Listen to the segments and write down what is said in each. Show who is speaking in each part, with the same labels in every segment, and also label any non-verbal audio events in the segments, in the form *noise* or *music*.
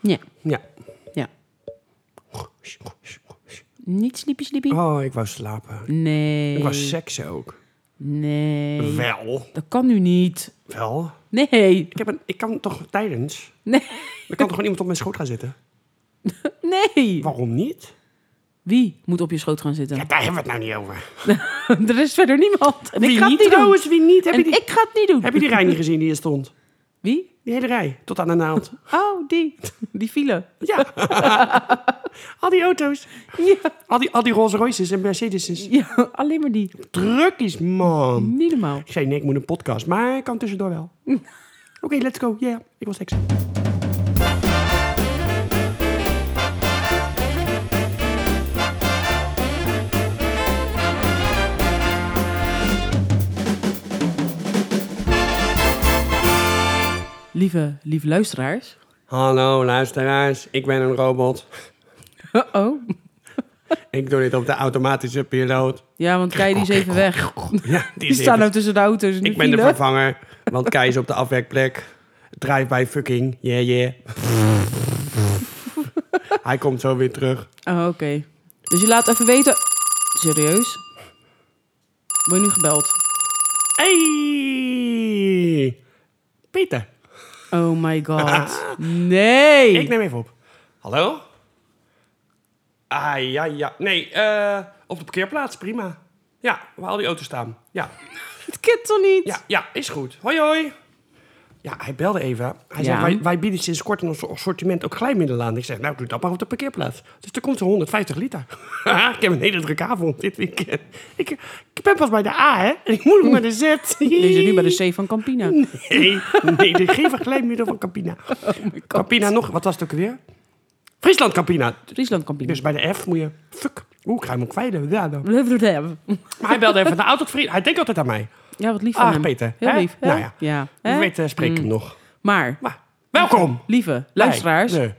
Speaker 1: Ja.
Speaker 2: Ja.
Speaker 1: ja. Niet sleepy sleepy?
Speaker 2: Oh, ik wou slapen.
Speaker 1: Nee.
Speaker 2: Ik wou seksen ook.
Speaker 1: Nee.
Speaker 2: Wel.
Speaker 1: Dat kan nu niet.
Speaker 2: Wel.
Speaker 1: Nee.
Speaker 2: Ik, heb een, ik kan toch tijdens...
Speaker 1: Nee.
Speaker 2: Dan kan toch gewoon iemand op mijn schoot gaan zitten?
Speaker 1: Nee.
Speaker 2: Waarom niet?
Speaker 1: Wie moet op je schoot gaan zitten?
Speaker 2: Ja, daar hebben we het nou niet over.
Speaker 1: *laughs* er is verder niemand. En ik
Speaker 2: wie
Speaker 1: ga het
Speaker 2: niet
Speaker 1: niet doen.
Speaker 2: trouwens, wie niet? Heb je,
Speaker 1: En
Speaker 2: die,
Speaker 1: ik ga het niet doen.
Speaker 2: heb je die rij niet gezien die hier stond?
Speaker 1: Wie?
Speaker 2: Die hele rij, tot aan de naald.
Speaker 1: Oh, die. Die file.
Speaker 2: *laughs* Ja. *laughs* al die auto's.
Speaker 1: Ja.
Speaker 2: Al die, al die Rolls Royces en Mercedes.
Speaker 1: ja, alleen maar die.
Speaker 2: Druk is, man.
Speaker 1: Niet normaal.
Speaker 2: Ik zei, nee, ik moet een podcast, maar ik kan tussendoor wel.
Speaker 1: Mm.
Speaker 2: Oké, let's go. Ja, ik was seks.
Speaker 1: Lieve, lieve luisteraars.
Speaker 2: Hallo luisteraars, ik ben een robot. Oh.
Speaker 1: Uh-oh.
Speaker 2: Ik doe dit op de automatische piloot. *laughs*
Speaker 1: Ja, want Kei die is even weg.
Speaker 2: Ja, die
Speaker 1: Die
Speaker 2: is
Speaker 1: staan
Speaker 2: even-
Speaker 1: nou tussen de auto's en de
Speaker 2: Ik ben de
Speaker 1: file.
Speaker 2: vervanger, want Kai is op de afwerkplek. Drive by fucking, yeah *laughs* yeah. Hij komt zo weer terug.
Speaker 1: Oh, oké. Dus je laat even weten... Serieus? Word je nu gebeld?
Speaker 2: Hey! Pieter,
Speaker 1: Oh my
Speaker 2: *laughs*
Speaker 1: god. Nee.
Speaker 2: ik neem even op. Hallo? Ah, ja, ja. Nee, eh, op de parkeerplaats, prima. Ja, waar al die auto's staan. Ja,
Speaker 1: Het kent toch niet?
Speaker 2: ja, ja is goed. Hoi, hoi. Ja, hij belde even. Hij
Speaker 1: Ja.
Speaker 2: zei, wij, wij bieden sinds kort in ons assortiment ook glijmiddelen aan. Ik zeg, nou, doe dat maar op de parkeerplaats. Dus er komt zo'n 150 liter. *laughs* ik heb een hele drukke avond dit weekend. Ik, ik ben pas bij de A, hè? En ik moet nog naar de Z.
Speaker 1: Je zit nu bij de C van Campina.
Speaker 2: Nee, nee, de gever glijmiddel van
Speaker 1: *laughs*
Speaker 2: Campina.
Speaker 1: Oh
Speaker 2: Campina nog, wat was het ook weer? Friesland Campina.
Speaker 1: Friesland Campina.
Speaker 2: Dus bij de F moet je... Fuck. Oeh, ik ga hem ook kwijlen. Ja, dan. Maar hij belde even de auto. vriend. Hij denkt altijd aan mij.
Speaker 1: Ja, wat lief van
Speaker 2: Ah,
Speaker 1: hem.
Speaker 2: Peter,
Speaker 1: Heel
Speaker 2: hè?
Speaker 1: lief. hè?
Speaker 2: Nou ja.
Speaker 1: hè? Hmm.
Speaker 2: Wie weet eh, spreek ik hem nog.
Speaker 1: Maar,
Speaker 2: Maar, welkom.
Speaker 1: lieve
Speaker 2: bij
Speaker 1: luisteraars,
Speaker 2: de-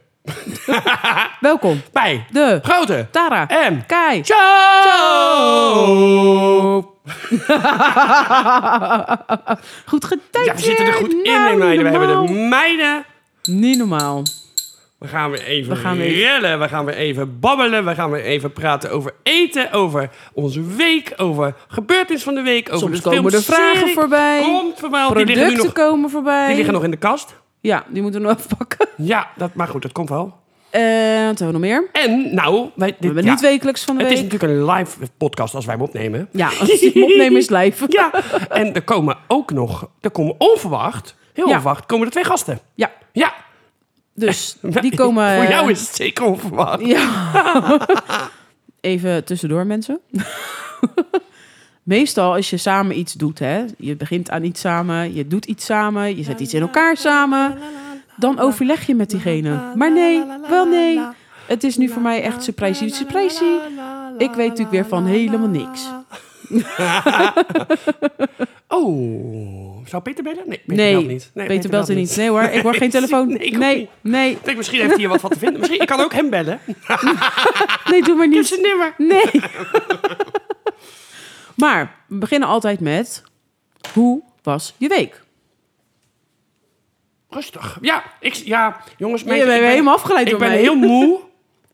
Speaker 1: welkom
Speaker 2: Bij
Speaker 1: De-
Speaker 2: de grote
Speaker 1: Tara
Speaker 2: en
Speaker 1: Kai.
Speaker 2: Show!
Speaker 1: Goed getimed.
Speaker 2: Ja, we zitten er
Speaker 1: weer.
Speaker 2: goed in.
Speaker 1: Nou,
Speaker 2: hè, meiden. We
Speaker 1: niet
Speaker 2: hebben de Oh,
Speaker 1: normaal.
Speaker 2: meiden.
Speaker 1: Niet normaal.
Speaker 2: We gaan weer even
Speaker 1: We gaan weer-
Speaker 2: rellen, we gaan weer even babbelen, we gaan weer even praten over eten, over onze week, over gebeurtenissen van de week, over
Speaker 1: Soms
Speaker 2: de
Speaker 1: komen er
Speaker 2: films,
Speaker 1: vragen
Speaker 2: serie.
Speaker 1: voorbij.
Speaker 2: Komt voorbij, die liggen, nu
Speaker 1: Producten
Speaker 2: nog,
Speaker 1: komen voorbij.
Speaker 2: die liggen nog in de kast.
Speaker 1: Ja, die moeten we nog *laughs* afpakken.
Speaker 2: Ja, dat, maar goed, dat komt wel.
Speaker 1: Eh, wat hebben we nog meer?
Speaker 2: En nou, wij, dit,
Speaker 1: We hebben
Speaker 2: ja,
Speaker 1: niet wekelijks van de
Speaker 2: het
Speaker 1: week.
Speaker 2: is natuurlijk een live podcast als wij hem opnemen.
Speaker 1: *laughs* Ja,
Speaker 2: *laughs*
Speaker 1: als je hem opnemen is live.
Speaker 2: Ja, *laughs* en er komen ook nog, er komen onverwacht, heel
Speaker 1: Ja.
Speaker 2: onverwacht, komen er twee gasten.
Speaker 1: Ja,
Speaker 2: Ja. *laughs*
Speaker 1: dus die komen...
Speaker 2: Voor
Speaker 1: eh,
Speaker 2: jou is het zeker onverwacht.
Speaker 1: Ja. *laughs* Even tussendoor, mensen. *laughs* Meestal als je samen iets doet, hè, je begint aan iets samen, je doet iets samen, je zet iets in elkaar samen, dan overleg je met diegene. Maar nee, wel nee, het is nu voor mij echt surprise, surprise. Ik weet natuurlijk weer van helemaal niks.
Speaker 2: Oh, zou Peter bellen? Nee, Peter
Speaker 1: Nee,
Speaker 2: belt niet. Nee,
Speaker 1: Peter belt er niet. Nee hoor, ik hoor geen telefoon.
Speaker 2: *laughs* Nee, ik ook
Speaker 1: Nee,
Speaker 2: niet.
Speaker 1: nee,
Speaker 2: Ik denk, misschien heeft hij hier wat van te vinden. Misschien, ik kan ook hem bellen.
Speaker 1: nee, doe maar
Speaker 2: Niet
Speaker 1: niet.
Speaker 2: zijn nummer.
Speaker 1: Nee. *laughs* maar we beginnen altijd met, hoe was je week?
Speaker 2: Rustig. Ja, ik, ja jongens.
Speaker 1: Nee, je bent
Speaker 2: ik ben-
Speaker 1: helemaal afgeleid
Speaker 2: Ik
Speaker 1: door
Speaker 2: ben
Speaker 1: mij.
Speaker 2: heel
Speaker 1: *laughs*
Speaker 2: moe.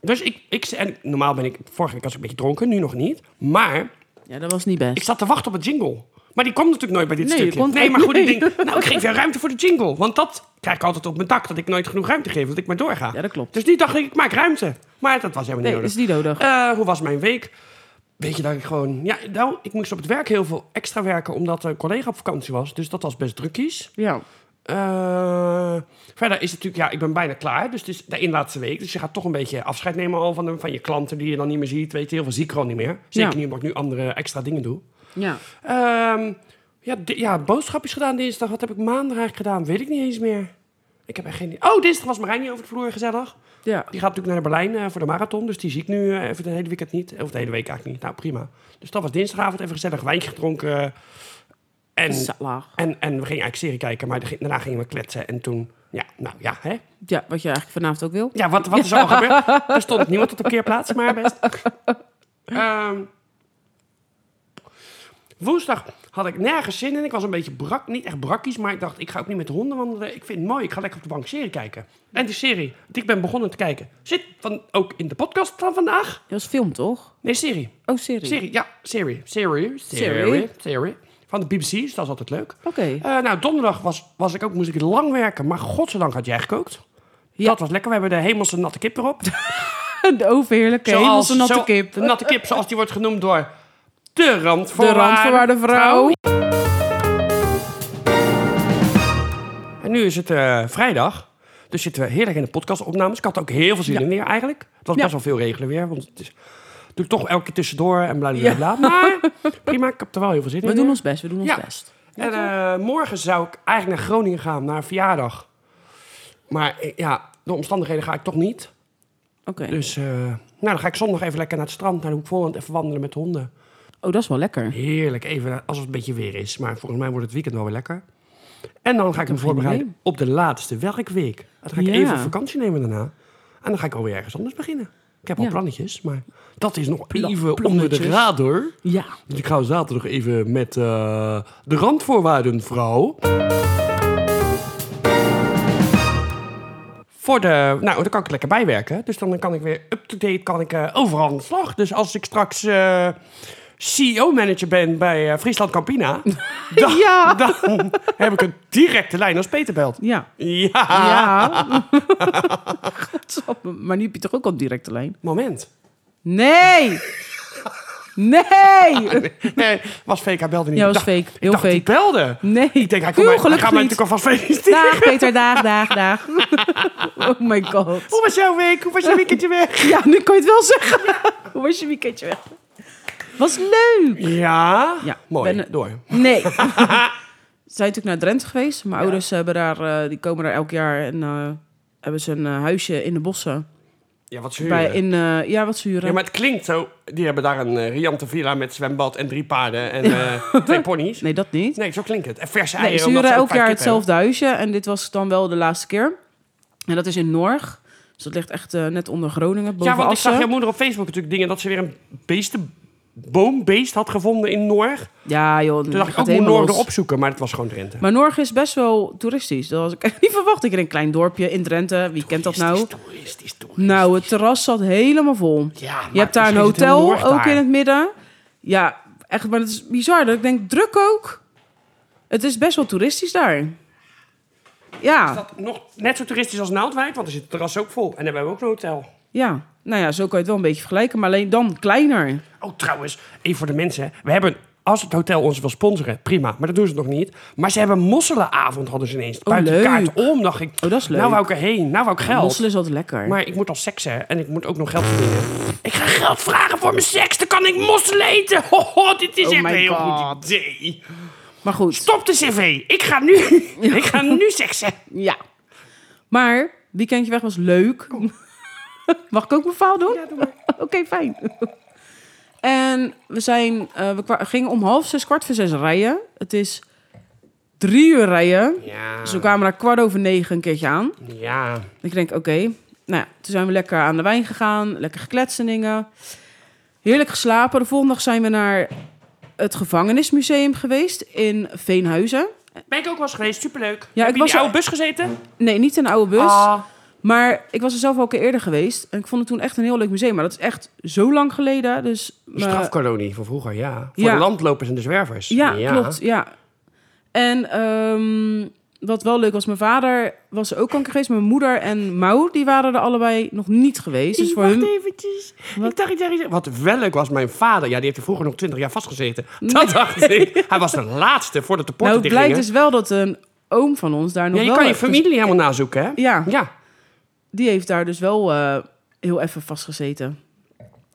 Speaker 2: Dus ik, ik, en normaal ben ik, vorige week was ik een beetje dronken, nu nog niet. Maar
Speaker 1: Ja, dat was niet best.
Speaker 2: ik zat te wachten op een jingle. Maar die kwam natuurlijk nooit bij dit
Speaker 1: Nee, die
Speaker 2: stukje.
Speaker 1: komt
Speaker 2: nee,
Speaker 1: ook
Speaker 2: maar goed, ik
Speaker 1: niet.
Speaker 2: denk, nou, ik geef jou ruimte voor de jingle. Want dat krijg ik altijd op mijn dak, dat ik nooit genoeg ruimte geef, dat ik maar doorga.
Speaker 1: Ja, dat klopt.
Speaker 2: Dus die dacht ik, ik maak ruimte. Maar dat was helemaal
Speaker 1: Nee,
Speaker 2: niet
Speaker 1: is
Speaker 2: nodig.
Speaker 1: niet nodig.
Speaker 2: Eh, hoe was mijn week? Weet je dat ik gewoon... Ja, nou, ik moest op het werk heel veel extra werken, omdat een collega op vakantie was. Dus dat was best drukkies.
Speaker 1: Ja.
Speaker 2: Eh, verder is het natuurlijk, ja, ik ben bijna klaar. Dus het is de inlaatste week. Dus je gaat toch een beetje afscheid nemen al van, de- van je klanten die je dan niet meer ziet. Weet je, heel veel zie ik gewoon niet meer. Zeker
Speaker 1: Ja.
Speaker 2: nu omdat ik nu andere extra dingen doe.
Speaker 1: ja.
Speaker 2: Ehm, ja, di- ja, boodschapjes gedaan dinsdag. Wat heb ik maandag eigenlijk gedaan? Weet ik niet eens meer. Ik heb echt geen... Oh, dinsdag was Marijn hier over de vloer, gezellig.
Speaker 1: Ja.
Speaker 2: Die gaat natuurlijk naar Berlijn eh, voor de marathon. Dus die zie ik nu eh, even de hele weekend niet. Of de hele week eigenlijk niet. Nou, prima. Dus dat was dinsdagavond. Even gezellig wijntje gedronken. eh, en,
Speaker 1: Zalig.
Speaker 2: en, en we gingen eigenlijk serie kijken. Maar de- daarna gingen we kletsen. En toen... Ja, nou ja, hè.
Speaker 1: Ja, wat je eigenlijk vanavond ook wil.
Speaker 2: Ja, wat, wat is er allemaal gebeurd? Er stond niemand op de parkeerplaats, maar best. Ehm, Woensdag had ik nergens zin in. Ik was een beetje brak, niet echt brakkies, maar ik dacht, ik ga ook niet met de honden wandelen. Ik vind het mooi, ik ga lekker op de bank serie kijken. En die serie die ik ben begonnen te kijken zit van, ook in de podcast van vandaag.
Speaker 1: Dat was film, toch?
Speaker 2: Nee, serie.
Speaker 1: Oh, serie.
Speaker 2: Serie, ja, serie. Serie,
Speaker 1: Serie.
Speaker 2: serie, serie. Van de BBC, dus dat is altijd leuk.
Speaker 1: Oké.
Speaker 2: Eh, nou, donderdag was, was ik ook, moest ik lang werken, maar godzijdank had jij gekookt.
Speaker 1: Ja.
Speaker 2: Dat was lekker, we hebben de hemelse natte kip erop.
Speaker 1: *laughs* De overheerlijke hemelse natte
Speaker 2: zo-
Speaker 1: kip.
Speaker 2: een natte kip, zoals die wordt genoemd door de
Speaker 1: eh, De
Speaker 2: randvoorwaarde
Speaker 1: randvoorwaarde vrouw.
Speaker 2: En nu is het eh, vrijdag. Dus zitten we heerlijk in de podcastopnames. Ik had er ook heel veel zin in weer eigenlijk. Het was
Speaker 1: Ja.
Speaker 2: best wel veel regelen weer. Want het is, doe ik toch elke keer tussendoor en bla bla
Speaker 1: Ja.
Speaker 2: bla. Maar
Speaker 1: *laughs*
Speaker 2: prima, ik heb er wel heel veel zin in.
Speaker 1: We doen
Speaker 2: weer.
Speaker 1: ons best, we doen ons
Speaker 2: Ja.
Speaker 1: best.
Speaker 2: En eh, morgen zou ik eigenlijk naar Groningen gaan, naar een verjaardag. Maar eh, ja, door omstandigheden ga ik toch niet.
Speaker 1: Oké.
Speaker 2: Dus eh, nou, dan ga ik zondag even lekker naar het strand, naar de Hoek Holland, even wandelen met de honden.
Speaker 1: Oh, dat is wel lekker.
Speaker 2: Heerlijk, even eh, als het een beetje weer is. Maar volgens mij wordt het weekend wel weer lekker. En dan ga ik me voorbereiden op de laatste werkweek. Dan ga ik
Speaker 1: Ja.
Speaker 2: even vakantie nemen daarna. En dan ga ik alweer ergens anders beginnen. Ik heb al
Speaker 1: Ja.
Speaker 2: plannetjes, maar dat is nog
Speaker 1: Pla-
Speaker 2: even onder de
Speaker 1: plannetjes.
Speaker 2: radar.
Speaker 1: Ja.
Speaker 2: Dus ik ga zaterdag even met eh, de randvoorwaarden, vrouw. Voor de, nou, dan kan ik lekker bijwerken. Dus dan kan ik weer up-to-date, kan ik eh, overal aan de slag. Dus als ik straks eh, CEO-manager ben bij eh, Friesland Campina...
Speaker 1: *laughs*
Speaker 2: dan,
Speaker 1: Ja.
Speaker 2: dan heb ik een directe lijn als Peter belt.
Speaker 1: Ja.
Speaker 2: Ja,
Speaker 1: *laughs* Ja. Godsamme, maar nu heb je toch ook al een directe lijn? *laughs*
Speaker 2: moment.
Speaker 1: Nee! Nee!
Speaker 2: Nee, was fake, hij belde niet.
Speaker 1: Ja,
Speaker 2: Ik
Speaker 1: was
Speaker 2: dacht-
Speaker 1: fake. Heel
Speaker 2: ik dacht,
Speaker 1: fake.
Speaker 2: die belde.
Speaker 1: Nee.
Speaker 2: Ik denk, hij, komt mij, hij
Speaker 1: gelukkig
Speaker 2: gaat mij
Speaker 1: niet.
Speaker 2: natuurlijk alvast *laughs* feliciteren.
Speaker 1: Daag, Peter, daag, daag, daag. *laughs* Oh my god.
Speaker 2: Hoe was jouw week? Hoe was je
Speaker 1: *laughs*
Speaker 2: weekendje weg?
Speaker 1: Ja, nu kan je het wel zeggen. Hoe was je weekendje weg? Was leuk.
Speaker 2: Ja,
Speaker 1: Ja,
Speaker 2: mooi.
Speaker 1: ben-
Speaker 2: Door.
Speaker 1: Nee. *laughs* We zijn natuurlijk naar Drenthe geweest. Mijn ouders hebben daar, eh, die komen daar elk jaar en eh, hebben ze een eh, huisje in de bossen.
Speaker 2: Ja, wat
Speaker 1: Bij, in, eh, ja, wat zuren.
Speaker 2: Ja, maar het klinkt zo. Die hebben daar een eh, riante villa met zwembad en drie paarden en eh, twee ponies.
Speaker 1: Nee, dat niet.
Speaker 2: Nee, zo klinkt het. En verse
Speaker 1: Nee,
Speaker 2: eieren.
Speaker 1: ze
Speaker 2: omdat
Speaker 1: huren
Speaker 2: ook
Speaker 1: elk
Speaker 2: vijf
Speaker 1: jaar
Speaker 2: kippen hebben.
Speaker 1: hetzelfde huisje. En dit was dan wel de laatste keer. En dat is in Norg. Dus dat ligt echt eh, net onder Groningen, boven
Speaker 2: Ja, want ik
Speaker 1: Assen.
Speaker 2: zag jouw moeder op Facebook natuurlijk dingen dat ze weer een beesten, boombeest had gevonden in Noor.
Speaker 1: Ja, joh.
Speaker 2: Toen dacht ik
Speaker 1: Mm, gaat
Speaker 2: ook, moet
Speaker 1: helemaal
Speaker 2: Noor
Speaker 1: los.
Speaker 2: erop zoeken, maar het was gewoon Drenthe.
Speaker 1: Maar Norg is best wel toeristisch. Dat was ik *laughs* echt niet verwacht. Ik in een klein dorpje in Drenthe. Wie kent dat nou?
Speaker 2: Toeristisch, toeristisch, toeristisch.
Speaker 1: Nou, het terras zat helemaal vol.
Speaker 2: Ja, maar
Speaker 1: Je hebt daar een
Speaker 2: misschien is het heel
Speaker 1: hotel
Speaker 2: Noord
Speaker 1: ook
Speaker 2: daar.
Speaker 1: in het midden. Ja, echt, maar het is bizar. Dat ik denk, druk ook. Het is best wel toeristisch daar. Ja,
Speaker 2: Is dat nog net zo toeristisch als Naaldwijk? Want er zit het terras ook vol. En daar hebben we ook een hotel.
Speaker 1: ja. Nou ja, zo kan je het wel een beetje vergelijken. Maar alleen dan kleiner.
Speaker 2: Oh, trouwens, even voor de mensen. hè. We hebben, als het hotel ons wil sponsoren, prima. Maar dat doen ze nog niet. Maar ze hebben mosselenavond, hadden ze ineens. buiten de
Speaker 1: Oh, leuk.
Speaker 2: kaart om, dacht ik.
Speaker 1: Oh, dat is leuk.
Speaker 2: Nou wou ik erheen, nou wou ik geld.
Speaker 1: Mosselen is altijd lekker.
Speaker 2: Maar ik moet al seksen en ik moet ook nog geld verdienen. Ik ga geld vragen voor mijn seks, dan kan ik mosselen eten. Ho, ho, dit is
Speaker 1: Oh
Speaker 2: echt
Speaker 1: my
Speaker 2: een heel
Speaker 1: God.
Speaker 2: goed idee.
Speaker 1: Maar goed,
Speaker 2: Stop de cv, ik ga nu, ik ga nu seksen.
Speaker 1: ja. Maar weekendje weg was leuk. *laughs* Mag ik ook mijn verhaal doen? *laughs* Oké, fijn. En we, zijn, eh, we kwa- gingen om half zes, kwart voor zes rijden. Het is drie uur rijden.
Speaker 2: Ja,
Speaker 1: Dus we kwamen daar kwart over negen een keertje aan.
Speaker 2: ja.
Speaker 1: Ik denk, oké. Nou ja, toen zijn we lekker aan de wijn gegaan. Lekker gekletst en dingen. Heerlijk geslapen. De volgende dag zijn we naar het gevangenismuseum geweest in Veenhuizen.
Speaker 2: Ben ik ook wel eens geweest, superleuk.
Speaker 1: Ja,
Speaker 2: Heb
Speaker 1: ik was
Speaker 2: je in die
Speaker 1: er-
Speaker 2: oude Oh, bus gezeten?
Speaker 1: Nee, niet een oude bus.
Speaker 2: Ah,
Speaker 1: Maar ik was er zelf al een keer eerder geweest. En ik vond het toen echt een heel leuk museum. Maar dat is echt zo lang geleden. Dus,
Speaker 2: de
Speaker 1: eh,
Speaker 2: strafkolonie van vroeger, ja. Voor
Speaker 1: Ja.
Speaker 2: de landlopers en de zwervers.
Speaker 1: ja, klopt. Ja. En ehm, wat wel leuk was, mijn vader was er ook al een keer geweest. Mijn moeder en Mau, die waren er allebei nog niet geweest. Dus voor
Speaker 2: Wacht
Speaker 1: hun...
Speaker 2: eventjes.
Speaker 1: Wat?
Speaker 2: Ik dacht, ik dacht, ik dacht- wat wel leuk was, mijn vader... Ja, die heeft er vroeger nog twintig jaar vastgezeten. Dat dacht ik. Hij was de laatste voordat de
Speaker 1: Nou,
Speaker 2: poorten
Speaker 1: het
Speaker 2: dichtgingen.
Speaker 1: blijkt dus wel dat een oom van ons daar nog
Speaker 2: Ja, je
Speaker 1: wel...
Speaker 2: kan je
Speaker 1: even-
Speaker 2: familie helemaal nazoeken, hè?
Speaker 1: Ja,
Speaker 2: Ja.
Speaker 1: die heeft daar dus wel eh, heel even vastgezeten.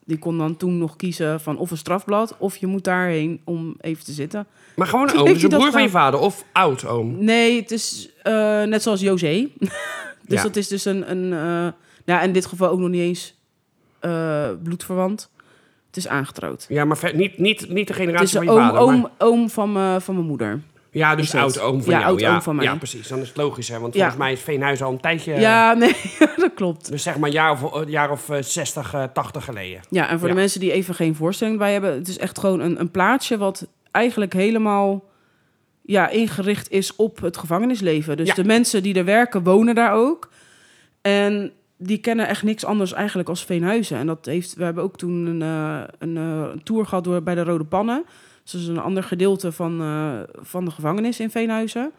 Speaker 1: Die kon dan toen nog kiezen van of een strafblad... of je moet daarheen om even te zitten. *laughs*
Speaker 2: Maar gewoon een
Speaker 1: Toen
Speaker 2: oom.
Speaker 1: heeft
Speaker 2: Dus
Speaker 1: hij
Speaker 2: een
Speaker 1: dat
Speaker 2: broer van je
Speaker 1: gedaan.
Speaker 2: vader of oud-oom.
Speaker 1: Nee, het is eh, net zoals José. *laughs* dus
Speaker 2: Ja.
Speaker 1: dat is dus een... een eh, nou, in dit geval ook nog niet eens eh, bloedverwant. Het is aangetrouwd.
Speaker 2: Ja, maar ver- niet, niet, niet de
Speaker 1: Het
Speaker 2: generatie
Speaker 1: is
Speaker 2: van
Speaker 1: een
Speaker 2: je
Speaker 1: Dus oom,
Speaker 2: vader.
Speaker 1: oom,
Speaker 2: maar-
Speaker 1: oom van, me, van mijn moeder.
Speaker 2: ja,
Speaker 1: is
Speaker 2: dus
Speaker 1: het.
Speaker 2: oud-oom van
Speaker 1: Ja,
Speaker 2: jou.
Speaker 1: oud-oom van mij.
Speaker 2: Ja, precies. Dan is het logisch, hè? Want
Speaker 1: Ja.
Speaker 2: volgens mij is Veenhuis al een tijdje...
Speaker 1: Ja, nee, *laughs* dat klopt.
Speaker 2: Dus zeg maar een jaar of, een jaar of eh, 60, eh, 80 geleden.
Speaker 1: Ja, en voor
Speaker 2: Ja.
Speaker 1: de mensen die even geen voorstelling bij hebben... het is echt gewoon een, een plaatsje wat eigenlijk helemaal ja, ingericht is op het gevangenisleven. Dus
Speaker 2: Ja.
Speaker 1: de mensen die er werken, wonen daar ook. En die kennen echt niks anders eigenlijk als Veenhuizen. En dat heeft, we hebben ook toen een, eh, een eh, tour gehad door, bij de Rode Pannen. Dus dat is een ander gedeelte van, eh, van de gevangenis in Veenhuizen.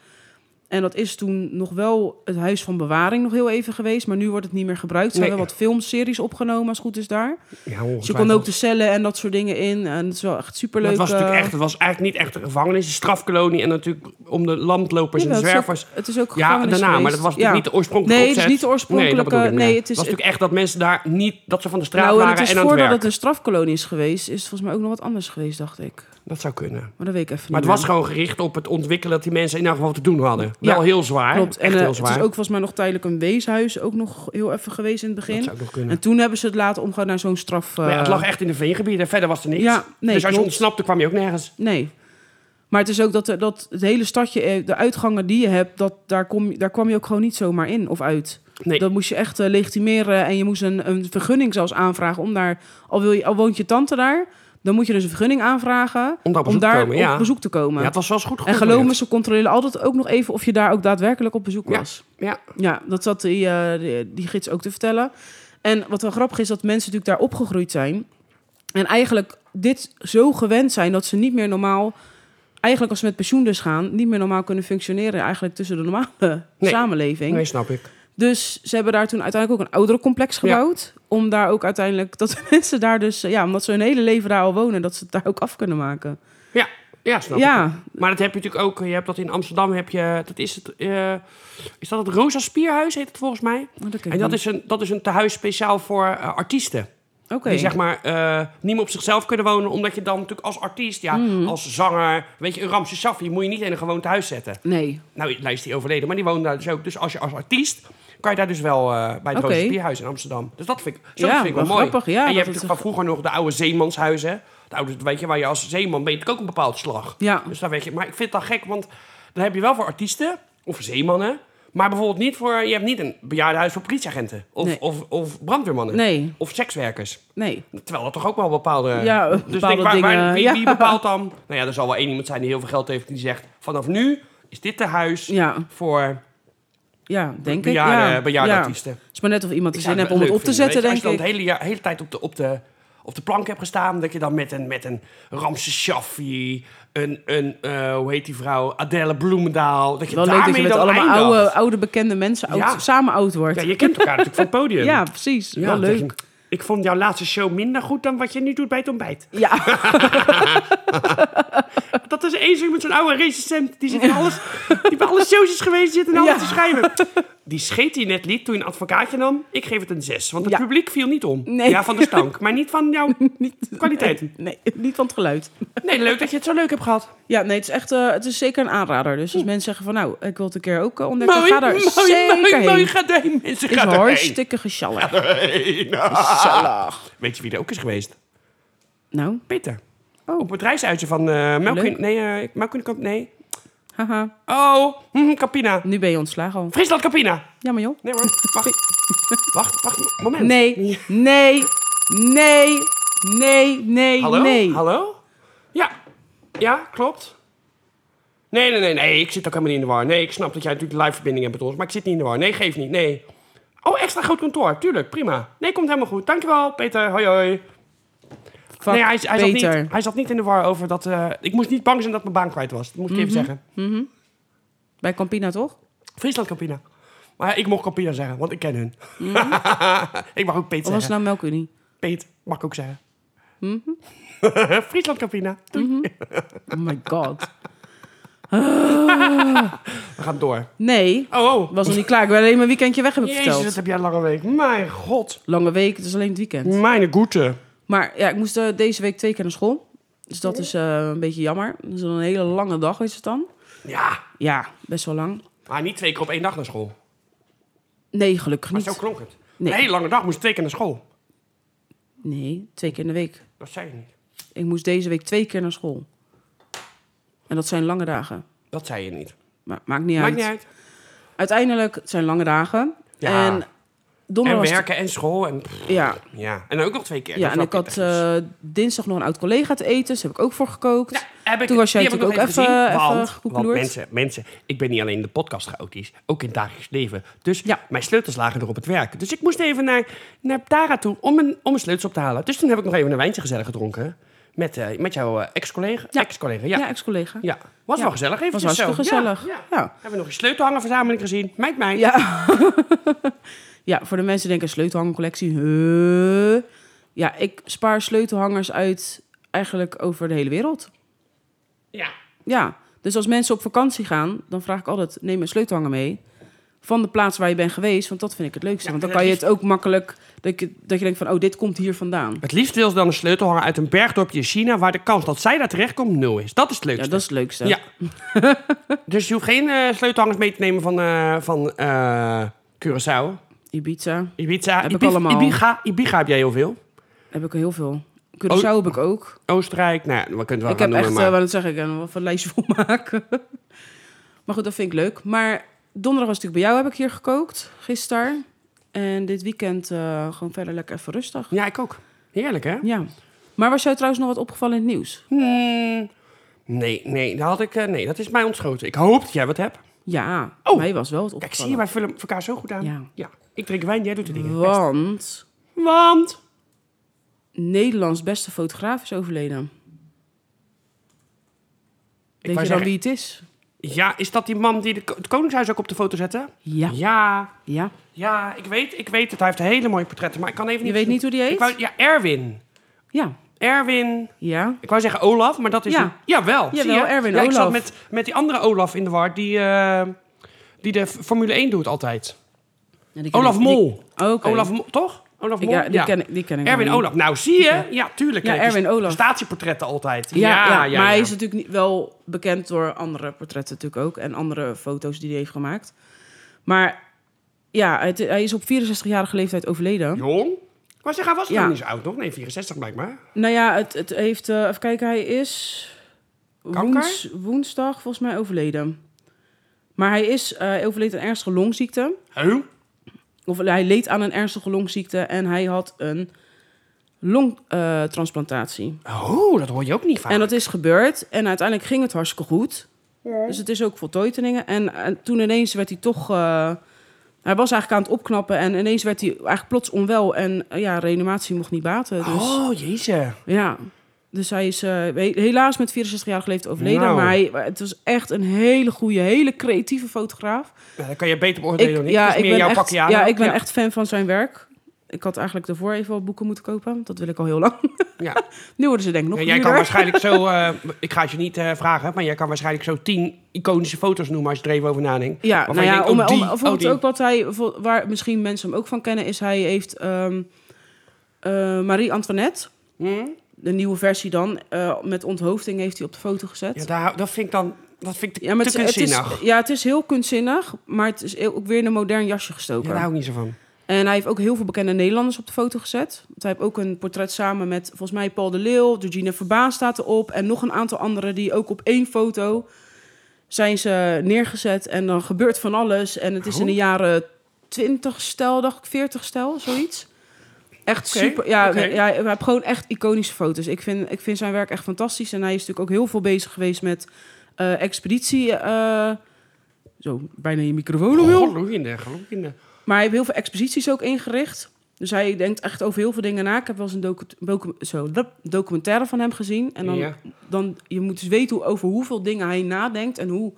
Speaker 1: En dat is toen nog wel het huis van bewaring nog heel even geweest. Maar nu wordt het niet meer gebruikt. Ze
Speaker 2: Nee.
Speaker 1: hebben wat filmseries opgenomen, als het goed is daar.
Speaker 2: Ja,
Speaker 1: Dus je
Speaker 2: ongetwijfeld.
Speaker 1: kon ook de cellen en dat soort dingen in. En het is wel echt superleuk.
Speaker 2: Dat was natuurlijk
Speaker 1: eh,
Speaker 2: echt, het was eigenlijk niet echt een gevangenis, een strafkolonie en natuurlijk om de landlopers
Speaker 1: jawel,
Speaker 2: en
Speaker 1: het is ook-
Speaker 2: zwervers.
Speaker 1: Het is ook
Speaker 2: Ja,
Speaker 1: gevangenis
Speaker 2: daarna, maar dat
Speaker 1: geweest.
Speaker 2: was natuurlijk niet de oorspronkelijke
Speaker 1: Nee, het is
Speaker 2: opzet.
Speaker 1: niet de oorspronkelijke-
Speaker 2: Nee, dat bedoel ik,
Speaker 1: nee,
Speaker 2: ja.
Speaker 1: het is
Speaker 2: was
Speaker 1: echt-
Speaker 2: natuurlijk echt dat mensen daar niet, dat ze van de straat
Speaker 1: Nou, en
Speaker 2: waren
Speaker 1: het is
Speaker 2: en aan het
Speaker 1: voordat
Speaker 2: werk.
Speaker 1: het een strafkolonie is geweest, is het volgens mij ook nog wat anders geweest, dacht ik.
Speaker 2: Dat zou kunnen.
Speaker 1: Maar dat weet ik even
Speaker 2: Maar
Speaker 1: niet
Speaker 2: het was
Speaker 1: meer.
Speaker 2: gewoon gericht op het ontwikkelen dat die mensen in elk geval te doen hadden.
Speaker 1: Ja,
Speaker 2: Wel heel zwaar,
Speaker 1: Klopt. En
Speaker 2: echt
Speaker 1: eh,
Speaker 2: heel
Speaker 1: het
Speaker 2: zwaar.
Speaker 1: is ook volgens mij nog tijdelijk een weeshuis, ook nog heel even geweest in het
Speaker 2: dat
Speaker 1: begin.
Speaker 2: zou ook nog kunnen.
Speaker 1: En toen hebben ze het later omgehouden naar zo'n straf... eh,
Speaker 2: maar ja, het lag echt in de veengebieden, verder was er niks.
Speaker 1: Ja, nee,
Speaker 2: dus als je
Speaker 1: klopt.
Speaker 2: ontsnapte kwam je ook nergens.
Speaker 1: Nee. Maar het is ook dat, er- dat het hele stadje, eh, de uitgangen die je hebt, dat, daar, kom, je- daar kwam je ook gewoon niet zomaar in of uit.
Speaker 2: Nee.
Speaker 1: Dat moest je echt eh, legitimeren en je moest een, een vergunning zelfs aanvragen om daar, al, wil je, al woont je tante daar, dan moet je dus een vergunning aanvragen
Speaker 2: Om daar op bezoek te
Speaker 1: daar
Speaker 2: komen,
Speaker 1: op
Speaker 2: ja.
Speaker 1: bezoek te
Speaker 2: Ja,
Speaker 1: komen.
Speaker 2: het was wel eens goed
Speaker 1: en geloof me,
Speaker 2: gecontroleerd.
Speaker 1: ze controleren altijd ook nog even of je daar ook daadwerkelijk op bezoek
Speaker 2: Ja.
Speaker 1: was.
Speaker 2: Ja,
Speaker 1: Ja, dat zat die, eh, die, die gids ook te vertellen. En wat wel grappig is, dat mensen natuurlijk daar opgegroeid zijn. En eigenlijk dit zo gewend zijn dat ze niet meer normaal... Eigenlijk als ze met pensioen dus gaan, niet meer normaal kunnen functioneren... eigenlijk tussen de normale
Speaker 2: Nee.
Speaker 1: samenleving.
Speaker 2: nee, snap ik.
Speaker 1: Dus ze hebben daar toen uiteindelijk ook een ouderencomplex gebouwd. Om daar ook uiteindelijk... Dat de *laughs* mensen daar dus... eh, Ja, omdat ze hun hele leven daar al wonen... dat ze het daar ook af kunnen maken.
Speaker 2: Ja, snap ik.
Speaker 1: ja,
Speaker 2: Maar dat heb je natuurlijk ook. Je hebt dat in Amsterdam. Heb je, dat is, het, eh, is dat het Rosa Spierhuis heet het volgens mij?
Speaker 1: maar Oh, dat ken ik
Speaker 2: En dat
Speaker 1: niet.
Speaker 2: is een, dat is een tehuis speciaal voor eh, artiesten.
Speaker 1: Oké.
Speaker 2: Die zeg maar eh, niet meer op zichzelf kunnen wonen. Omdat je dan natuurlijk als artiest, ja,
Speaker 1: Hmm.
Speaker 2: als zanger. Weet je, een Ramses Shaffi moet je niet in een gewoon thuis zetten.
Speaker 1: Nee,
Speaker 2: Nou, daar is die overleden, maar die woonde daar dus ook. Dus als je als artiest kan je daar dus wel eh, bij het
Speaker 1: Oké.
Speaker 2: Roze Bierhuis in Amsterdam. Dus dat vind ik, zo
Speaker 1: Ja,
Speaker 2: vind ik wel,
Speaker 1: wel
Speaker 2: mooi.
Speaker 1: grappig, ja,
Speaker 2: en
Speaker 1: dat
Speaker 2: je hebt
Speaker 1: het
Speaker 2: natuurlijk van vroeger nog de oude zeemanshuizen. De oude, weet je, waar je als zeeman ben je natuurlijk ook een bepaald slag.
Speaker 1: Ja.
Speaker 2: Dus daar weet je. Maar ik vind het dan gek, want dan heb je wel voor artiesten of zeemannen. Maar bijvoorbeeld niet voor, je hebt niet een bejaardenhuis voor politieagenten. Of,
Speaker 1: Nee.
Speaker 2: of, of brandweermannen.
Speaker 1: nee,
Speaker 2: Of sekswerkers.
Speaker 1: nee.
Speaker 2: Terwijl dat toch ook wel bepaalde...
Speaker 1: Ja,
Speaker 2: dus ik
Speaker 1: bepaalde
Speaker 2: denk, waar, waar-
Speaker 1: dingen,
Speaker 2: wie,
Speaker 1: ja.
Speaker 2: wie bepaalt dan? Nou ja, er zal wel één iemand zijn die heel veel geld heeft die zegt... vanaf nu is dit de huis
Speaker 1: Ja,
Speaker 2: voor
Speaker 1: ja denk ik.
Speaker 2: bejaarde,
Speaker 1: ja.
Speaker 2: bejaarde
Speaker 1: ja.
Speaker 2: artiesten.
Speaker 1: Het is maar net of iemand
Speaker 2: Ik
Speaker 1: er
Speaker 2: zou
Speaker 1: zin heeft
Speaker 2: het wel
Speaker 1: om het
Speaker 2: leuk
Speaker 1: op te
Speaker 2: vinden,
Speaker 1: zetten,
Speaker 2: weet je.
Speaker 1: denk ik.
Speaker 2: Als je dan de hele, ja- hele tijd op de, op, de, op de plank hebt gestaan... dat je dan met een, met een Ramses Shaffi... een, een eh, hoe heet die vrouw? Adele Bloemendaal... dat je
Speaker 1: Wel leuk
Speaker 2: daarmee
Speaker 1: dat je met
Speaker 2: dan
Speaker 1: allemaal
Speaker 2: eindigt.
Speaker 1: oude, oude bekende mensen oud,
Speaker 2: Ja.
Speaker 1: samen oud wordt.
Speaker 2: Ja,
Speaker 1: Ja,
Speaker 2: je kent elkaar natuurlijk van het
Speaker 1: *laughs*
Speaker 2: podium.
Speaker 1: precies.
Speaker 2: Ja,
Speaker 1: wel
Speaker 2: dat
Speaker 1: leuk.
Speaker 2: je- Ik vond jouw laatste show minder goed dan wat je nu doet bij het ontbijt. *laughs*
Speaker 1: Ja, *laughs*
Speaker 2: Dat is één zo'n met zo'n oude recensent. Die, zit
Speaker 1: *laughs*
Speaker 2: in alles, die bij alle shows is geweest zit en alles
Speaker 1: Ja.
Speaker 2: te schrijven. Die scheet die net liet toen je een advocaatje nam. Ik geef het een 6. Want het
Speaker 1: Ja.
Speaker 2: publiek viel niet om.
Speaker 1: Nee.
Speaker 2: Ja, van de stank. Maar niet van
Speaker 1: *laughs*
Speaker 2: jouw kwaliteit.
Speaker 1: nee, nee, niet van het geluid.
Speaker 2: Nee, leuk dat je het zo leuk hebt gehad. Hm.
Speaker 1: Ja, nee, het is echt eh, het is zeker een aanrader. Dus als mensen zeggen van nou, ik wil het een keer ook eh, ontdekken,
Speaker 2: *laughs* mooi,
Speaker 1: ga daar
Speaker 2: mooi,
Speaker 1: zeker
Speaker 2: mooi,
Speaker 1: heen.
Speaker 2: mooi. Ga daarheen, mensen.
Speaker 1: is
Speaker 2: Ga daarheen.
Speaker 1: hartstikke gezellig.
Speaker 2: Heen. *laughs* Ah. Weet je wie er ook is geweest?
Speaker 1: Nou,
Speaker 2: Peter.
Speaker 1: Oh.
Speaker 2: Op het reisuitje van eh Melk in-
Speaker 1: Leuk.
Speaker 2: Nee, eh Melk in de Kamp- Nee.
Speaker 1: haha,
Speaker 2: Oh, hm, Capina.
Speaker 1: nu ben je ontslagen al.
Speaker 2: Friesland Capina.
Speaker 1: Jammer joh.
Speaker 2: Nee hoor, wacht. wacht, wacht, moment.
Speaker 1: Nee, nee, nee, nee, nee,
Speaker 2: Hallo?
Speaker 1: nee.
Speaker 2: Hallo? Ja. Ja, klopt. Nee, nee, nee, nee. Ik zit ook helemaal niet in de war. Nee, ik snap dat jij natuurlijk live verbinding hebt met ons. Maar ik zit niet in de war. Nee, geef niet. Nee. Oh, extra groot kantoor. Tuurlijk, prima. Nee, komt helemaal goed. Dankjewel, Peter. Hoi, hoi.
Speaker 1: Fuck
Speaker 2: nee, hij, hij, zat
Speaker 1: Peter.
Speaker 2: niet, hij zat niet in de war over dat... eh, ik moest niet bang zijn dat mijn baan kwijt was. Dat moest ik
Speaker 1: Mhm.
Speaker 2: even zeggen.
Speaker 1: Bij Campina toch?
Speaker 2: Friesland Campina. Maar ik mocht Campina zeggen, want ik ken hun. *laughs* ik mag
Speaker 1: Mhm.
Speaker 2: ook Peet
Speaker 1: Of was het
Speaker 2: zeggen.
Speaker 1: nou Mhm. Melkunie?
Speaker 2: Peet mag ik ook zeggen. *laughs* Friesland Campina. Doei.
Speaker 1: Oh my god.
Speaker 2: We gaan door.
Speaker 1: Nee,
Speaker 2: Oh, oh.
Speaker 1: Mhm. was nog niet klaar. Ik ben alleen mijn weekendje weg heb ik
Speaker 2: Jezus,
Speaker 1: verteld.
Speaker 2: dat heb jij een lange week. Mijn god.
Speaker 1: Lange week, het is alleen het weekend.
Speaker 2: Mijn goede.
Speaker 1: Maar ja, ik moest eh, deze week twee keer naar school. Dus dat is eh, een beetje jammer. Dat is een hele lange dag, is het dan?
Speaker 2: Ja.
Speaker 1: Ja, best wel lang.
Speaker 2: Maar niet twee keer op één dag naar school.
Speaker 1: Nee, gelukkig
Speaker 2: Maar zo
Speaker 1: niet.
Speaker 2: klonk het.
Speaker 1: Nee.
Speaker 2: Een hele lange dag moest je twee keer naar school.
Speaker 1: Nee, twee keer in de week.
Speaker 2: Dat zei je niet.
Speaker 1: Ik moest deze week twee keer naar school. En dat zijn lange dagen.
Speaker 2: Dat zei je niet.
Speaker 1: Maar maakt niet
Speaker 2: Maakt
Speaker 1: uit.
Speaker 2: niet uit.
Speaker 1: Uiteindelijk het zijn lange dagen.
Speaker 2: Ja.
Speaker 1: En donderdag
Speaker 2: En
Speaker 1: was het-
Speaker 2: werken en school. En, pff,
Speaker 1: ja,
Speaker 2: ja. en ook nog twee keer.
Speaker 1: ja,
Speaker 2: Dat
Speaker 1: en ik
Speaker 2: snap
Speaker 1: had
Speaker 2: echt niet.
Speaker 1: eh, dinsdag nog een oud collega te eten. Dus heb ik ook voor gekookt.
Speaker 2: Ja, Nou, heb ik,
Speaker 1: toen was jij
Speaker 2: die heb ik
Speaker 1: natuurlijk
Speaker 2: nog
Speaker 1: ook even- eh,
Speaker 2: gezien,
Speaker 1: even
Speaker 2: want,
Speaker 1: gekloerd.
Speaker 2: want mensen, mensen, ik ben niet alleen in de podcast chaotisch, ook in het dagelijks leven. Dus
Speaker 1: Ja.
Speaker 2: mijn sleutels lagen er op het werk. Dus ik moest even naar, naar Tara toe om mijn, om mijn sleutels op te halen. Dus toen heb ik nog even een wijntje gezellig gedronken met, eh, met jouw eh, ex-collega.
Speaker 1: Ja.
Speaker 2: Ex-collega,
Speaker 1: ja,
Speaker 2: ja. ja.
Speaker 1: ex-collega.
Speaker 2: was
Speaker 1: Ja.
Speaker 2: wel gezellig even.
Speaker 1: Was hartstikke gezellig.
Speaker 2: Ja, ja.
Speaker 1: Ja.
Speaker 2: Hebben we nog een sleutelhangerverzameling gezien. Meid mij.
Speaker 1: Ja. *laughs* ja, voor de mensen die denken sleutelhangercollectie. huh? Ja, ik spaar sleutelhangers uit eigenlijk over de hele wereld.
Speaker 2: Ja.
Speaker 1: Ja, dus als mensen op vakantie gaan, dan vraag ik altijd: neem een sleutelhanger mee. Van de plaats waar je bent geweest, want dat vind ik het leukste.
Speaker 2: Ja,
Speaker 1: want dan
Speaker 2: en
Speaker 1: kan je
Speaker 2: het
Speaker 1: het ook makkelijk, dat je, dat je denkt van, oh, dit komt hier vandaan.
Speaker 2: Het liefst wil ze dan een sleutelhanger uit een bergdorpje in China... waar de kans dat zij daar terechtkomt nul is. Dat is het leukste.
Speaker 1: Ja, dat is het leukste.
Speaker 2: Ja. *laughs* dus je hoeft geen eh, sleutelhangers mee te nemen van, eh, van eh, Curaçao,
Speaker 1: Ibiza
Speaker 2: Ibiza.
Speaker 1: Heb ik
Speaker 2: Ibiza,
Speaker 1: allemaal.
Speaker 2: Ibiza, Ibiza heb jij heel veel.
Speaker 1: heb ik heel veel.
Speaker 2: Oh,
Speaker 1: Curaçao heb ik ook.
Speaker 2: Oostenrijk, nou, ja, we kunnen het wel
Speaker 1: Ik
Speaker 2: gaan
Speaker 1: heb echt,
Speaker 2: noemen, maar...
Speaker 1: eh, wat dat zeg ik, en wat een lijstje vol maken. *laughs* maar goed, dat vind ik leuk. Maar donderdag was natuurlijk bij jou, heb ik hier gekookt, gisteren. En dit weekend eh, gewoon verder lekker even rustig.
Speaker 2: Ja, ik ook. Heerlijk, hè?
Speaker 1: Ja. Maar was jou trouwens nog wat opgevallen in het nieuws?
Speaker 2: Hmm. Nee, nee, dat had ik, eh, nee, dat is mij ontschoten. Ik hoop dat jij wat hebt.
Speaker 1: Ja,
Speaker 2: Oh.
Speaker 1: mij was wel wat
Speaker 2: Kijk,
Speaker 1: opgevallen.
Speaker 2: zie je, wij vullen elkaar zo goed aan.
Speaker 1: Ja.
Speaker 2: Ik drink wijn, jij doet de dingen. Best.
Speaker 1: Want
Speaker 2: Want...
Speaker 1: Nederlands beste fotograaf is overleden. Weet je
Speaker 2: wou
Speaker 1: dan
Speaker 2: zeggen-
Speaker 1: wie het is?
Speaker 2: Ja, is dat die man die de, ko- het Koningshuis ook op de foto zette?
Speaker 1: Ja.
Speaker 2: Ja,
Speaker 1: Ja.
Speaker 2: ja, ik weet, ik weet het. Hij heeft hele mooie portretten, maar ik kan even niet...
Speaker 1: Je weet niet hoe die
Speaker 2: Ik
Speaker 1: heet?
Speaker 2: wou, ja, Erwin.
Speaker 1: Ja.
Speaker 2: Erwin.
Speaker 1: Ja.
Speaker 2: Ik wou zeggen Olaf, maar dat is.
Speaker 1: Ja.
Speaker 2: niet- Jawel. zie
Speaker 1: Jawel,
Speaker 2: je?
Speaker 1: Erwin
Speaker 2: ja, Ik
Speaker 1: Olaf.
Speaker 2: zat met, met die andere Olaf in de war die, eh, die de F- Formule 1 doet altijd.
Speaker 1: Ja, die ken
Speaker 2: Olaf
Speaker 1: ik- die-
Speaker 2: Mol.
Speaker 1: Oké.
Speaker 2: Olaf Mol, toch? Olaf Mol.
Speaker 1: Ja, die ken ik- die ken ik wel
Speaker 2: Erwin
Speaker 1: niet.
Speaker 2: Olaf. Nou, zie je? Ja, tuurlijk.
Speaker 1: Ja,
Speaker 2: kijk eens.
Speaker 1: Erwin Olaf.
Speaker 2: Statieportretten altijd.
Speaker 1: Ja, ja,
Speaker 2: ja,
Speaker 1: maar hij
Speaker 2: ja.
Speaker 1: is natuurlijk niet wel bekend door andere portretten natuurlijk ook. En andere foto's die hij heeft gemaakt. Maar ja, het- hij is op 64-jarige leeftijd overleden.
Speaker 2: Jong? Maar zeg, hij was
Speaker 1: Ja.
Speaker 2: nog niet zo oud, toch? Nee, 64 blijkbaar.
Speaker 1: Nou ja, het, het heeft... eh, even kijken, hij is
Speaker 2: Kanker?
Speaker 1: woens- woensdag volgens mij overleden. Maar hij is eh, overleden aan ernstige longziekte.
Speaker 2: Huh?
Speaker 1: Of hij leed aan een ernstige longziekte en hij had een longtransplantatie.
Speaker 2: Oh, dat hoor je ook niet vaak.
Speaker 1: En dat is gebeurd. En uiteindelijk ging het hartstikke goed. Dus het is ook voltooid en dingen. En, en toen ineens werd hij toch... eh, hij was eigenlijk aan het opknappen. En ineens werd hij eigenlijk plots onwel. En eh, ja, reanimatie mocht niet baten. Dus
Speaker 2: Oh, jezus.
Speaker 1: ja... Dus hij is eh, he- helaas met 64-jarige leeftijd overleden.
Speaker 2: Nou.
Speaker 1: Maar hij, maar het was echt een hele goede, hele creatieve fotograaf.
Speaker 2: Nou, dat kan je beter beoordelen dan ik. Ja, is meer
Speaker 1: ben
Speaker 2: jouw
Speaker 1: echt,
Speaker 2: pakje aan.
Speaker 1: ja, ik ben echt fan van zijn werk. Ik had eigenlijk daarvoor even wat boeken moeten kopen. want Dat wil ik al heel lang. *laughs*
Speaker 2: Ja.
Speaker 1: Nu worden ze denk ik nog
Speaker 2: Ja, jij kan
Speaker 1: duurder.
Speaker 2: waarschijnlijk
Speaker 1: *laughs*
Speaker 2: zo, eh, ik ga het je niet eh, vragen, maar jij kan waarschijnlijk zo tien iconische foto's noemen als je er even over nadenkt.
Speaker 1: Ja,
Speaker 2: Waarvan
Speaker 1: nou
Speaker 2: je
Speaker 1: ja,
Speaker 2: denkt,
Speaker 1: om,
Speaker 2: oh,
Speaker 1: om,
Speaker 2: die, oh,
Speaker 1: bijvoorbeeld
Speaker 2: die.
Speaker 1: ook wat hij, bijvoorbeeld waar misschien mensen hem ook van kennen, is hij heeft ehm, eh, Marie Antoinette,
Speaker 2: Hm?
Speaker 1: de nieuwe versie dan, eh, met onthoofding heeft hij op de foto gezet.
Speaker 2: Ja, daar, dat vind ik dan, dat vind ik
Speaker 1: Ja, maar
Speaker 2: te
Speaker 1: het, is- het is,
Speaker 2: kunstzinnig.
Speaker 1: ja, het is heel kunstzinnig, maar het is heel- ook weer in een modern jasje
Speaker 2: Ja,
Speaker 1: gestoken.
Speaker 2: daar hou ik niet zo van.
Speaker 1: En hij heeft ook heel veel bekende Nederlanders op de foto gezet. Want hij heeft ook een portret samen met volgens mij Paul de Leeuw, Georgina Verbaan staat erop. En nog een aantal anderen die ook op één foto zijn ze neergezet. En dan gebeurt van alles. En het is in de
Speaker 2: Oh.
Speaker 1: jaren 20 stel, dacht ik, 40 stel, zoiets. Echt
Speaker 2: Oké,
Speaker 1: super. Ja,
Speaker 2: oké.
Speaker 1: ja, we hebben gewoon echt iconische foto's. Ik vind, ik vind zijn werk echt fantastisch. En hij is natuurlijk ook heel veel bezig geweest met eh, expeditie. eh, zo, bijna je microfoon omhoog.
Speaker 2: Oh, Gloeiende, gloeiende.
Speaker 1: Maar hij heeft heel veel exposities ook ingericht. Dus hij denkt echt over heel veel dingen na. Ik heb wel eens een docu- docu- zo, lup, documentaire van hem gezien. En dan,
Speaker 2: Ja.
Speaker 1: dan je moet dus weten hoe, over hoeveel dingen hij nadenkt. En hoe,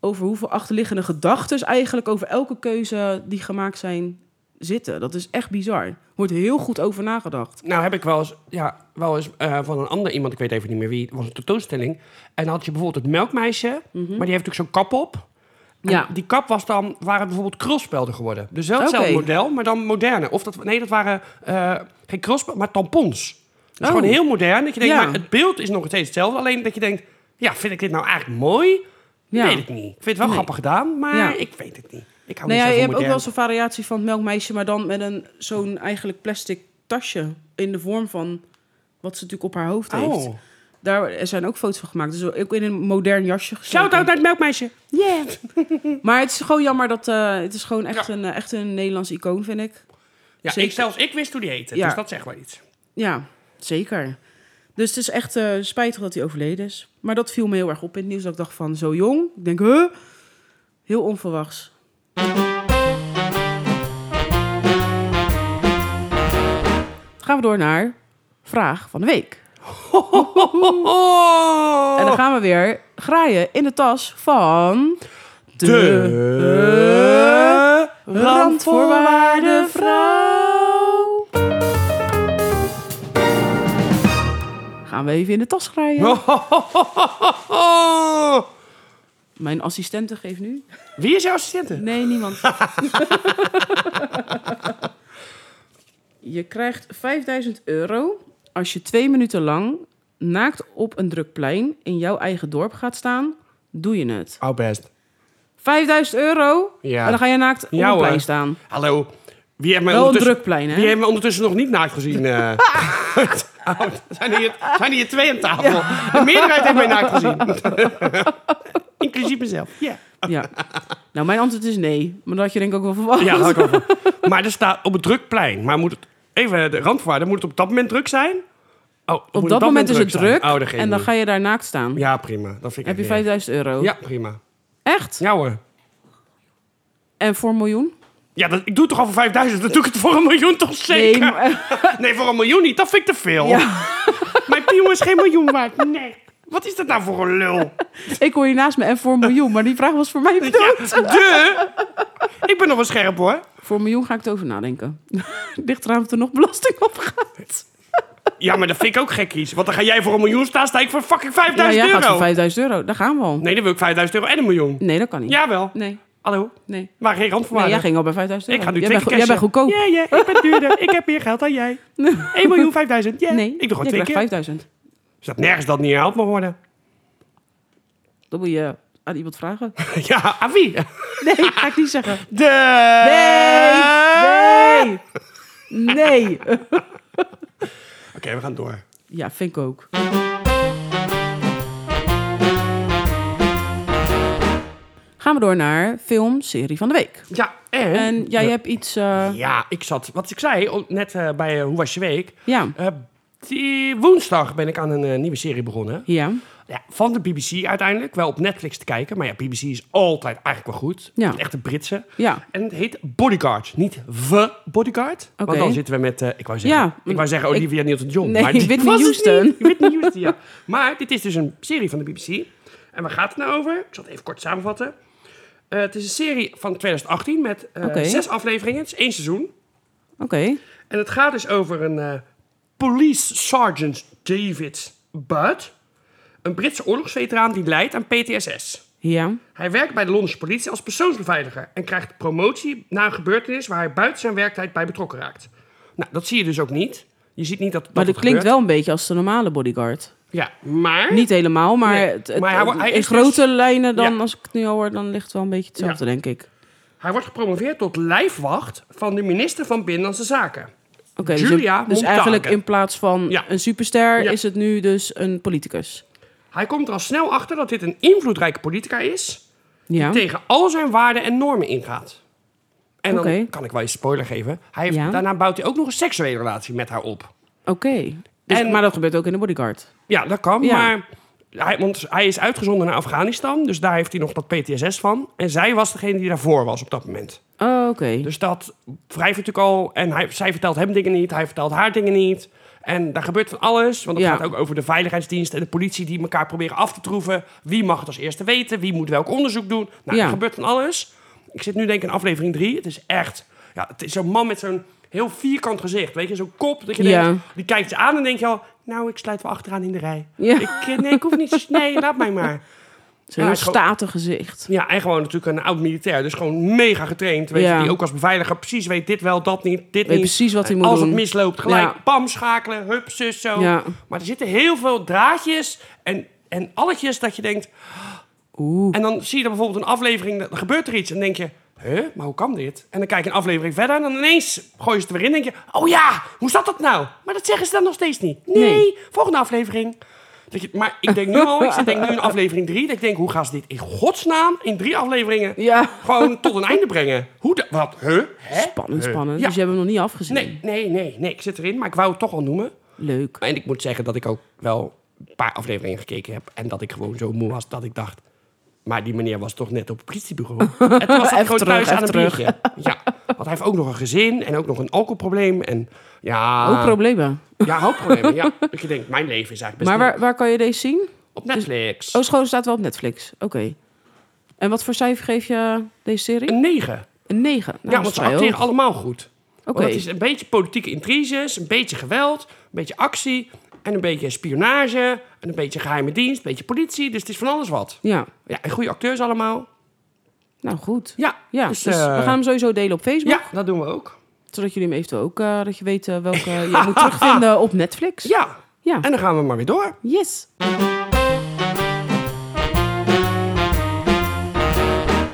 Speaker 1: over hoeveel achterliggende gedachten eigenlijk over elke keuze die gemaakt zijn zitten. Dat is echt bizar. Wordt heel goed over nagedacht.
Speaker 2: Nou heb ik wel eens, ja, wel eens eh, van een ander iemand, ik weet even niet meer wie, het was een tentoonstelling. En dan had je bijvoorbeeld het melkmeisje,
Speaker 1: Mhm.
Speaker 2: maar die heeft natuurlijk zo'n kap op. En
Speaker 1: Ja.
Speaker 2: Die kap was dan, waren bijvoorbeeld krulspelden geworden. Dus wel hetzelfde
Speaker 1: Oké.
Speaker 2: model, maar dan moderne. Of dat, nee, dat waren eh, geen krulspelden, maar tampons. Dat
Speaker 1: Oh.
Speaker 2: is gewoon heel modern. Dat je denkt,
Speaker 1: Ja.
Speaker 2: maar het beeld is nog steeds hetzelfde. Alleen dat je denkt, ja, vind ik dit nou eigenlijk mooi?
Speaker 1: Ja.
Speaker 2: Weet ik niet. Ik vind het wel
Speaker 1: Nee.
Speaker 2: grappig gedaan, maar
Speaker 1: Ja.
Speaker 2: ik weet het niet. Ik hou
Speaker 1: Nou ja,
Speaker 2: niet
Speaker 1: je
Speaker 2: zo
Speaker 1: hebt
Speaker 2: van
Speaker 1: ook wel
Speaker 2: modern.
Speaker 1: eens een variatie van het melkmeisje, maar dan met een zo'n eigenlijk plastic tasje in de vorm van wat ze natuurlijk op haar hoofd heeft.
Speaker 2: Oh.
Speaker 1: Daar zijn ook foto's van gemaakt. Dus ook in een modern jasje gestoken.
Speaker 2: Shout-out naar het melkmeisje.
Speaker 1: Yeah. maar het is gewoon jammer dat... eh, het is gewoon echt,
Speaker 2: Ja.
Speaker 1: een, eh, echt een Nederlands icoon, vind ik.
Speaker 2: Ja,
Speaker 1: Zeker.
Speaker 2: ik, zelfs ik wist hoe die heette,
Speaker 1: Ja.
Speaker 2: dus dat zegt wel iets.
Speaker 1: Ja, zeker. Dus het is echt eh, spijtig dat hij overleden is. Maar dat viel me heel erg op in het nieuws. Dat ik dacht van, zo jong? Ik denk, huh? Heel onverwachts. Dan gaan we door naar vraag van de week. En
Speaker 2: Oh.
Speaker 1: dan gaan we weer graaien in de tas van...
Speaker 2: De
Speaker 1: randvoorwaardenvrouw. Gaan we even in de tas graaien.
Speaker 2: Oh.
Speaker 1: Mijn assistente geeft nu.
Speaker 2: Wie is jouw assistente?
Speaker 1: Nee, niemand. *laughs* je krijgt 5000 euro als je twee minuten lang naakt op een druk plein in jouw eigen dorp gaat staan. Doe je het.
Speaker 2: Oh, best.
Speaker 1: 5000 euro
Speaker 2: Ja.
Speaker 1: en dan ga je naakt op
Speaker 2: Ja,
Speaker 1: een plein
Speaker 2: hoor.
Speaker 1: staan.
Speaker 2: Hallo. Wie heeft mij
Speaker 1: Wel een
Speaker 2: ondertussen...
Speaker 1: druk plein,
Speaker 2: Wie
Speaker 1: hè?
Speaker 2: hebben we ondertussen nog niet naakt gezien? eh?
Speaker 1: *laughs*
Speaker 2: Oh, zijn, hier, zijn hier twee aan tafel. De meerderheid heeft mij naakt gezien.
Speaker 1: *laughs*
Speaker 2: Inclusief mezelf. Ja.
Speaker 1: Ja. Nou, mijn antwoord is nee. Maar dat had je denk ik ook wel verwacht.
Speaker 2: Ja, had ik al van. Maar er staat op het drukplein. Maar moet het, even de randvoorwaarden, moet het op dat moment druk zijn? Oh, moet
Speaker 1: op dat moment is het
Speaker 2: zijn?
Speaker 1: druk
Speaker 2: Oh, dat geeft
Speaker 1: en dan
Speaker 2: niet.
Speaker 1: ga je daar naakt staan.
Speaker 2: Ja, prima. Dat vind ik
Speaker 1: Heb je
Speaker 2: echt niet
Speaker 1: 5000 euro?
Speaker 2: erg. Ja, prima.
Speaker 1: Echt?
Speaker 2: Ja hoor.
Speaker 1: En voor een miljoen?
Speaker 2: Ja, dat, ik doe het toch al voor 5000, dan doe ik het voor een miljoen toch zeker?
Speaker 1: Nee,
Speaker 2: Nee,
Speaker 1: maar-
Speaker 2: voor een miljoen niet, dat vind ik te veel.
Speaker 1: Ja.
Speaker 2: *laughs* Mijn piemel is geen miljoen waard, nee. Wat is dat nou voor een lul?
Speaker 1: Ik hoor je naast me en voor een miljoen, maar die vraag was voor mij bedoeld. *laughs*
Speaker 2: Ja, de. Ik ben nog wel scherp hoor.
Speaker 1: Voor een miljoen ga ik het over nadenken. *laughs* Ligt eraan of er nog belasting op gaat.
Speaker 2: Ja, maar dat vind ik ook gek iets. Want dan ga jij voor een miljoen staan, sta ik voor fucking
Speaker 1: Ja,
Speaker 2: 5000
Speaker 1: jij gaat
Speaker 2: euro.
Speaker 1: voor 5000 euro. Daar gaan we al.
Speaker 2: Nee, dan wil ik 5000 euro en een miljoen.
Speaker 1: Nee, dat kan niet.
Speaker 2: Jawel.
Speaker 1: Nee,
Speaker 2: Hallo?
Speaker 1: nee.
Speaker 2: Maar geen
Speaker 1: Nee,
Speaker 2: randvoorwaarden.
Speaker 1: jij ging al bij 5000
Speaker 2: Ik
Speaker 1: euro.
Speaker 2: ga nu
Speaker 1: jij
Speaker 2: twee
Speaker 1: bent,
Speaker 2: keer
Speaker 1: go- jij bent goedkoop.
Speaker 2: Ja, ja, ik
Speaker 1: *laughs*
Speaker 2: ben duurder. ik heb meer geld dan jij. 1 miljoen 5000. Ja,
Speaker 1: Nee,
Speaker 2: ik doe gewoon
Speaker 1: jij krijgt
Speaker 2: twee keer.
Speaker 1: 5000.
Speaker 2: Is dat nergens dat niet herhaald mag worden? *laughs*
Speaker 1: Dat moet je aan iemand
Speaker 2: *laughs*
Speaker 1: vragen.
Speaker 2: ja, aan wie?
Speaker 1: Nee, ga ik niet zeggen.
Speaker 2: De... Ah!
Speaker 1: Nee! Nee! Nee!
Speaker 2: Oké, we gaan door.
Speaker 1: Ja, vind ik ook. Gaan we door naar film, serie van de week.
Speaker 2: Ja, en...
Speaker 1: En jij hebt iets... eh,
Speaker 2: Ja, ik zat... Wat ik zei, oh, net eh, bij eh, Hoe was je week?
Speaker 1: ja.
Speaker 2: Eh, die woensdag ben ik aan een eh, nieuwe serie begonnen.
Speaker 1: Ja.
Speaker 2: Ja, van de BBC uiteindelijk. Wel op Netflix te kijken. Maar ja, BBC is altijd eigenlijk wel goed.
Speaker 1: Ja.
Speaker 2: Echt de Britse.
Speaker 1: Ja.
Speaker 2: En het heet Bodyguard. Niet The Bodyguard.
Speaker 1: Oké.
Speaker 2: Want dan zitten we met, eh, ik, wou zeggen,
Speaker 1: Ja.
Speaker 2: ik wou zeggen Olivia Newton-John.
Speaker 1: Nee,
Speaker 2: maar dit
Speaker 1: Whitney
Speaker 2: was het
Speaker 1: Houston.
Speaker 2: niet. Whitney Houston, ja. *laughs* Maar dit is dus een serie van de BBC. En waar gaat het nou over? Ik zal het even kort samenvatten. Eh, het is een serie van 2018 met eh,
Speaker 1: Oké.
Speaker 2: zes afleveringen. Het is één seizoen.
Speaker 1: Oké.
Speaker 2: En het gaat dus over een eh, police sergeant David Budd. Een Britse oorlogsveteraan die leidt aan PTSS.
Speaker 1: Ja.
Speaker 2: Hij werkt bij de Londense politie als persoonsbeveiliger en krijgt promotie na een gebeurtenis waar hij buiten zijn werktijd bij betrokken raakt. Nou, dat zie je dus ook niet. Je ziet niet dat. dat
Speaker 1: Maar dat
Speaker 2: het
Speaker 1: klinkt
Speaker 2: gebeurt.
Speaker 1: wel een beetje als de normale bodyguard.
Speaker 2: Ja, maar.
Speaker 1: Niet helemaal, maar,
Speaker 2: Nee,
Speaker 1: het, het-
Speaker 2: maar hij wordt- hij
Speaker 1: in
Speaker 2: is dus-
Speaker 1: grote lijnen dan,
Speaker 2: Ja.
Speaker 1: als ik het nu al hoor, dan ligt het wel een beetje hetzelfde, denk ik.
Speaker 2: Hij wordt gepromoveerd tot lijfwacht van de minister van Binnenlandse Zaken.
Speaker 1: Oké, dus,
Speaker 2: Julia
Speaker 1: dus
Speaker 2: Montage.
Speaker 1: eigenlijk in plaats van
Speaker 2: Ja.
Speaker 1: een superster
Speaker 2: Ja.
Speaker 1: is het nu dus een politicus.
Speaker 2: Hij komt er al snel achter dat dit een invloedrijke politica is.
Speaker 1: Ja.
Speaker 2: tegen al zijn waarden en normen ingaat. En dan
Speaker 1: Oké.
Speaker 2: kan ik wel eens spoiler geven. Hij heeft,
Speaker 1: Ja.
Speaker 2: Daarna bouwt hij ook nog een seksuele relatie met haar op.
Speaker 1: Oké. Dus-
Speaker 2: En-
Speaker 1: maar dat gebeurt ook in de bodyguard.
Speaker 2: Ja, dat kan.
Speaker 1: Ja.
Speaker 2: Maar hij, want hij is uitgezonden naar Afghanistan. Dus daar heeft hij nog dat PTSS van. En zij was degene die daarvoor was op dat moment.
Speaker 1: Oh, Oké.
Speaker 2: Dus dat wrijft natuurlijk al. En hij, zij vertelt hem dingen niet. Hij vertelt haar dingen niet. En daar gebeurt van alles. Want het
Speaker 1: Ja.
Speaker 2: gaat ook over de veiligheidsdienst en de politie die elkaar proberen af te troeven. Wie mag het als eerste weten? Wie moet welk onderzoek doen? Nou,
Speaker 1: Ja.
Speaker 2: er gebeurt van alles. Ik zit nu denk ik in aflevering 3. Het is echt... Ja, het is zo'n man met zo'n heel vierkant gezicht. Weet je, zo'n kop. Dat je
Speaker 1: Ja.
Speaker 2: denkt, die kijkt je aan en denk je al... Nou, ik sluit wel achteraan in de rij.
Speaker 1: Ja.
Speaker 2: Ik, eh, nee, ik hoef niet... Nee, laat mij maar.
Speaker 1: Zo'n heel
Speaker 2: Ja, gewoon-
Speaker 1: statig gezicht.
Speaker 2: Ja, en gewoon natuurlijk een oud militair. Dus gewoon mega getraind. Weet
Speaker 1: Ja.
Speaker 2: je, die ook als beveiliger precies weet dit wel, dat niet, dit
Speaker 1: Weet
Speaker 2: niet.
Speaker 1: precies wat hij
Speaker 2: En
Speaker 1: moet
Speaker 2: Als
Speaker 1: doen.
Speaker 2: het misloopt, gelijk
Speaker 1: Ja.
Speaker 2: pam, schakelen, hup, zus, zo.
Speaker 1: Ja.
Speaker 2: Maar er zitten heel veel draadjes en, en alletjes dat je denkt...
Speaker 1: Oeh.
Speaker 2: En dan zie je dan bijvoorbeeld een aflevering, dan gebeurt er iets. En dan denk je, huh, maar hoe kan dit? En dan kijk je een aflevering verder en dan ineens gooi je het er weer in. denk je, oh ja, hoe zat dat nou? Maar dat zeggen ze dan nog steeds niet. Nee,
Speaker 1: Nee.
Speaker 2: volgende aflevering. Dat je, maar ik denk nu al, ik zit denk nu in aflevering 3, dat ik denk, hoe gaan ze dit in godsnaam in drie afleveringen
Speaker 1: Ja.
Speaker 2: gewoon *laughs* tot een einde brengen? Hoe da- wat? Huh? Hè?
Speaker 1: Spannend,
Speaker 2: Huh?
Speaker 1: spannend.
Speaker 2: Ja.
Speaker 1: Dus je hebt hem nog niet afgezien.
Speaker 2: Nee, nee, nee, nee, ik zit erin, maar ik wou het toch al noemen.
Speaker 1: Leuk.
Speaker 2: En ik moet zeggen dat ik ook wel een paar afleveringen gekeken heb. En dat ik gewoon zo moe was dat ik dacht... Maar die meneer was toch net op het
Speaker 1: *laughs*
Speaker 2: politiebureau. En toen was dat
Speaker 1: Even
Speaker 2: gewoon
Speaker 1: terug,
Speaker 2: thuis
Speaker 1: even
Speaker 2: aan een
Speaker 1: terug.
Speaker 2: biertje. Ja, want hij heeft ook nog een gezin en ook nog een alcoholprobleem. En ja,
Speaker 1: Ook problemen.
Speaker 2: ja hoofdprobleem. Ja. Dat je denkt, mijn leven is eigenlijk best
Speaker 1: Maar waar, waar kan je deze zien?
Speaker 2: leuk. op Netflix.
Speaker 1: Oh, schoon staat wel op Netflix. Oké. En wat voor cijfer geef je deze serie?
Speaker 2: Een negen.
Speaker 1: Een 9. Nou,
Speaker 2: ja,
Speaker 1: dat
Speaker 2: want
Speaker 1: is
Speaker 2: ze
Speaker 1: vrij
Speaker 2: acteren
Speaker 1: hoog.
Speaker 2: allemaal goed.
Speaker 1: Oké.
Speaker 2: Want het is een beetje politieke intriges, een beetje geweld, een beetje actie... en een beetje spionage, en een beetje geheime dienst, een beetje politie. Dus het is van alles wat.
Speaker 1: Ja.
Speaker 2: Ja, en goede acteurs allemaal.
Speaker 1: Nou, goed.
Speaker 2: Ja,
Speaker 1: Ja, dus,
Speaker 2: dus, eh,
Speaker 1: we gaan hem sowieso delen op Facebook.
Speaker 2: ja, dat doen we ook.
Speaker 1: Zodat jullie hem eventueel ook, eh, dat je weet eh,
Speaker 2: *laughs*
Speaker 1: welke je moet terugvinden op Netflix.
Speaker 2: Ja.
Speaker 1: Ja.
Speaker 2: En dan gaan we maar weer door.
Speaker 1: Yes.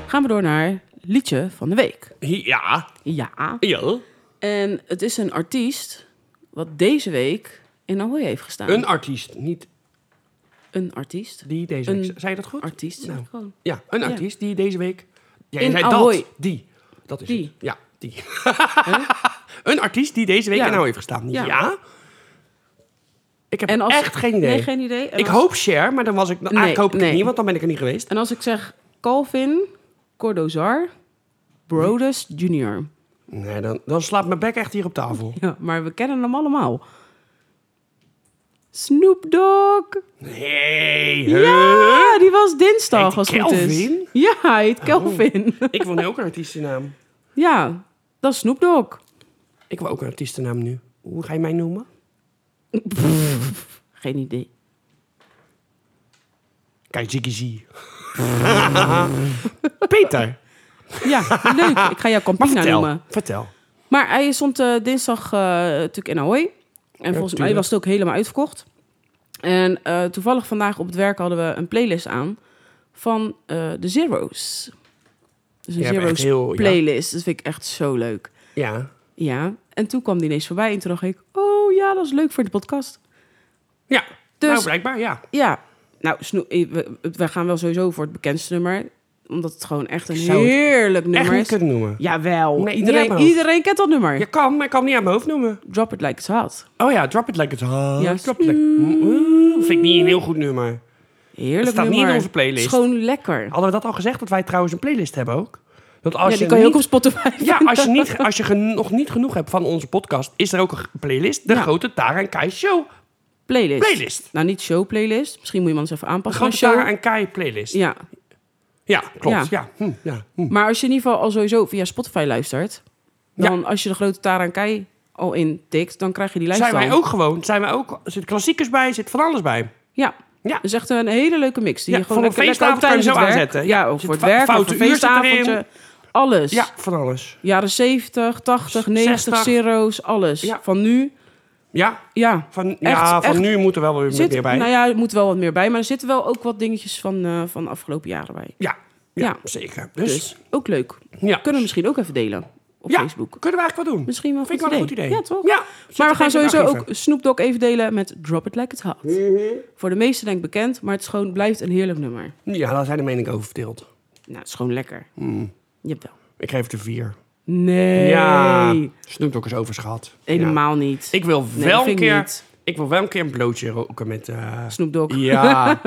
Speaker 1: Gaan we door naar liedje van de week.
Speaker 2: Ja.
Speaker 1: Ja.
Speaker 2: ja.
Speaker 1: En het is een artiest wat deze week in Ahoy heeft gestaan.
Speaker 2: Een artiest, niet
Speaker 1: Een artiest.
Speaker 2: die deze
Speaker 1: Een
Speaker 2: week... Zei je dat goed?
Speaker 1: Artiest, zeg
Speaker 2: Nou,
Speaker 1: ik gewoon.
Speaker 2: Ja, een artiest die deze week... Ja, je
Speaker 1: In
Speaker 2: zei
Speaker 1: Ahoy.
Speaker 2: dat. Die. Dat is
Speaker 1: Die.
Speaker 2: het. Ja, die. *laughs* een artiest die deze week
Speaker 1: Ja.
Speaker 2: in nou heeft gestaan.
Speaker 1: Ja.
Speaker 2: Ja. Ik heb
Speaker 1: En als-
Speaker 2: echt geen idee.
Speaker 1: Nee, geen idee. En
Speaker 2: ik
Speaker 1: als-
Speaker 2: hoop Cher, maar dan was ik... dan- eigenlijk hoop ik het
Speaker 1: nee.
Speaker 2: niet, want dan ben ik er niet geweest.
Speaker 1: En als ik zeg Calvin, Cordozar, Brodus Jr.
Speaker 2: Nee, dan, dan slaapt mijn bek echt hier op tafel.
Speaker 1: Ja, *laughs* maar we kennen hem allemaal. Snoop Dogg.
Speaker 2: Nee.
Speaker 1: Ja, die was dinsdag
Speaker 2: Eh? Heet
Speaker 1: als
Speaker 2: die
Speaker 1: het goed is.
Speaker 2: Kelvin? Oh.
Speaker 1: Ja, hij heet Kelvin. *laughs*
Speaker 2: Ik wil nu ook een artiestennaam.
Speaker 1: Ja, dat is Snoop Dogg.
Speaker 2: Ik wil ook een artiestennaam nu. Hoe ga je mij noemen?
Speaker 1: Geen idee. *laughs*
Speaker 2: Kajigiji. Peter,
Speaker 1: Ja, leuk. Ik ga jou
Speaker 2: maar
Speaker 1: Campina
Speaker 2: vertel.
Speaker 1: noemen.
Speaker 2: Vertel.
Speaker 1: Maar hij stond eh, dinsdag eh, natuurlijk in Ahoy. En volgens mij
Speaker 2: tuurlijk.
Speaker 1: was het ook helemaal uitverkocht. En eh, toevallig vandaag op het werk hadden we een playlist aan van eh, de Zero's. Dus een
Speaker 2: Je hebt echt
Speaker 1: Zero's
Speaker 2: heel- ja.
Speaker 1: playlist. Dat vind ik echt zo leuk.
Speaker 2: Ja.
Speaker 1: Ja, en toen kwam die ineens voorbij en toen dacht ik... Oh ja, dat is leuk voor de podcast.
Speaker 2: Ja.
Speaker 1: Dus-
Speaker 2: Nou, blijkbaar, ja.
Speaker 1: Ja, nou, Snoe- eh, we, we gaan wel sowieso voor het bekendste nummer. Omdat het gewoon echt een
Speaker 2: zou het
Speaker 1: heerlijk nummer
Speaker 2: Echt niet
Speaker 1: is.
Speaker 2: kunnen noemen.
Speaker 1: Jawel,
Speaker 2: Nee, niet uit
Speaker 1: iedereen,
Speaker 2: mijn hoofd.
Speaker 1: iedereen kent dat nummer.
Speaker 2: Je kan, maar ik kan het niet aan mijn hoofd noemen.
Speaker 1: Drop It Like It's Hot.
Speaker 2: Oh ja, Drop It Like It's Hot.
Speaker 1: Ja.
Speaker 2: Drop It Like... Oeh, Vind ik niet een heel goed nummer.
Speaker 1: Heerlijk
Speaker 2: Het staat niet
Speaker 1: nummer.
Speaker 2: in onze playlist.
Speaker 1: Schoon lekker.
Speaker 2: Hadden we dat al gezegd, dat wij trouwens een playlist hebben ook? Dat als
Speaker 1: ja, die
Speaker 2: je
Speaker 1: kan je
Speaker 2: niet-
Speaker 1: ook op Spotify
Speaker 2: Ja, als je, niet, als je gen- nog niet genoeg hebt van onze podcast, is er ook een playlist. De
Speaker 1: Ja.
Speaker 2: Grote Tara en Kai
Speaker 1: *laughs*
Speaker 2: Show.
Speaker 1: Playlist.
Speaker 2: Playlist.
Speaker 1: Nou, niet show playlist. Misschien moet je hem eens even
Speaker 2: De
Speaker 1: aanpassen.
Speaker 2: Grote
Speaker 1: naar show.
Speaker 2: Tara en Kai playlist.
Speaker 1: Ja,
Speaker 2: Ja, klopt. Ja. Hm, ja. Hm.
Speaker 1: maar als je in ieder geval al sowieso via Spotify luistert... dan als je de grote Tara en Kai al intikt, dan krijg je die lijst
Speaker 2: Zijn wij
Speaker 1: al.
Speaker 2: ook gewoon. Zijn wij ook, er zitten klassiekers bij, er zit van alles bij.
Speaker 1: Ja.
Speaker 2: Ja.
Speaker 1: Dat is echt een hele leuke mix. Die
Speaker 2: Ja,
Speaker 1: je gewoon
Speaker 2: voor een
Speaker 1: lekker, lekker ook
Speaker 2: feestavond kan je
Speaker 1: tijdens het
Speaker 2: hem zo
Speaker 1: werk.
Speaker 2: aanzetten.
Speaker 1: Ja,
Speaker 2: Ja,
Speaker 1: of
Speaker 2: zit
Speaker 1: voor het
Speaker 2: fa-
Speaker 1: werk, of
Speaker 2: foute
Speaker 1: voor
Speaker 2: uur zit erin.
Speaker 1: feestavondje. Alles.
Speaker 2: Ja, van alles.
Speaker 1: Jaren 70, 80, 90,
Speaker 2: 60.
Speaker 1: zero's, alles.
Speaker 2: Ja.
Speaker 1: Van nu,
Speaker 2: Ja,
Speaker 1: ja.
Speaker 2: van, ja, van
Speaker 1: echt.
Speaker 2: nu moet er wel weer
Speaker 1: Zit,
Speaker 2: meer bij.
Speaker 1: Nou ja, er moet wel wat meer bij. Maar er zitten wel ook wat dingetjes van, eh, van de afgelopen jaren bij.
Speaker 2: ja, ja,
Speaker 1: Ja.
Speaker 2: zeker. Dus,
Speaker 1: Dus ook leuk.
Speaker 2: ja.
Speaker 1: Kunnen we misschien ook even delen op
Speaker 2: ja,
Speaker 1: Facebook.
Speaker 2: Kunnen we eigenlijk wat doen?
Speaker 1: Misschien wel een
Speaker 2: Vind ik
Speaker 1: goed
Speaker 2: wel een goed
Speaker 1: idee.
Speaker 2: idee.
Speaker 1: Ja, toch?
Speaker 2: Ja, zit
Speaker 1: Maar we
Speaker 2: er
Speaker 1: gaan
Speaker 2: even Mhm. in het
Speaker 1: sowieso ook
Speaker 2: archief.
Speaker 1: Snoop Dogg even delen met Drop It Like It's Hot. Voor de meesten denk ik bekend, maar het is gewoon, blijft een heerlijk nummer.
Speaker 2: Ja, daar zijn de meningen over verdeeld.
Speaker 1: Nou, het is gewoon lekker.
Speaker 2: Mm.
Speaker 1: Je hebt wel.
Speaker 2: Ik geef het een vier.
Speaker 1: Nee.
Speaker 2: Ja, Snoop Dogg is overschat.
Speaker 1: Helemaal niet.
Speaker 2: Ja. Ik wil
Speaker 1: Nee,
Speaker 2: wel
Speaker 1: vind
Speaker 2: een
Speaker 1: ik
Speaker 2: keer...
Speaker 1: niet.
Speaker 2: Ik wil wel een keer een blootje roken met... eh,
Speaker 1: Snoop Dogg. *laughs*
Speaker 2: Ja.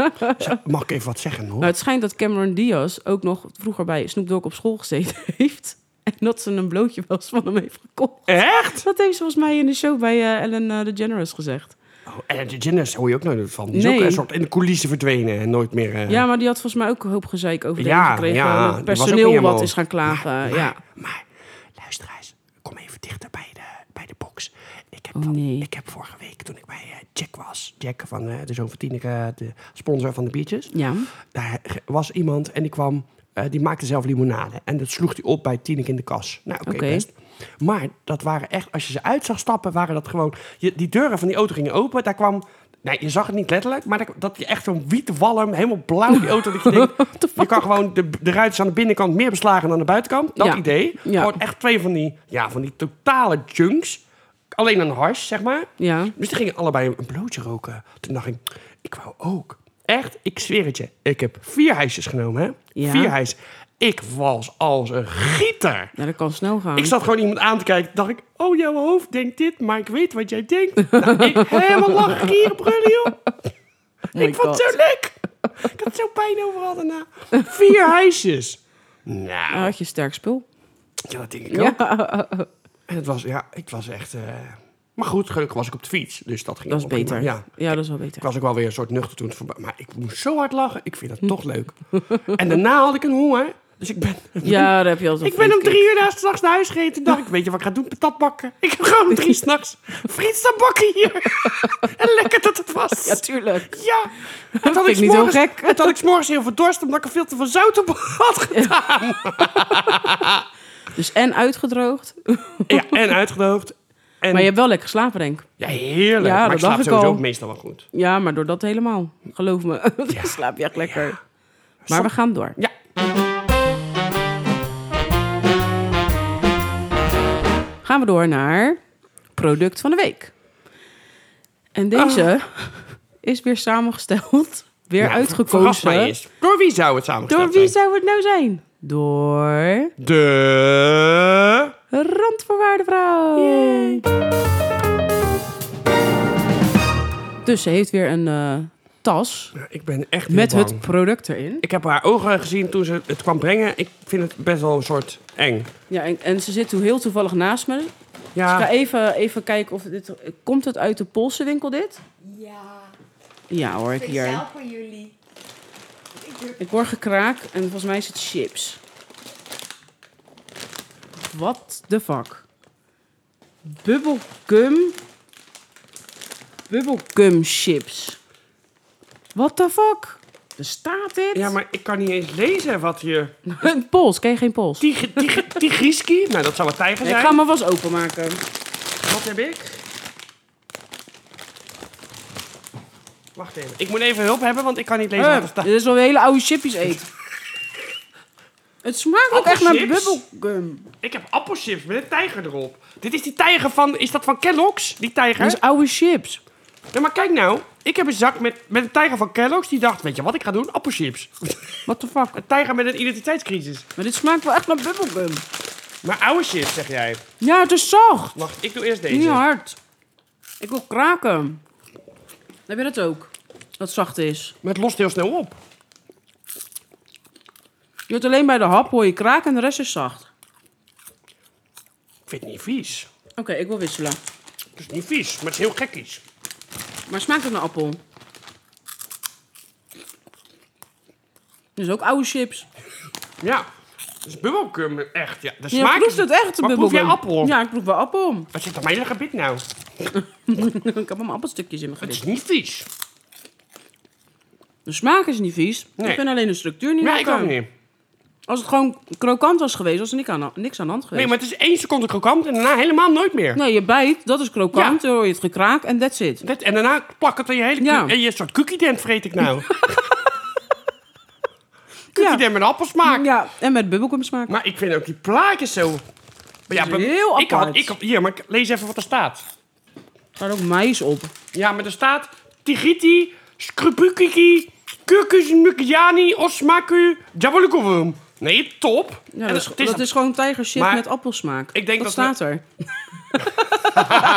Speaker 2: Mag ik even wat zeggen, hoor?
Speaker 1: Nou, het schijnt dat Cameron Diaz ook nog vroeger bij Snoop Dogg op school gezeten *laughs* heeft. En dat ze een blootje wel eens van hem heeft gekocht. *laughs*
Speaker 2: Echt?
Speaker 1: Dat heeft ze volgens mij in de show bij eh, Ellen eh, DeGeneres gezegd.
Speaker 2: Oh, en de Jennis hoor je ook nooit van. Die is
Speaker 1: Nee.
Speaker 2: ook een soort in de coulissen verdwenen en nooit meer... eh,
Speaker 1: Ja, maar die had volgens mij ook een hoop gezeik over de
Speaker 2: Ja,
Speaker 1: heen gekregen. eh,
Speaker 2: ja,
Speaker 1: dat
Speaker 2: die
Speaker 1: het
Speaker 2: was ook niet
Speaker 1: personeel wat
Speaker 2: helemaal-
Speaker 1: is gaan klagen. ja.
Speaker 2: Maar luisteraars, kom even dichter bij de, bij de box. Ik heb,
Speaker 1: Oh,
Speaker 2: van-
Speaker 1: nee.
Speaker 2: ik heb vorige week, toen ik bij eh, Jack was... Jack van eh, de Zoon van Tineke, de sponsor van de biertjes.
Speaker 1: ja.
Speaker 2: Daar was iemand en die kwam... eh, die maakte zelf limonade. En dat sloeg hij op bij Tineke in de kas. Nou, oké,
Speaker 1: Oké.
Speaker 2: best. Maar dat waren echt... Als je ze uit zag stappen, waren dat gewoon... Je, die deuren van die auto gingen open. Daar kwam... Nee, je zag het niet letterlijk, maar dat, dat je echt zo'n wietwalm, helemaal blauw die auto, dat
Speaker 1: *laughs*
Speaker 2: je denkt, je kan gewoon de, de ruitjes aan de binnenkant meer beslagen dan aan de buitenkant. Dat
Speaker 1: Ja.
Speaker 2: idee.
Speaker 1: Ja.
Speaker 2: Gewoon echt twee van die, ja, van die totale junks. alleen aan hash, zeg maar.
Speaker 1: Ja.
Speaker 2: Dus die gingen allebei een blootje roken. Toen dacht ik, ik wou ook. Echt, ik zweer het je. Ik heb vier hijsjes genomen, hè?
Speaker 1: Ja.
Speaker 2: Vier hijs. Ik was als een gieter.
Speaker 1: ja, dat kan snel gaan.
Speaker 2: Ik zat gewoon iemand aan te kijken. Dacht ik, oh, jouw hoofd denkt dit, maar ik weet wat jij
Speaker 1: *laughs*
Speaker 2: denkt. Nou, ik helemaal lachen hier brullen, joh.
Speaker 1: Oh my
Speaker 2: ik
Speaker 1: God.
Speaker 2: vond het zo leuk. Ik had zo pijn overal daarna. Vier hijsjes. Nou,
Speaker 1: Ja, had je sterk spul.
Speaker 2: ja, dat denk ik ook.
Speaker 1: Ja,
Speaker 2: En het was, ja, ik was echt... eh, Maar goed, gelukkig was ik op de fiets, dus dat ging
Speaker 1: dat is
Speaker 2: allemaal
Speaker 1: beter.
Speaker 2: prima. Ja,
Speaker 1: ja, dat is wel beter.
Speaker 2: ik was ook wel weer een soort nuchter toen het voorbij... Maar ik moest zo hard lachen, ik vind dat toch leuk. En daarna had ik een honger, dus ik ben... *laughs*
Speaker 1: Ja, daar heb je altijd
Speaker 2: Ik ben om drie uur daar s'nachts naar huis gereden. Toen dacht ik, weet je wat ik ga doen? Patat bakken. Ik heb gewoon om *laughs* drie s'nachts frietstaat bakken *laughs* hier. en lekker dat het was.
Speaker 1: Ja, tuurlijk.
Speaker 2: Ja. En toen
Speaker 1: vind ik niet
Speaker 2: s'morgens-
Speaker 1: zo gek.
Speaker 2: en toen had ik s'morgens heel veel dorst, omdat ik er veel te veel zout op had gedaan.
Speaker 1: Dus en uitgedroogd.
Speaker 2: Ja, en uitgedoofd. En,
Speaker 1: Maar je hebt wel lekker geslapen, denk ik.
Speaker 2: Ja, heerlijk.
Speaker 1: Ja,
Speaker 2: maar
Speaker 1: dat
Speaker 2: ik slaap
Speaker 1: dacht ik
Speaker 2: sowieso
Speaker 1: al.
Speaker 2: meestal wel goed.
Speaker 1: Ja, maar door dat helemaal. Geloof me. *laughs* Dan
Speaker 2: Ja.
Speaker 1: slaap je echt lekker.
Speaker 2: Ja.
Speaker 1: Maar we gaan door.
Speaker 2: Ja.
Speaker 1: Gaan we door naar product van de week. En deze
Speaker 2: Ah.
Speaker 1: is weer samengesteld. Weer
Speaker 2: Nou, verras
Speaker 1: uitgekozen.
Speaker 2: mij eens. Door wie zou het samengesteld
Speaker 1: Door wie
Speaker 2: zijn?
Speaker 1: zou het nou zijn? Door
Speaker 2: De...
Speaker 1: Randvoorwaardenvrouw. Dus ze heeft weer een eh, tas
Speaker 2: Nou, Ik ben echt heel
Speaker 1: met
Speaker 2: bang.
Speaker 1: het product erin.
Speaker 2: Ik heb haar ogen gezien toen ze het kwam brengen. Ik vind het best wel een soort eng.
Speaker 1: Ja, en, en ze zit toen heel toevallig naast me. Ik ga
Speaker 2: Ja,
Speaker 1: even, even kijken of dit... Komt het uit de Poolse winkel, dit?
Speaker 3: Ja,
Speaker 1: Ja hoor, ik hier.
Speaker 3: speciaal voor jullie. Ik doe-
Speaker 1: Ik hoor gekraak en volgens mij is het chips. What the fuck? Bubblegum. Bubblegum chips. What the fuck? Bestaat dit?
Speaker 2: ja, maar ik kan niet eens lezen wat hier...
Speaker 1: *laughs* Een Pools, ken je geen Pools?
Speaker 2: Tig- tig- Tigrieski? Nou, dat zou wat tijger
Speaker 1: Ik
Speaker 2: zijn.
Speaker 1: ga hem alvast openmaken.
Speaker 2: Wat heb ik? Wacht even. Ik moet even hulp hebben, want ik kan niet lezen wat er
Speaker 1: Eh,
Speaker 2: staat.
Speaker 1: dit is wel een hele oude chippies eet. Het smaakt ook echt naar
Speaker 2: Appelchips?
Speaker 1: bubblegum.
Speaker 2: Ik heb appelchips met een tijger erop. Dit is die tijger van... Is dat van Kellogg's? Die tijger?
Speaker 1: Dat is oude chips.
Speaker 2: Ja, maar kijk nou. Ik heb een zak met, met een tijger van Kellogg's. Die dacht, weet je wat ik ga doen? Appelchips.
Speaker 1: What the fuck?
Speaker 2: Een tijger met een identiteitscrisis.
Speaker 1: Maar dit smaakt wel echt naar bubblegum.
Speaker 2: Maar oude chips, zeg jij.
Speaker 1: Ja, het is zacht.
Speaker 2: Wacht, ik doe eerst deze.
Speaker 1: Niet hard. Ik wil kraken. Heb je dat ook? Dat zacht is.
Speaker 2: Maar het lost heel snel op.
Speaker 1: Je hoort alleen bij de hap hoor je kraken en de rest is zacht.
Speaker 2: Ik vind het niet vies.
Speaker 1: Oké, ik wil wisselen.
Speaker 2: Het is niet vies, maar het is heel gekkies.
Speaker 1: Maar smaakt het naar appel? Dit is ook oude chips.
Speaker 2: Ja. Het is bubbelgum echt. Ja, de
Speaker 1: Je
Speaker 2: smaak
Speaker 1: proeft
Speaker 2: is...
Speaker 1: het echt, de
Speaker 2: Maar proef je
Speaker 1: bubbelgum.
Speaker 2: appel?
Speaker 1: Ja, ik proef wel appel. *laughs*
Speaker 2: Wat zit er mijn hele gebit nou?
Speaker 1: ik heb allemaal appelstukjes in mijn
Speaker 2: Het is
Speaker 1: gezicht.
Speaker 2: niet vies.
Speaker 1: De smaak is niet vies.
Speaker 2: Nee.
Speaker 1: Ik vind alleen de structuur niet
Speaker 2: Ja, ik
Speaker 1: lekker.
Speaker 2: ook niet.
Speaker 1: Als het gewoon krokant was geweest, was er niks aan, niks aan de hand geweest.
Speaker 2: Nee, maar het is één seconde krokant en daarna helemaal nooit meer.
Speaker 1: Nee, je bijt, dat is krokant, dan hoor je het gekraak en that's it.
Speaker 2: Dat, en daarna plak het aan je hele...
Speaker 1: Ja.
Speaker 2: ku- En je soort cookie dent vreet ik nou.
Speaker 1: Ja.
Speaker 2: cookie dent met appelsmaak.
Speaker 1: Ja, en met bubbelgum smaak.
Speaker 2: Maar ik vind ook die plaatjes zo... Maar ja,
Speaker 1: is heel
Speaker 2: ik had,
Speaker 1: apart.
Speaker 2: ik had, hier, maar ik- lees even wat er staat.
Speaker 1: Er staat ook mais op.
Speaker 2: Ja, maar er staat Tigiti, Skrupukiki, Kukusmukiani, Osmaku, Jabalukovum. Nee, top.
Speaker 1: Ja,
Speaker 2: En
Speaker 1: dat, is,
Speaker 2: het
Speaker 1: dat is gewoon tijgershit
Speaker 2: Maar-
Speaker 1: met appelsmaak.
Speaker 2: Ik denk
Speaker 1: dat,
Speaker 2: dat we-
Speaker 1: staat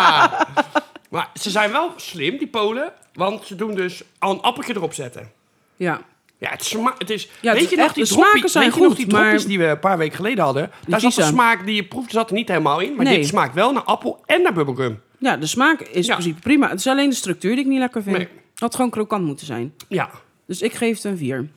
Speaker 1: er.
Speaker 2: Maar ze zijn wel slim, die Polen. Want ze doen dus al een appeltje erop zetten.
Speaker 1: Ja.
Speaker 2: Ja, het, sma het is...
Speaker 1: Ja, het
Speaker 2: weet
Speaker 1: is
Speaker 2: je nog
Speaker 1: echt-
Speaker 2: die
Speaker 1: de smaken
Speaker 2: droppie-
Speaker 1: zijn
Speaker 2: weet je nog
Speaker 1: goed,
Speaker 2: die
Speaker 1: maar-
Speaker 2: droppies die we een paar weken geleden hadden? Daar zat de
Speaker 1: vieze.
Speaker 2: smaak die je proeft, zat er niet helemaal in. Maar
Speaker 1: Nee.
Speaker 2: dit smaakt wel naar appel en naar bubblegum.
Speaker 1: ja, de smaak is
Speaker 2: Ja.
Speaker 1: in principe prima. Het is alleen de structuur die ik niet lekker vind.
Speaker 2: Nee.
Speaker 1: Had gewoon krokant moeten zijn.
Speaker 2: Ja.
Speaker 1: Dus ik geef het een 4.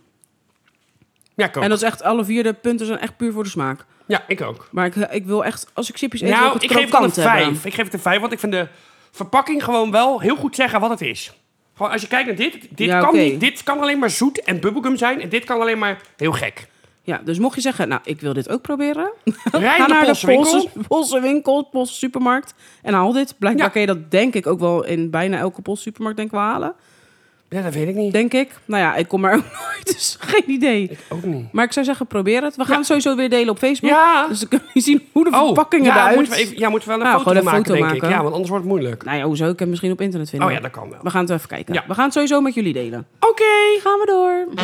Speaker 2: Ja, ik ook.
Speaker 1: En dat is echt, alle vier de punten zijn echt puur voor de smaak.
Speaker 2: Ja, ik ook.
Speaker 1: Maar ik, ik wil echt, als ik chipjes eet, wil
Speaker 2: Nou,
Speaker 1: ik
Speaker 2: ik
Speaker 1: het
Speaker 2: geef het een
Speaker 1: krokant hebben.
Speaker 2: vijf. Ik geef het een vijf, want ik vind de verpakking gewoon wel heel goed zeggen wat het is. Gewoon als je kijkt naar dit, dit,
Speaker 1: Ja,
Speaker 2: kan,
Speaker 1: oké.
Speaker 2: niet, dit kan alleen maar zoet en bubblegum zijn. En dit kan alleen maar heel gek.
Speaker 1: Ja, dus mocht je zeggen, nou, ik wil dit ook proberen. *laughs*
Speaker 2: Rij
Speaker 1: Ga
Speaker 2: naar
Speaker 1: naar
Speaker 2: de
Speaker 1: de
Speaker 2: Poolse winkel.
Speaker 1: Poolse, Poolse winkel, Poolse supermarkt en haal dit. Blijkbaar
Speaker 2: Ja.
Speaker 1: kun je dat denk ik ook wel in bijna elke Poolse supermarkt denk ik wel halen.
Speaker 2: Ja, dat weet ik niet.
Speaker 1: Denk ik. Nou ja, ik kom er ook *laughs* nooit, dus geen idee.
Speaker 2: Ik ook niet.
Speaker 1: Maar ik zou zeggen, probeer het. We gaan het sowieso weer delen op Facebook.
Speaker 2: Ja. Oh,
Speaker 1: Dus dan kunnen jullie zien hoe de verpakkingen
Speaker 2: ja,
Speaker 1: eruit...
Speaker 2: moeten we even, ja, moeten we wel een
Speaker 1: Nou,
Speaker 2: foto
Speaker 1: gewoon een
Speaker 2: maken,
Speaker 1: foto
Speaker 2: denk ik.
Speaker 1: maken.
Speaker 2: Ja, want anders wordt het moeilijk.
Speaker 1: Nou ja, hoezo? Ik heb misschien op internet vinden.
Speaker 2: Oh ja, dat kan wel.
Speaker 1: We gaan het even kijken.
Speaker 2: Ja.
Speaker 1: We gaan het sowieso met jullie delen.
Speaker 2: Oké.
Speaker 1: Gaan we door.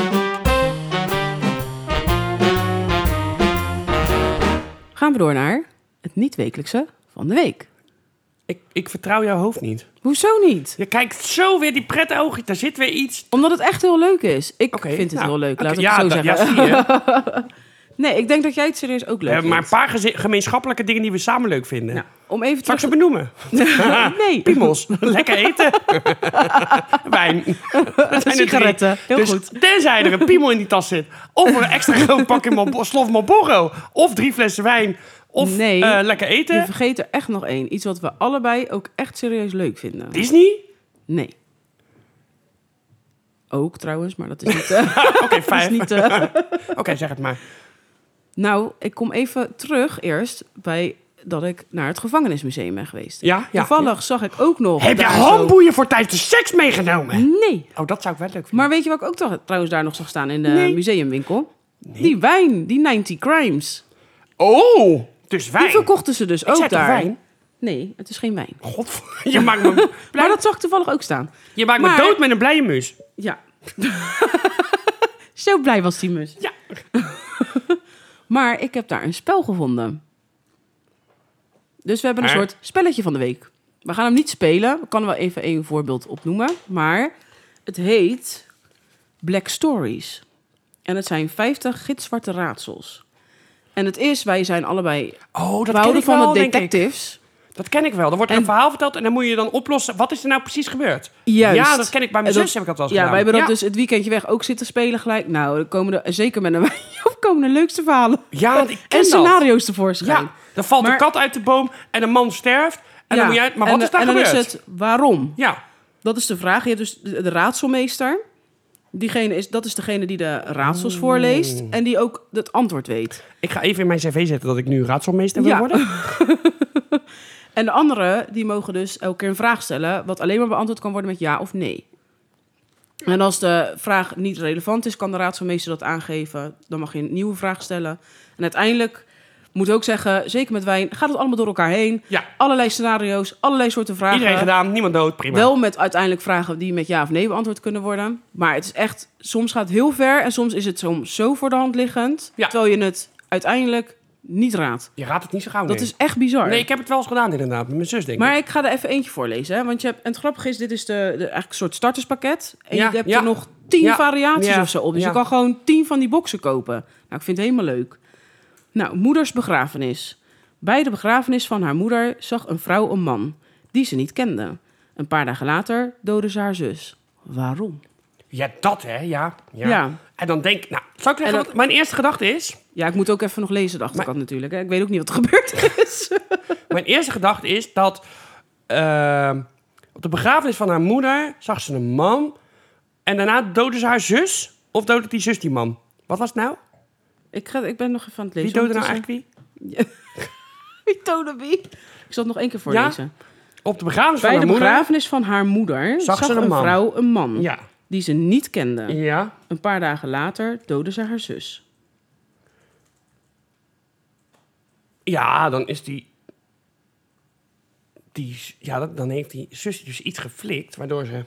Speaker 1: Gaan we door naar het niet-wekelijkse van de week.
Speaker 2: Ik, ik vertrouw jouw hoofd niet.
Speaker 1: Hoezo niet?
Speaker 2: Je kijkt zo weer die pret ogen. Daar zit weer iets.
Speaker 1: Omdat het echt heel leuk is. Ik
Speaker 2: Oké,
Speaker 1: vind het
Speaker 2: nou,
Speaker 1: heel leuk,
Speaker 2: oké,
Speaker 1: laat ik
Speaker 2: ja,
Speaker 1: het zo
Speaker 2: da-
Speaker 1: zeggen.
Speaker 2: Ja,
Speaker 1: *laughs*
Speaker 2: zie je.
Speaker 1: Nee, ik denk dat jij het serieus ook
Speaker 2: We
Speaker 1: leuk
Speaker 2: hebben maar een
Speaker 1: vindt.
Speaker 2: paar geze- gemeenschappelijke dingen die we samen leuk vinden.
Speaker 1: Nou, om even terug
Speaker 2: Zal ik ze benoemen?
Speaker 1: *laughs*
Speaker 2: *laughs*
Speaker 1: nee,
Speaker 2: Piemels. Lekker eten. *laughs* Wijn. Dat zijn er
Speaker 1: Sigaretten.
Speaker 2: drie.
Speaker 1: Heel
Speaker 2: dus
Speaker 1: goed.
Speaker 2: Tenzij er een piemel in die tas zit. Of een
Speaker 1: *laughs*
Speaker 2: extra groot pakje Mal- slof Marlboro. Of drie flessen wijn. Of
Speaker 1: Nee.
Speaker 2: eh, lekker eten.
Speaker 1: je vergeet er echt nog één. Iets wat we allebei ook echt serieus leuk vinden. *laughs*
Speaker 2: Disney?
Speaker 1: Nee. Ook trouwens, maar
Speaker 2: *laughs*
Speaker 1: dat is niet... eh,
Speaker 2: Oké,
Speaker 1: dat is
Speaker 2: vijf.
Speaker 1: niet eh,
Speaker 2: Oké, zeg het maar.
Speaker 1: Nou, ik kom even terug eerst bij dat ik naar het gevangenismuseum ben geweest.
Speaker 2: Ja, ja.
Speaker 1: Toevallig zag ik ook nog...
Speaker 2: Heb je
Speaker 1: daar zo-
Speaker 2: handboeien voor tijdens de seks meegenomen?
Speaker 1: Nee.
Speaker 2: Oh, dat zou ik wel leuk vinden.
Speaker 1: Maar weet je wat ik ook toch- trouwens daar nog zag staan in de
Speaker 2: Nee.
Speaker 1: museumwinkel? Die wijn, die 90 Crimes.
Speaker 2: Oh, dus wijn.
Speaker 1: Die verkochten ze dus
Speaker 2: Ik
Speaker 1: ook
Speaker 2: zei toch
Speaker 1: daar.
Speaker 2: wijn?
Speaker 1: Nee, het is geen wijn.
Speaker 2: God, *laughs* je
Speaker 1: *laughs*
Speaker 2: maakt me,
Speaker 1: Maar dat zag ik toevallig ook staan.
Speaker 2: je maakt
Speaker 1: Maar-
Speaker 2: me dood met een blije mus.
Speaker 1: Ja. *laughs* Zo blij was die mus.
Speaker 2: Ja.
Speaker 1: *laughs* Maar ik heb daar een spel gevonden. Dus we hebben een
Speaker 2: Maar-
Speaker 1: soort spelletje van de week. We gaan hem niet spelen. Ik kan er wel even één voorbeeld opnoemen. Maar het heet Black Stories. En het zijn 50 gitzwarte raadsels. En het is, wij zijn allebei...
Speaker 2: Oh, dat
Speaker 1: we
Speaker 2: ken
Speaker 1: houden
Speaker 2: ik
Speaker 1: van
Speaker 2: wel,
Speaker 1: de
Speaker 2: denk ik.
Speaker 1: detectives.
Speaker 2: Dat ken ik wel. Er wordt
Speaker 1: En-
Speaker 2: een verhaal verteld en dan moet je dan oplossen. Wat is er nou precies gebeurd?
Speaker 1: Juist.
Speaker 2: Ja, dat ken ik. Bij mijn
Speaker 1: En
Speaker 2: zus heb ik dat wel eens
Speaker 1: Ja, wij
Speaker 2: gedaan.
Speaker 1: hebben dat
Speaker 2: ja.
Speaker 1: dus het weekendje weg ook zitten spelen gelijk. Nou, dan komen er zeker met een *laughs* wijntje op komen de leukste verhalen.
Speaker 2: Ja, want ik Ah,
Speaker 1: *laughs*
Speaker 2: ken
Speaker 1: en
Speaker 2: dat.
Speaker 1: scenario's tevoorschijn.
Speaker 2: Ja, dan valt
Speaker 1: Maar-
Speaker 2: een kat uit de boom en een man sterft.
Speaker 1: Ja.
Speaker 2: En dan moet je uit... Maar wat
Speaker 1: en,
Speaker 2: is daar
Speaker 1: En
Speaker 2: gebeurd?
Speaker 1: dan is het waarom.
Speaker 2: Ja.
Speaker 1: Dat is de vraag. Je hebt dus de, de raadselmeester. Diegene is, dat is degene die de raadsels voorleest en die ook het antwoord weet.
Speaker 2: Ik ga even in mijn cv zetten dat ik nu raadselmeester wil
Speaker 1: Ja.
Speaker 2: worden.
Speaker 1: En de anderen die mogen dus elke keer een vraag stellen, wat alleen maar beantwoord kan worden met ja of nee. En als de vraag niet relevant is, kan de raadselmeester dat aangeven. Dan mag je een nieuwe vraag stellen. En uiteindelijk moet ik ook zeggen, zeker met wijn, gaat het allemaal door elkaar heen.
Speaker 2: Ja.
Speaker 1: Allerlei scenario's, allerlei soorten vragen.
Speaker 2: *laughs* Iedereen gedaan, niemand dood, prima.
Speaker 1: Wel met uiteindelijk vragen die met ja of nee beantwoord kunnen worden. Maar het is echt, soms gaat het heel ver en soms is het soms zo voor de hand liggend.
Speaker 2: Ja.
Speaker 1: Terwijl je het uiteindelijk niet raadt.
Speaker 2: Je raadt het niet zo gauw,
Speaker 1: Dat
Speaker 2: nee.
Speaker 1: is echt bizar.
Speaker 2: Nee, ik heb het wel eens gedaan inderdaad. Met mijn zus, denk ik.
Speaker 1: Maar ik ga er even eentje voorlezen. Hè? Want je hebt, en het grappige is, dit is de, de, eigenlijk een soort starterspakket. En
Speaker 2: Ja,
Speaker 1: je hebt
Speaker 2: ja.
Speaker 1: er nog tien
Speaker 2: Ja,
Speaker 1: variaties
Speaker 2: ja,
Speaker 1: of zo op. Dus
Speaker 2: ja.
Speaker 1: je kan gewoon tien van die boxen kopen. Nou, ik vind het helemaal leuk. Nou, moeders begrafenis. Bij de begrafenis van haar moeder zag een vrouw een man die ze niet kende. Een paar dagen later doodde ze haar zus. Waarom?
Speaker 2: Ja, dat hè, ja. Ja.
Speaker 1: Ja.
Speaker 2: En dan denk ik, nou, zal ik
Speaker 1: En
Speaker 2: zeggen
Speaker 1: dan-
Speaker 2: wat mijn eerste gedachte is?
Speaker 1: Ja, ik moet ook even nog lezen de achterkant natuurlijk. Hè? Ik weet ook niet wat er gebeurd
Speaker 2: *laughs*
Speaker 1: is.
Speaker 2: Mijn eerste gedachte is dat ehm, op de begrafenis van haar moeder zag ze een man en daarna doodde ze haar zus of doodde die zus die man? Wat was het nou?
Speaker 1: ik, ga, ik ben nog even aan het lezen.
Speaker 2: Wie doodde nou
Speaker 1: ondertussen.
Speaker 2: eigenlijk wie?
Speaker 1: *laughs* Wie doodde wie? Ik zal het nog één keer voorlezen.
Speaker 2: Op de begrafenis van
Speaker 1: Bij
Speaker 2: haar
Speaker 1: de
Speaker 2: moeder.
Speaker 1: begrafenis van haar moeder
Speaker 2: Zag
Speaker 1: zag,
Speaker 2: ze een
Speaker 1: een,
Speaker 2: man.
Speaker 1: vrouw een man
Speaker 2: Ja.
Speaker 1: die ze niet kende.
Speaker 2: Ja.
Speaker 1: Een paar dagen later doodde ze haar zus.
Speaker 2: Ja, dan is die. die ja, dat- dan heeft die zus dus iets geflikt, waardoor ze.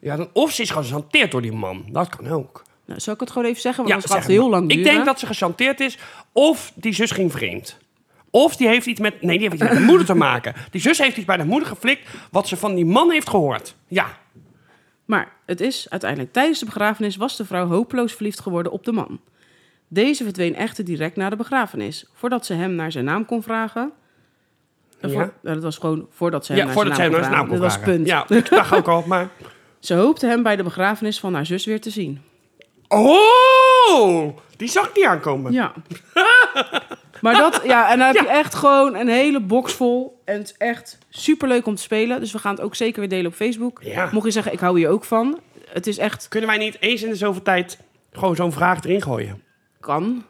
Speaker 2: Ja, dan, of ze is gewoon gehanteerd door die man. Dat kan ook.
Speaker 1: Nou, zal ik het gewoon even zeggen? Want
Speaker 2: Ja,
Speaker 1: anders gaat
Speaker 2: zeg
Speaker 1: het heel
Speaker 2: maar.
Speaker 1: lang
Speaker 2: Ik
Speaker 1: duren.
Speaker 2: denk dat ze gechanteerd is. Of die zus ging vreemd. Of die heeft iets met... Nee, die heeft iets met de moeder te maken. Die zus heeft iets bij de moeder geflikt... wat ze van die man heeft gehoord. Ja.
Speaker 1: Maar het is uiteindelijk tijdens de begrafenis was de vrouw hopeloos verliefd geworden op de man. Deze verdween echter direct na de begrafenis. Voordat ze hem naar zijn naam kon vragen... Eh,
Speaker 2: Ja.
Speaker 1: voor- nou, dat was gewoon voordat ze hem
Speaker 2: ja
Speaker 1: naar
Speaker 2: voordat zij
Speaker 1: zijn
Speaker 2: hem
Speaker 1: naam
Speaker 2: naar
Speaker 1: kon
Speaker 2: zijn
Speaker 1: vragen.
Speaker 2: naam kon
Speaker 1: Dat was punt.
Speaker 2: vragen. Ja, ik dacht ook al, maar...
Speaker 1: Ze hoopte hem bij de begrafenis van haar zus weer te zien.
Speaker 2: Oh! Die zag ik niet aankomen.
Speaker 1: Ja. *laughs* maar dat, ja, en dan heb je echt gewoon een hele box vol. En het is echt superleuk om te spelen. Dus we gaan het ook zeker weer delen op Facebook.
Speaker 2: Ja.
Speaker 1: Mocht je zeggen, ik hou hier ook van. Het is echt,
Speaker 2: Kunnen wij niet eens in de zoveel tijd... gewoon zo'n vraag erin gooien?
Speaker 1: *laughs* kan.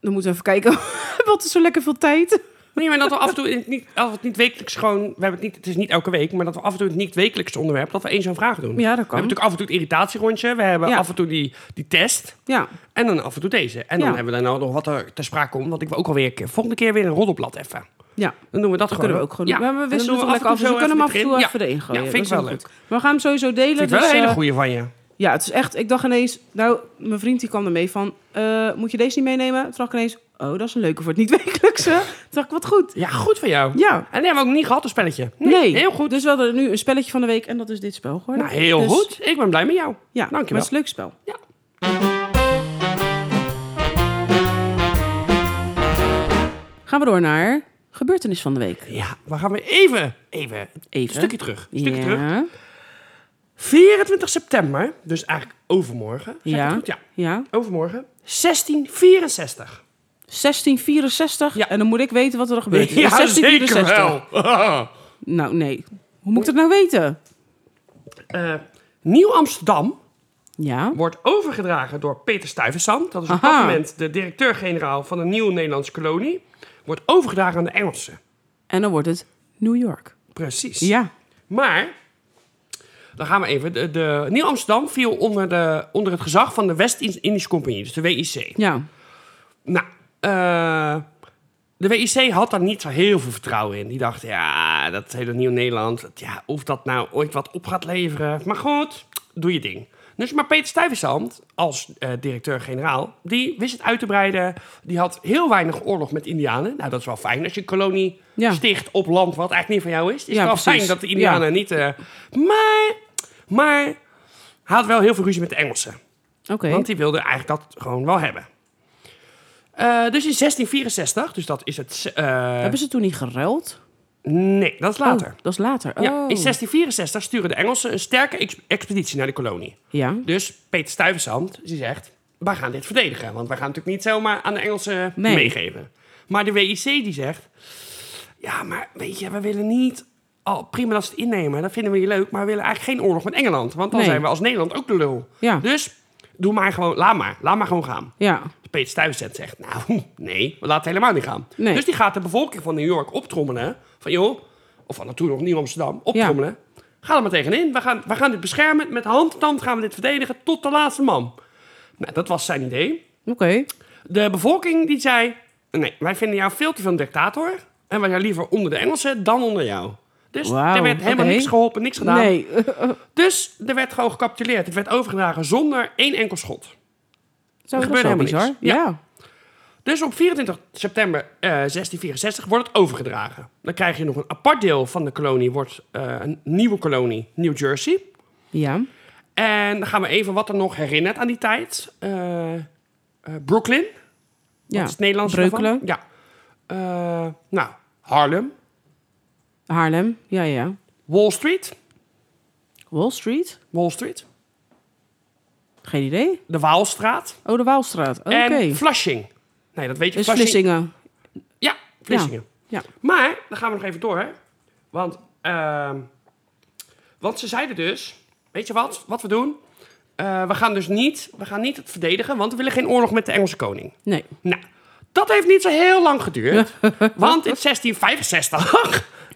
Speaker 1: Dan moeten we even kijken. Wat is zo lekker veel tijd?
Speaker 2: Nee, maar dat we af en toe in het niet, als we het niet wekelijks gewoon. We hebben het niet, het is niet elke week, maar dat we af en toe het niet wekelijks onderwerp. dat we één zo'n vraag
Speaker 1: Ja, dat
Speaker 2: doen. We
Speaker 1: kan.
Speaker 2: hebben natuurlijk af en toe het irritatierondje. We hebben
Speaker 1: Ja.
Speaker 2: af en toe die, die test.
Speaker 1: Ja,
Speaker 2: En dan af en toe deze. En dan
Speaker 1: Ja.
Speaker 2: hebben we daar nou nog wat er ter sprake komt. Want ik wil ook alweer een keer- volgende keer weer een roddelblad even.
Speaker 1: ja.
Speaker 2: Dan doen we dat,
Speaker 1: Dat
Speaker 2: gewoon.
Speaker 1: kunnen we ook gewoon doen.
Speaker 2: Ja.
Speaker 1: Maar we
Speaker 2: En
Speaker 1: wisselen
Speaker 2: dan
Speaker 1: het
Speaker 2: doen
Speaker 1: lekker af. Dus we kunnen hem af en toe
Speaker 2: zo
Speaker 1: even erin gooien.
Speaker 2: Ja, vind ik
Speaker 1: Dat
Speaker 2: wel
Speaker 1: is
Speaker 2: leuk.
Speaker 1: goed. Maar we gaan hem sowieso delen.
Speaker 2: Vind ik wel
Speaker 1: dus,
Speaker 2: een hele
Speaker 1: eh,
Speaker 2: goeie van je.
Speaker 1: Ja, het is echt... Ik dacht ineens... Nou, mijn vriend die kwam ermee van... eh, moet je deze niet meenemen? Toen dacht ik ineens... Oh, dat is een leuke voor het niet-wekelijkse. Toen dacht ik, wat goed.
Speaker 2: Ja, goed van jou.
Speaker 1: Ja.
Speaker 2: En die hebben we ook niet gehad, een spelletje.
Speaker 1: Nee.
Speaker 2: Heel goed.
Speaker 1: Dus we hadden nu een spelletje van de week. En dat is dit spel geworden.
Speaker 2: Nou, heel
Speaker 1: Dus-
Speaker 2: goed. Ik ben blij met jou.
Speaker 1: Ja, maar
Speaker 2: Dankjewel.
Speaker 1: het is een leuk spel.
Speaker 2: Ja.
Speaker 1: Gaan we door naar gebeurtenis van de week.
Speaker 2: Ja, we gaan weer even, even, een
Speaker 1: Even.
Speaker 2: stukje terug. Een stukje
Speaker 1: ja.
Speaker 2: terug. 24 september, dus eigenlijk overmorgen. Zeg ik
Speaker 1: Ja.
Speaker 2: het goed? Ja,
Speaker 1: Ja.
Speaker 2: overmorgen. 1664.
Speaker 1: 1664.
Speaker 2: Ja.
Speaker 1: En dan moet ik weten wat *laughs* er gebeurd is.
Speaker 2: Ja,
Speaker 1: 1664.
Speaker 2: zeker wel. *laughs*
Speaker 1: Nou, nee. Hoe moet ik dat nou weten?
Speaker 2: Eh, Nieuw Amsterdam
Speaker 1: Ja.
Speaker 2: wordt overgedragen door Peter Stuyvesant. Dat is op
Speaker 1: Aha.
Speaker 2: dat moment de directeur-generaal van een nieuwe Nederlandse kolonie. Wordt overgedragen aan de Engelsen.
Speaker 1: En dan wordt het New York.
Speaker 2: Precies.
Speaker 1: Ja.
Speaker 2: Maar, dan gaan we even. De, de, Nieuw Amsterdam viel onder, de, onder het gezag van de West-Indische Compagnie, dus de WIC.
Speaker 1: Ja.
Speaker 2: Nou, eh, de WIC had daar niet zo heel veel vertrouwen in. Die dacht, ja, dat hele Nieuw Nederland, dat- ja, of dat nou ooit wat op gaat leveren. Maar goed, doe je ding. Dus maar Peter Stuyvesant, als eh, directeur-generaal, die wist het uit te breiden. Die had heel weinig oorlog met Indianen. Nou, dat is wel fijn als je een kolonie
Speaker 1: Ja.
Speaker 2: sticht op land wat eigenlijk niet van jou is. Het is
Speaker 1: Ja,
Speaker 2: wel
Speaker 1: precies.
Speaker 2: fijn dat de Indianen niet... eh, maar, maar, hij had wel heel veel ruzie met de Engelsen.
Speaker 1: Oké.
Speaker 2: Want eh, die wilde eigenlijk dat gewoon wel hebben. Eh, dus in 1664, dus dat is het. eh,
Speaker 1: Hebben ze toen niet geruild?
Speaker 2: nee, dat is later.
Speaker 1: Oh, dat is later. Oh.
Speaker 2: Ja, in 1664 sturen de Engelsen een sterke ex- expeditie naar de kolonie.
Speaker 1: Ja.
Speaker 2: Dus Peter Stuyvesant, die zegt, wij gaan dit verdedigen. Want wij gaan natuurlijk niet zomaar aan de Engelsen
Speaker 1: Nee.
Speaker 2: meegeven. Maar de WIC die zegt, ja, maar weet je, we willen niet... Oh, prima dat ze het innemen, dat vinden we hier leuk. Maar we willen eigenlijk geen oorlog met Engeland. Want dan
Speaker 1: Nee.
Speaker 2: zijn we als Nederland ook de lul.
Speaker 1: Ja.
Speaker 2: Dus doe maar gewoon, laat maar. Laat maar gewoon gaan.
Speaker 1: Ja.
Speaker 2: Peter Stuyvesant zegt, nou, *laughs* nee, we laten het helemaal niet gaan.
Speaker 1: Nee.
Speaker 2: Dus die gaat de bevolking van New York optrommelen. Van joh, of van toen nog Nieuw-Amsterdam, optrommelen. Ga er maar tegenin. We gaan, we gaan dit beschermen. Met hand en tand gaan we dit verdedigen tot de laatste man. Nou, dat was zijn idee.
Speaker 1: Oké.
Speaker 2: De bevolking die zei, nee, wij vinden jou veel te veel een dictator. En wij zijn liever onder de Engelsen dan onder jou. Dus
Speaker 1: Wauw,
Speaker 2: er werd helemaal
Speaker 1: oké.
Speaker 2: niks geholpen, niks gedaan. *laughs*
Speaker 1: Nee.
Speaker 2: Dus er werd gewoon gecapituleerd. Het werd overgedragen zonder één enkel schot.
Speaker 1: Zo, dat
Speaker 2: gebeurde
Speaker 1: is wel
Speaker 2: helemaal
Speaker 1: bizar.
Speaker 2: niks.
Speaker 1: Ja.
Speaker 2: Ja. Dus op 24 september eh, 1664 wordt het overgedragen. Dan krijg je nog een apart deel van de kolonie, wordt eh, een nieuwe kolonie, New Jersey.
Speaker 1: Ja.
Speaker 2: En dan gaan we even wat er nog herinnert aan die tijd. Eh, eh, Brooklyn,
Speaker 1: Ja.
Speaker 2: dat is het Nederlands.
Speaker 1: Breukelen.
Speaker 2: Ja. Eh, nou, Harlem,
Speaker 1: Haarlem. Ja, ja.
Speaker 2: Wall Street,
Speaker 1: Wall Street.
Speaker 2: Wall Street,
Speaker 1: Geen idee.
Speaker 2: de Waalstraat
Speaker 1: Oh, de Waalstraat. Oké.
Speaker 2: en Flushing. Nee, dat weet je.
Speaker 1: Is Vlissingen.
Speaker 2: Ja, Vlissingen.
Speaker 1: Ja.
Speaker 2: Maar, dan gaan we nog even door, hè. Want, ehm, want ze zeiden dus, weet je wat, wat we doen? Eh, we gaan dus niet, we gaan niet het verdedigen, want we willen geen oorlog met de Engelse koning.
Speaker 1: Nee.
Speaker 2: Nou, dat heeft niet zo heel
Speaker 1: *laughs*
Speaker 2: lang geduurd. want in 1665,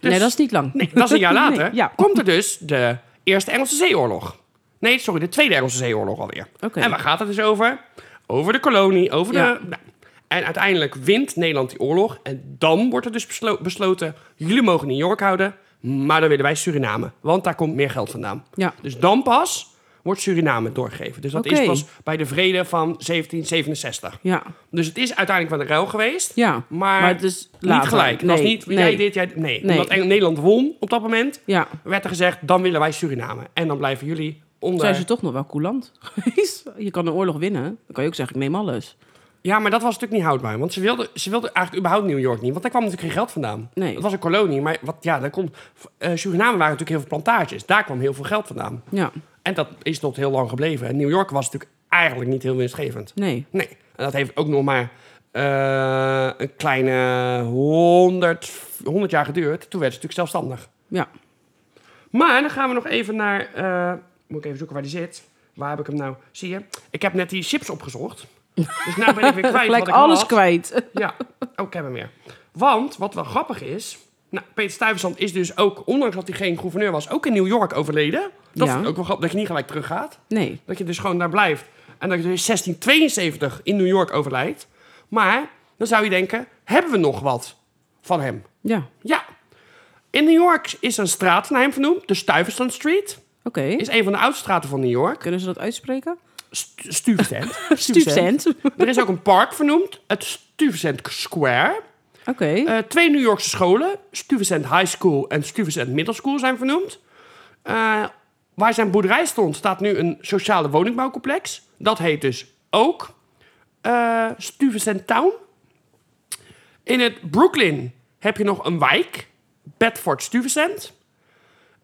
Speaker 2: dus-
Speaker 1: nee, dat is niet lang.
Speaker 2: nee, dat is een jaar later,
Speaker 1: *laughs* Nee, ja.
Speaker 2: komt er dus de Eerste Engelse Zeeoorlog. Nee, sorry, de Tweede Engelse Zeeoorlog alweer.
Speaker 1: Oké.
Speaker 2: En waar gaat het dus over? Over de kolonie, over
Speaker 1: Ja.
Speaker 2: de... nou, en uiteindelijk wint Nederland die oorlog. En dan wordt er dus beslo- besloten, jullie mogen New York houden, maar dan willen wij Suriname. Want daar komt meer geld vandaan.
Speaker 1: Ja.
Speaker 2: Dus dan pas wordt Suriname doorgegeven. Dus dat
Speaker 1: Oké.
Speaker 2: is pas bij de vrede van 1767.
Speaker 1: Ja.
Speaker 2: Dus het is uiteindelijk wel een ruil geweest.
Speaker 1: Ja.
Speaker 2: Maar,
Speaker 1: Maar dus- het is
Speaker 2: niet
Speaker 1: later.
Speaker 2: gelijk. Het was
Speaker 1: Nee,
Speaker 2: niet,
Speaker 1: nee.
Speaker 2: jij dit, jij... Nee,
Speaker 1: Nee.
Speaker 2: omdat Eng- Nederland won op dat moment,
Speaker 1: Ja.
Speaker 2: werd er gezegd, dan willen wij Suriname. En dan blijven jullie onder...
Speaker 1: Zijn ze toch nog wel coulant *laughs* geweest? Je kan een oorlog winnen. Dan kan je ook zeggen, ik neem alles.
Speaker 2: Ja, maar dat was natuurlijk niet houdbaar. Want ze wilden ze wilde eigenlijk überhaupt New York niet. Want daar kwam natuurlijk geen geld vandaan.
Speaker 1: Nee.
Speaker 2: Het was een kolonie, maar wat, ja, daar komt, eh, Suriname waren natuurlijk heel veel plantages. Daar kwam heel veel geld vandaan.
Speaker 1: Ja.
Speaker 2: En dat is tot heel lang gebleven. En New York was natuurlijk eigenlijk niet heel winstgevend.
Speaker 1: Nee.
Speaker 2: Nee. En dat heeft ook nog maar eh, een kleine 100, 100 jaar geduurd. Toen werd ze natuurlijk zelfstandig.
Speaker 1: Ja.
Speaker 2: Maar dan gaan we nog even naar. eh, moet ik even zoeken waar die zit. Waar heb ik hem nou? Zie je? Ik heb net die
Speaker 1: *laughs*
Speaker 2: chips opgezocht. Dus nu ben ik weer kwijt.
Speaker 1: Gelijk
Speaker 2: wat ik
Speaker 1: alles
Speaker 2: had.
Speaker 1: kwijt. *laughs*
Speaker 2: Ja. Oh, ik heb hem weer. Want wat wel grappig is. Nou, Peter Stuyvesant is dus ook, ondanks dat hij geen gouverneur was, ook in New York overleden. Dat
Speaker 1: Ja.
Speaker 2: is ook wel grappig dat je niet gelijk teruggaat.
Speaker 1: Nee.
Speaker 2: Dat je dus gewoon daar blijft. En dat je dus 1672 in New York overlijdt. Maar dan zou je denken: hebben we nog wat van hem?
Speaker 1: Ja. Oké.
Speaker 2: Ja. In New York is een straat naar hem vernoemd, de Stuyvesant Street. Is een van de oudste straten van New York.
Speaker 1: Kunnen ze dat uitspreken?
Speaker 2: St- Stuyvesant.
Speaker 1: Stuyvesant.
Speaker 2: Er is ook een park vernoemd, het Stuyvesant Square.
Speaker 1: *laughs* Oké.
Speaker 2: Eh, twee New Yorkse scholen, Stuyvesant High School en Stuyvesant Middle School, zijn vernoemd. Eh, waar zijn boerderij stond, staat nu een sociale woningbouwcomplex. Dat heet dus ook eh, Stuyvesant Town. In het Brooklyn heb je nog een wijk, Bedford Stuyvesant.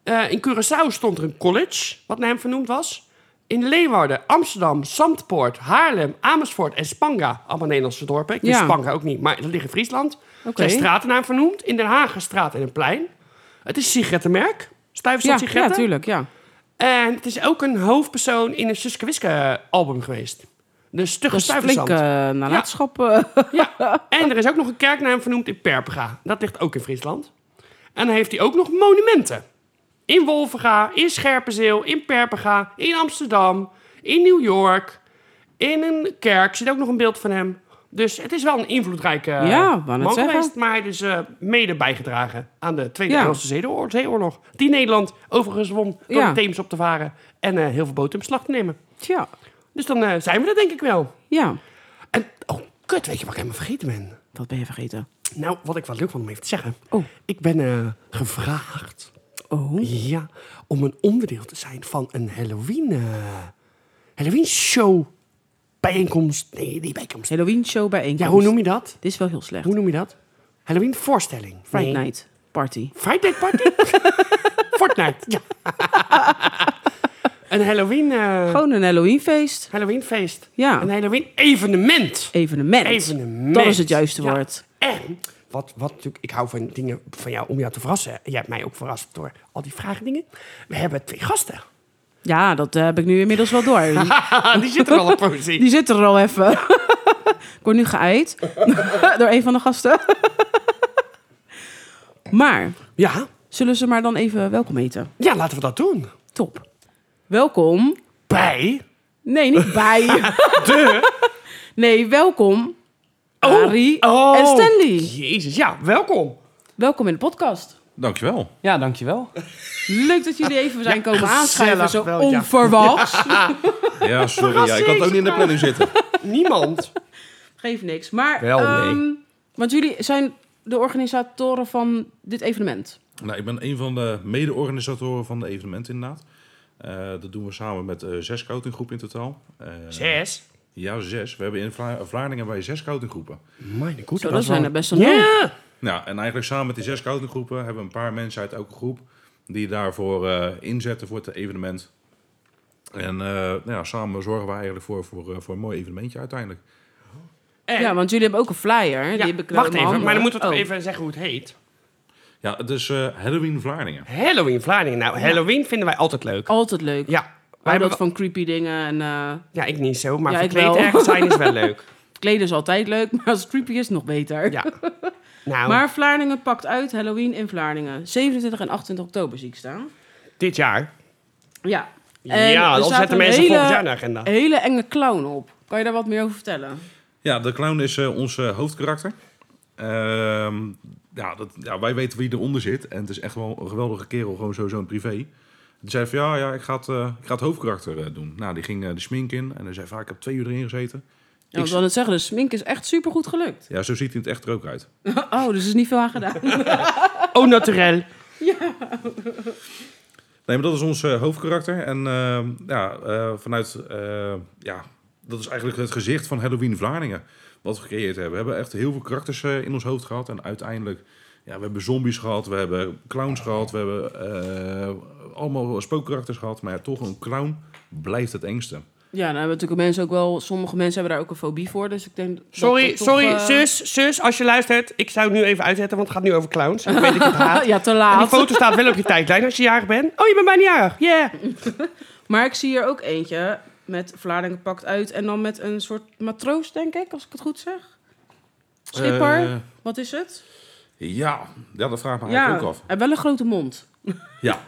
Speaker 2: Eh, in Curaçao stond er een college, wat naar hem vernoemd was. In Leeuwarden, Amsterdam, Zandpoort, Haarlem, Amersfoort en Spanga. Allemaal Nederlandse dorpen. Ik ken
Speaker 1: Ja.
Speaker 2: Spanga ook niet, maar dat ligt in Friesland.
Speaker 1: Oké.
Speaker 2: Zijn straten naar hem vernoemd. In Den Haag een straat en een plein. Het is een sigarettenmerk.
Speaker 1: ja,
Speaker 2: Stuyvesant
Speaker 1: ja,
Speaker 2: sigaretten.
Speaker 1: tuurlijk. Ja.
Speaker 2: en het is ook een hoofdpersoon in een Suske Wiske album geweest. De Stugge
Speaker 1: Dat is flink
Speaker 2: Stuyvesant.
Speaker 1: eh nalatenschap.
Speaker 2: *laughs*
Speaker 1: eh.
Speaker 2: Ja. En er is ook nog een kerk naar hem vernoemd in Perpega. Dat ligt ook in Friesland. En dan heeft hij ook nog monumenten. In Wolvega, in Scherpenzeel, in Perpega, in Amsterdam, in New York. In een kerk zit ook nog een beeld van hem. Dus het is wel een invloedrijke eh,
Speaker 1: Ja, wou net
Speaker 2: man
Speaker 1: zeggen.
Speaker 2: geweest. Maar hij is eh, mede bijgedragen aan de Tweede
Speaker 1: Ja.
Speaker 2: Nederlandse Zeeoor- Zeeoorlog. Die Nederland overigens won door
Speaker 1: Ja.
Speaker 2: de Theems op te varen. En eh, heel veel boten in beslag te nemen.
Speaker 1: Tja.
Speaker 2: Dus dan eh, zijn we er denk ik wel.
Speaker 1: Ja.
Speaker 2: En, oh kut, weet je wat ik helemaal vergeten ben?
Speaker 1: Dat ben je vergeten.
Speaker 2: Nou, wat ik wel leuk vond om even te zeggen.
Speaker 1: Oh.
Speaker 2: Ik ben eh, gevraagd
Speaker 1: Oh.
Speaker 2: ja, om een onderdeel te zijn van een Halloween, eh, Halloween show bijeenkomst. Nee, niet bijeenkomst.
Speaker 1: Halloween show bijeenkomst.
Speaker 2: Ja, hoe noem je dat?
Speaker 1: Dit is wel heel slecht.
Speaker 2: Hoe noem je dat? Halloween voorstelling.
Speaker 1: Friday
Speaker 2: Nee.
Speaker 1: night party.
Speaker 2: Friday party?
Speaker 1: *laughs*
Speaker 2: Fortnite, ja. een Halloween, eh
Speaker 1: Gewoon een Halloween feest.
Speaker 2: Halloween feest.
Speaker 1: Ja.
Speaker 2: Een Halloween evenement.
Speaker 1: Evenement.
Speaker 2: Evenement.
Speaker 1: Dat is het juiste
Speaker 2: Ja.
Speaker 1: woord.
Speaker 2: En wat, wat natuurlijk, ik hou van dingen van jou om jou te verrassen. En jij hebt mij ook verrast door al die vraagdingen. We hebben twee gasten.
Speaker 1: Ja, dat eh, heb ik nu inmiddels wel door. *laughs*
Speaker 2: *laughs*
Speaker 1: Die-
Speaker 2: die zitten wel op positie.
Speaker 1: Die zit er al even. *laughs* ik word nu geëid *laughs* door een van de gasten. *laughs* maar,
Speaker 2: Ja,
Speaker 1: zullen ze maar dan even welkom heten?
Speaker 2: ja, laten we dat doen.
Speaker 1: Top. Welkom.
Speaker 2: Bij.
Speaker 1: Nee, niet
Speaker 2: *laughs*
Speaker 1: bij. Nee, welkom. Arie
Speaker 2: Oh,
Speaker 1: en Stanley.
Speaker 2: Jezus, ja, welkom.
Speaker 1: Welkom in de podcast.
Speaker 4: Dankjewel.
Speaker 5: Ja, dankjewel.
Speaker 1: Leuk dat jullie even zijn komen
Speaker 2: gezellig
Speaker 1: aanschuiven. Zo
Speaker 2: wel, ja.
Speaker 1: onverwachts.
Speaker 4: Ja, sorry. Ja, ik had het ook niet in de planning zitten.
Speaker 2: Niemand. *laughs*
Speaker 1: Geeft niks. Maar,
Speaker 5: Wel, nee.
Speaker 1: ehm, want jullie zijn de organisatoren van dit evenement.
Speaker 4: Nou, ik ben een van de mede-organisatoren van de evenement inderdaad. Eh, dat doen we samen met eh, zes scoutinggroepen in totaal. Eh,
Speaker 2: Zes.
Speaker 4: Ja, zes. We hebben in Vla- Vlaardingen bij zes scoutinggroepen.
Speaker 2: Mijn goed,
Speaker 1: Zo, dat zijn er best wel
Speaker 2: Ja.
Speaker 4: Nou, en eigenlijk samen met die zes scoutinggroepen hebben we een paar mensen uit elke groep die daarvoor eh, inzetten voor het evenement. En eh, nou ja, samen zorgen we eigenlijk voor, voor, eh, voor een mooi evenementje uiteindelijk.
Speaker 2: En-
Speaker 1: Ja, want jullie hebben ook een flyer. die heb ik eh, in
Speaker 2: wacht
Speaker 1: mijn
Speaker 2: even,
Speaker 1: handen.
Speaker 2: maar dan moeten we toch
Speaker 1: Oh.
Speaker 2: even zeggen hoe het heet.
Speaker 4: Ja, het is eh, Halloween Vlaardingen.
Speaker 2: Halloween Vlaardingen. Nou, Halloween vinden wij altijd leuk.
Speaker 1: Altijd leuk. Wij
Speaker 2: Ja, wij hebben,
Speaker 1: houden Oh, dat van creepy dingen. En, eh,
Speaker 2: ja, ik niet zo, maar
Speaker 1: Ja, ik
Speaker 2: verkleed
Speaker 1: wel.
Speaker 2: ergens zijn
Speaker 1: *laughs*
Speaker 2: is wel leuk.
Speaker 1: kleden is altijd leuk, *laughs* maar als het creepy is, nog beter.
Speaker 2: Ja. Nou,
Speaker 1: Maar Vlaardingen pakt uit Halloween in Vlaardingen. 27 en 28 oktober zie ik staan.
Speaker 2: dit jaar.
Speaker 1: Ja. En
Speaker 2: Ja,
Speaker 1: er
Speaker 2: dan
Speaker 1: staat
Speaker 2: zetten
Speaker 1: een
Speaker 2: mensen
Speaker 1: hele-
Speaker 2: volgend jaar in de agenda.
Speaker 1: Een hele enge clown op. Kan je daar wat meer over vertellen?
Speaker 4: Ja, de clown is eh, ons eh, hoofdkarakter. Ehm, ja, dat, ja, wij weten wie eronder zit. En het is echt wel een geweldige kerel, gewoon sowieso in privé. Die zei van, ja, ja ik, ga het, eh, ik ga het hoofdkarakter eh, doen. Nou, die ging eh, de smink in. En hij zei van, ah, ik heb twee uur erin gezeten.
Speaker 1: Ja, ik
Speaker 4: Ik-
Speaker 1: wil net zeggen, de smink is echt supergoed gelukt.
Speaker 4: Ja, zo ziet hij in het echt er ook uit.
Speaker 1: Oh, dus er is niet veel aan gedaan.
Speaker 2: Oh, *laughs* naturel.
Speaker 4: Nee, maar dat is ons eh, hoofdkarakter. En ehm, ja, eh, vanuit, eh, ja, dat is eigenlijk het gezicht van Halloween Vlaardingen. Wat we gecreëerd hebben. We hebben echt heel veel karakters eh, in ons hoofd gehad. En uiteindelijk, ja, we hebben zombies gehad. We hebben clowns gehad. We hebben eh, allemaal spookkarakters gehad. Maar ja, toch een clown blijft het engste.
Speaker 1: *laughs* Ja, nou hebben natuurlijk mensen ook wel... Sommige mensen hebben daar ook een fobie voor, dus ik denk... dat
Speaker 2: Sorry,
Speaker 1: dat toch,
Speaker 2: sorry,
Speaker 1: eh,
Speaker 2: zus, zus, als je luistert. Ik zou het nu even uitzetten, want het gaat nu over clowns. Ik weet dat je het *laughs*
Speaker 1: *laughs*
Speaker 2: haat.
Speaker 1: Ja, te
Speaker 2: En die
Speaker 1: laat.
Speaker 2: foto staat wel op je tijdlijn als je jarig bent. Oh, je bent bijna jarig.
Speaker 1: *laughs*
Speaker 2: Yeah.
Speaker 1: Maar ik zie hier ook eentje met Vlaardingen pakt uit en dan met een soort matroos, denk ik, als ik het goed zeg. Schipper,
Speaker 4: Eh,
Speaker 1: wat is het?
Speaker 4: Ja, ja dat vraag ik me
Speaker 1: ja,
Speaker 4: eigenlijk ook af.
Speaker 1: en wel een grote mond.
Speaker 4: *laughs* Ja,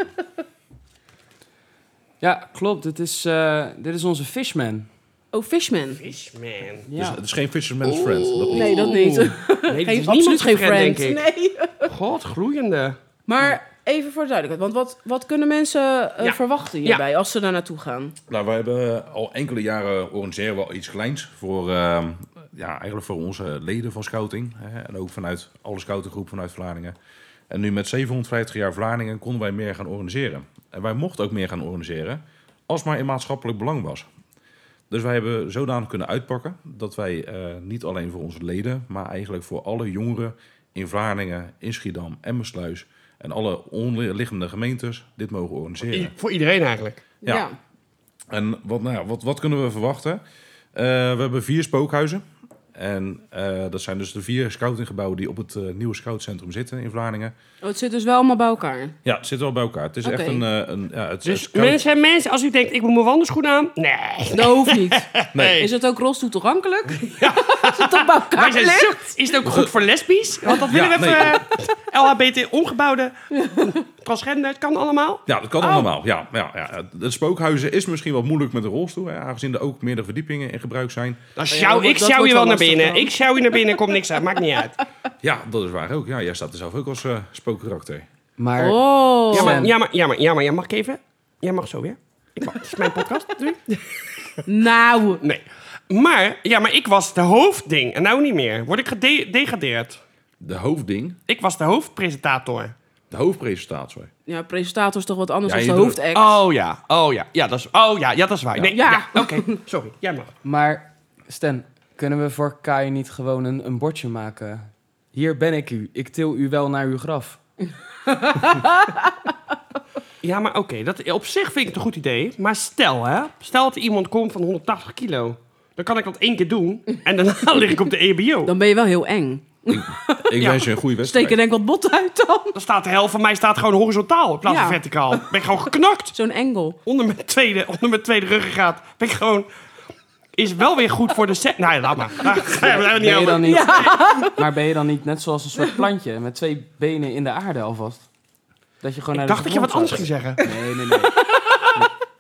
Speaker 5: Ja, klopt. Dit is, eh, dit is onze Fishman.
Speaker 1: Oh, Fishman.
Speaker 2: Fishman.
Speaker 4: dus
Speaker 5: Ja.
Speaker 4: het is geen Fisherman's Friend. Dat niet.
Speaker 1: Nee, dat *laughs* dus niet.
Speaker 2: Nee,
Speaker 1: Heeft
Speaker 2: absoluut
Speaker 1: niemand geen friend.
Speaker 2: denk ik.
Speaker 1: Nee.
Speaker 2: God, gloeiende.
Speaker 1: Maar even voor de duidelijkheid, want wat, wat kunnen mensen eh,
Speaker 2: Ja.
Speaker 1: verwachten hierbij als ze daar naartoe gaan?
Speaker 4: Nou, we hebben al enkele jaren organiseren wel iets kleins voor, ehm, ja, eigenlijk voor onze leden van Scouting. Hè, en ook vanuit alle scoutengroep vanuit Vlaardingen. En nu met 750 jaar Vlaardingen konden wij meer gaan organiseren. En wij mochten ook meer gaan organiseren, als maar in maatschappelijk belang was. Dus wij hebben zodanig kunnen uitpakken dat wij eh, niet alleen voor onze leden, maar eigenlijk voor alle jongeren in Vlaardingen, in Schiedam, Emmersluis en alle onderliggende gemeentes dit mogen organiseren.
Speaker 2: I- voor iedereen eigenlijk.
Speaker 4: Ja. En wat, nou ja, wat, wat kunnen we verwachten? Eh, we hebben vier spookhuizen. En eh, dat zijn dus de vier scoutinggebouwen die op het eh, nieuwe scoutcentrum zitten in Vlaardingen.
Speaker 1: Oh, het zit dus wel allemaal bij elkaar.
Speaker 4: Ja, het zit wel bij elkaar. Het is
Speaker 1: Oké.
Speaker 4: echt een... eh, een ja, het is
Speaker 2: Dus
Speaker 4: een scout-
Speaker 2: mensen, mensen, als u denkt, ik moet mijn wandelschoen aan. Nee.
Speaker 1: Dat hoeft niet.
Speaker 4: *laughs* Nee.
Speaker 1: Is het ook rolstoel toegankelijk? Is het toch bij elkaar
Speaker 2: Wij zijn
Speaker 1: gelegd?
Speaker 2: zo- is het ook goed voor lesbisch? Want dat willen
Speaker 4: Ja,
Speaker 2: we
Speaker 4: nee.
Speaker 2: even... eh, *laughs* LHBT omgebouwde. Transgender, het kan allemaal.
Speaker 4: Ja, dat kan allemaal. Ja, ja, ja. Het spookhuizen is misschien wat moeilijk met een rolstoel, hè, aangezien er ook meerdere verdiepingen in gebruik zijn.
Speaker 2: Dan
Speaker 1: dat
Speaker 2: sjouw,
Speaker 1: wordt-
Speaker 2: ik
Speaker 1: dat
Speaker 2: sjouw
Speaker 1: wordt
Speaker 2: je wel
Speaker 1: wel
Speaker 2: naar
Speaker 1: lastig
Speaker 2: binnen.
Speaker 1: dan.
Speaker 2: Ik sjouw je naar binnen, komt niks uit. Maakt niet uit.
Speaker 4: Ja, dat is waar ook. Ja, jij staat er zelf ook als eh, spookkarakter.
Speaker 5: Maar
Speaker 1: Oh.
Speaker 2: Ja, maar,
Speaker 5: Sam.
Speaker 2: ja, maar, ja, maar, ja, maar, ja, mag ik even? Jij mag zo weer. Ik mag. Het is mijn podcast. Doei.
Speaker 1: Nou,
Speaker 2: Nee. Maar, ja, maar ik was de hoofdding. En nou niet meer. Word ik gedegradeerd.
Speaker 4: De hoofdding,
Speaker 2: Ik was de hoofdpresentator.
Speaker 4: de hoofdpresentator.
Speaker 1: ja, presentator is toch wat anders
Speaker 4: Ja,
Speaker 1: dan
Speaker 4: je
Speaker 1: de
Speaker 4: doet-
Speaker 1: hoofdact.
Speaker 2: Oh ja, oh ja. Ja, dat is, oh ja, ja, dat is waar. Nee,
Speaker 1: Ja.
Speaker 2: ja. Oké, sorry. Jij mag.
Speaker 5: Maar Stan, kunnen we voor Kai niet gewoon een, een bordje maken? Hier ben ik u. Ik til u wel naar uw graf.
Speaker 2: Ja, maar oké. dat op zich vind ik het een goed idee. Maar stel, hè. Stel dat er iemand komt van 180 kilo. Dan kan ik dat één keer doen. En daarna *laughs* lig ik op de E EBO.
Speaker 1: Dan ben je wel heel eng.
Speaker 4: Ik
Speaker 2: Ja.
Speaker 4: wens je een goede
Speaker 1: Steek er
Speaker 4: wedstrijd.
Speaker 1: denk ik wat bot uit dan.
Speaker 2: Dan staat de helft van mij staat gewoon horizontaal in plaats van
Speaker 1: Ja.
Speaker 2: verticaal. Ben ik gewoon geknakt.
Speaker 1: Zo'n engel.
Speaker 2: onder mijn tweede, onder mijn tweede ruggengraat. Ben ik gewoon. Is wel weer goed voor de set. Nee, laat
Speaker 5: *laughs*
Speaker 2: maar. Daar gaan we het niet
Speaker 5: Ben je
Speaker 2: over.
Speaker 5: dan niet, *laughs* Maar ben je dan niet net zoals een soort plantje met twee benen in de aarde alvast? Dat je gewoon naar
Speaker 2: Ik
Speaker 5: de
Speaker 2: dacht dat je wat
Speaker 5: grond
Speaker 2: anders
Speaker 5: zat.
Speaker 2: ging zeggen.
Speaker 5: Nee,
Speaker 2: *laughs*
Speaker 5: nee, nee. Nee.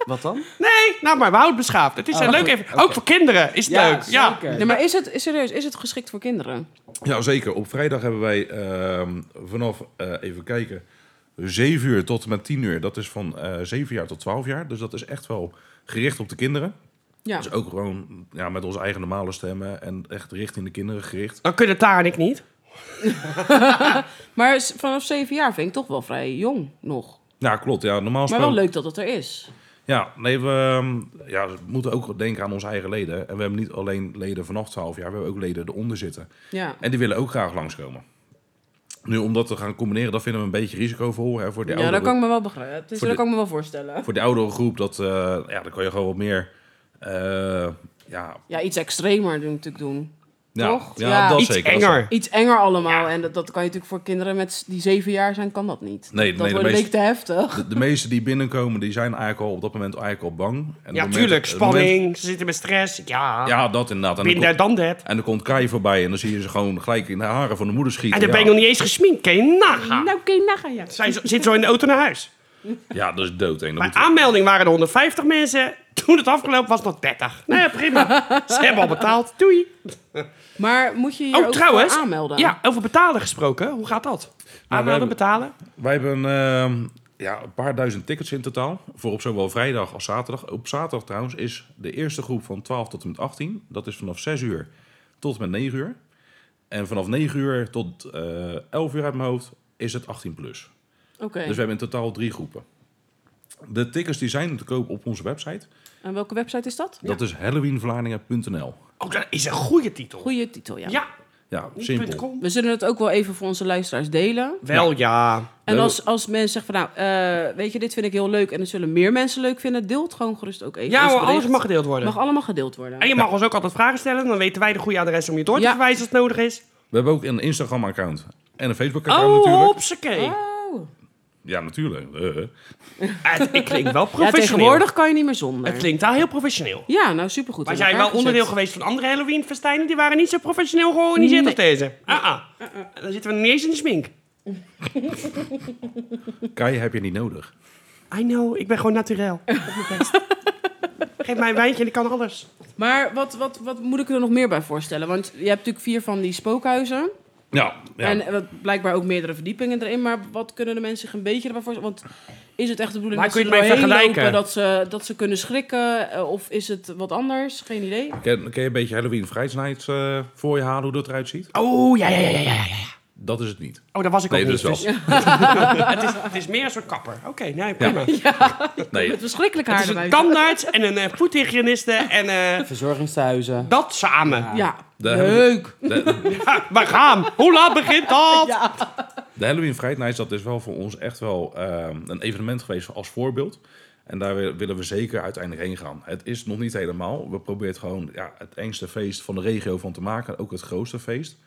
Speaker 5: Wat dan?
Speaker 2: Nee, nou maar, we houden het beschaafd. Het is
Speaker 5: Oh,
Speaker 2: een leuk
Speaker 5: goed.
Speaker 2: even. Ook voor kinderen is het leuk. Ja.
Speaker 5: zeker.
Speaker 1: Nee, maar is het, serieus, is het geschikt voor kinderen?
Speaker 4: Ja, zeker. Op vrijdag hebben wij ehm, vanaf, eh, even kijken, 7 uur tot en met 10 uur. Dat is van eh 7 jaar tot 12 jaar. Dus dat is echt wel gericht op de kinderen.
Speaker 1: Ja.
Speaker 4: Dus ook gewoon ja, met onze eigen normale stemmen en echt richting de kinderen gericht.
Speaker 2: Dan kunnen Tara en ik niet.
Speaker 1: Maar s- vanaf zeven jaar vind ik toch wel vrij jong nog.
Speaker 4: Ja, klopt. Ja, normaal
Speaker 1: Maar
Speaker 4: gesproken-
Speaker 1: wel leuk dat het er is.
Speaker 4: Ja, nee, we, ehm, ja, we moeten ook denken aan onze eigen leden. En we hebben niet alleen leden vanaf 12 jaar, we hebben ook leden eronder zitten.
Speaker 1: Ja.
Speaker 4: En die willen ook graag langskomen. Nu, om dat te gaan combineren, dat vinden we een beetje risicovol. Hè, voor de
Speaker 1: Ja, dat kan ik me wel begrijpen. Het is-
Speaker 4: Voor
Speaker 1: Dat
Speaker 4: de-
Speaker 1: kan ik me wel voorstellen.
Speaker 4: voor die oudere groep, dat, eh, ja, dan kan je gewoon wat meer. eh, ja,
Speaker 1: Ja, iets extremer doen- natuurlijk doen.
Speaker 4: ja,
Speaker 1: Toch?
Speaker 4: Ja,
Speaker 1: Ja.
Speaker 4: dat
Speaker 2: Iets
Speaker 4: zeker. dat
Speaker 2: enger.
Speaker 1: Iets enger allemaal. En dat, dat kan je natuurlijk voor kinderen met s- die zeven jaar zijn, kan dat niet.
Speaker 4: Nee,
Speaker 1: dat
Speaker 4: nee, de
Speaker 1: wordt een
Speaker 4: meeste-
Speaker 1: beetje te heftig.
Speaker 4: zeker. De, de meesten die binnenkomen, die zijn eigenlijk al op dat moment eigenlijk al bang. En op het
Speaker 2: Ja,
Speaker 4: moment-
Speaker 2: tuurlijk.
Speaker 4: het moment-
Speaker 2: Spanning. Ze zitten met stress. Ja.
Speaker 4: ja, dat inderdaad. En
Speaker 2: Bin
Speaker 4: dan, komt,
Speaker 2: daar dan dat.
Speaker 4: en dan komt Kai voorbij en dan zie je ze gewoon gelijk in de haren van de moeder schieten.
Speaker 2: En dan ben je
Speaker 4: ja.
Speaker 2: nog niet eens gesminkt. Kan je nagaan.
Speaker 1: Nou, oké, nou ga je.
Speaker 2: Zij zo- zit zo in de auto naar huis.
Speaker 4: ja, dat is dood. hè. Dan
Speaker 2: Bij
Speaker 4: moeten we-
Speaker 2: aanmelding waren er 150 mensen. Toen het afgelopen was, nog 30. Nee, prima. Ze hebben al betaald. Doei.
Speaker 1: Maar moet je je
Speaker 2: Oh,
Speaker 1: ook
Speaker 2: trouwens.
Speaker 1: voor aanmelden?
Speaker 2: Ja, over betalen gesproken. Hoe gaat dat? Aanmelden,
Speaker 4: Nou, hebben-
Speaker 2: betalen.
Speaker 4: Wij hebben ehm, ja, een paar duizend tickets in totaal. Voor op zowel vrijdag als zaterdag. Op zaterdag trouwens is de eerste groep van 12 tot en met 18. Dat is vanaf 6 uur tot en met 9 uur. En vanaf 9 uur tot eh 11 uur uit mijn hoofd is het 18 plus.
Speaker 1: Oké.
Speaker 4: Dus we hebben in totaal drie groepen. De tickets die zijn te koop op onze website.
Speaker 1: En welke website is dat?
Speaker 4: Dat is halloweenvlaardingen.nl.
Speaker 2: Oh, dat is een goede titel.
Speaker 1: Goeie titel, ja.
Speaker 2: Ja,
Speaker 4: Ja,
Speaker 2: niet
Speaker 4: simpel.
Speaker 2: .com.
Speaker 1: We zullen het ook wel even voor onze luisteraars delen.
Speaker 2: Wel ja.
Speaker 1: En
Speaker 4: Ja.
Speaker 1: als, als mensen zeggen van, nou, eh, weet je, dit vind ik heel leuk en het zullen meer mensen leuk vinden, deelt gewoon gerust ook even.
Speaker 2: Ja
Speaker 1: ons
Speaker 2: hoor,
Speaker 1: bericht.
Speaker 2: alles mag gedeeld worden.
Speaker 1: Mag allemaal gedeeld worden.
Speaker 2: En je mag ons ook altijd vragen stellen. Dan weten wij de goede adres om je door te
Speaker 1: Ja.
Speaker 2: verwijzen als het nodig is.
Speaker 4: We hebben ook een Instagram-account en een Facebook-account
Speaker 2: Oh,
Speaker 4: natuurlijk.
Speaker 2: hopsakee.
Speaker 1: Oh.
Speaker 4: Ja, natuurlijk. Eh.
Speaker 2: Ah, het- ik klink wel
Speaker 1: Ja,
Speaker 2: professioneel.
Speaker 1: tegenwoordig kan je niet meer zonder.
Speaker 2: Het klinkt wel heel professioneel.
Speaker 1: Ja, nou supergoed.
Speaker 2: Maar
Speaker 1: in
Speaker 2: zijn wel
Speaker 1: elkaar
Speaker 2: onderdeel
Speaker 1: gezet.
Speaker 2: geweest van andere Halloween-festijnen. Die waren niet zo professioneel georganiseerd als deze. Ah, ah. Dan zitten we niet eens in de smink.
Speaker 4: Kai heb je niet nodig.
Speaker 2: I know, ik ben gewoon *laughs* naturel. Op mijn best. Geef mij een wijntje en ik kan alles.
Speaker 1: Maar wat, wat, wat moet ik er nog meer bij voorstellen? Want je hebt natuurlijk vier van die spookhuizen.
Speaker 4: Ja, ja.
Speaker 1: En eh, wat, blijkbaar ook meerdere verdiepingen erin. Maar wat kunnen de mensen zich een beetje erbij voorstellen? Want is het echt de bedoeling
Speaker 2: Maar
Speaker 1: dat
Speaker 2: kun
Speaker 1: ze
Speaker 2: je het mee
Speaker 1: doorheen
Speaker 2: vergelijken?
Speaker 1: lopen, dat ze, dat ze kunnen schrikken? eh, Of is het wat anders? Geen idee.
Speaker 4: Ken, ken je een beetje Halloween Vrijsnijd eh voor je halen hoe dat eruit ziet?
Speaker 2: Oh, ja, ja, ja, ja, ja. ja.
Speaker 4: Dat is het niet.
Speaker 2: Oh, daar was ik
Speaker 4: Nee,
Speaker 2: ook
Speaker 4: dat
Speaker 2: niet.
Speaker 4: is wel.
Speaker 2: dus- *laughs* het, is, het is meer een soort kapper. Oké, nee, prima.
Speaker 4: *laughs* Nee,
Speaker 1: Met verschrikkelijk haar
Speaker 2: Het is een
Speaker 1: erbij.
Speaker 2: tandarts en een eh, voethygiëniste en eh,
Speaker 5: Verzorgingstehuizen.
Speaker 2: dat samen.
Speaker 1: Ja,
Speaker 4: Daar
Speaker 1: leuk.
Speaker 2: Ja, we gaan. Hoe laat begint dat?
Speaker 4: De Halloween Fright Nights, dat is wel voor ons echt wel ehm, een evenement geweest als voorbeeld. En daar wi- willen we zeker uiteindelijk heen gaan. Het is nog niet helemaal. We proberen het gewoon ja, het engste feest van de regio van te maken. Ook het grootste feest.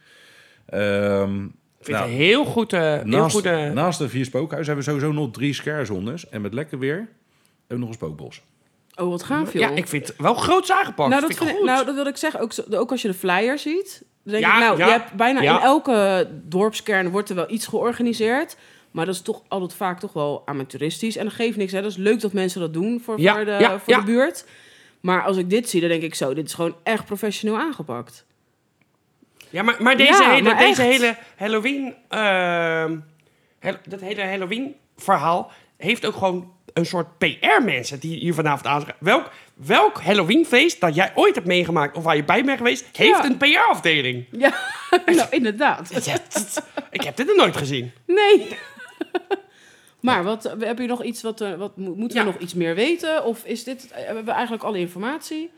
Speaker 4: Ehm,
Speaker 2: Ik vind
Speaker 4: nou,
Speaker 2: het heel goed. eh, heel
Speaker 4: naast,
Speaker 2: goed eh,
Speaker 4: naast de vier spookhuizen hebben we sowieso nog drie scarezones. En met lekker weer hebben we nog een spookbos.
Speaker 1: Oh, wat gaaf joh.
Speaker 2: ja, ik vind het wel groots aangepakt.
Speaker 1: nou, dat
Speaker 2: vind ik
Speaker 1: vind ik-
Speaker 2: goed.
Speaker 1: nou, dat wil ik zeggen. Ook, zo- ook als je de flyer ziet. dan Denk
Speaker 2: Ja,
Speaker 1: ik, nou,
Speaker 2: ja,
Speaker 1: je hebt bijna
Speaker 2: ja.
Speaker 1: in elke dorpskern wordt er wel iets georganiseerd. Maar dat is toch altijd vaak toch wel amateuristisch. En dat geeft niks. Hè. Dat is leuk dat mensen dat doen voor,
Speaker 2: Ja,
Speaker 1: voor, de,
Speaker 2: ja,
Speaker 1: voor
Speaker 2: ja.
Speaker 1: de buurt. Maar als ik dit zie, dan denk ik zo, dit is gewoon echt professioneel aangepakt.
Speaker 2: ja, maar, maar deze,
Speaker 1: Ja,
Speaker 2: hele,
Speaker 1: maar
Speaker 2: deze
Speaker 1: echt.
Speaker 2: hele Halloween... ehm, hel- dat hele Halloween verhaal heeft ook gewoon een soort PR-mensen die hier vanavond aanschrijven. Welk, welk Halloween-feest dat jij ooit hebt meegemaakt of waar je bij bent geweest, heeft
Speaker 1: Ja.
Speaker 2: een PR-afdeling.
Speaker 1: *laughs* Ja, nou inderdaad.
Speaker 2: ik heb dit nog nooit gezien.
Speaker 1: Nee. *laughs* Maar wat, heb je nog iets wat, eh, wat mo- moeten we
Speaker 2: Ja.
Speaker 1: nog iets meer weten? Of is dit, eh, hebben we eigenlijk alle informatie?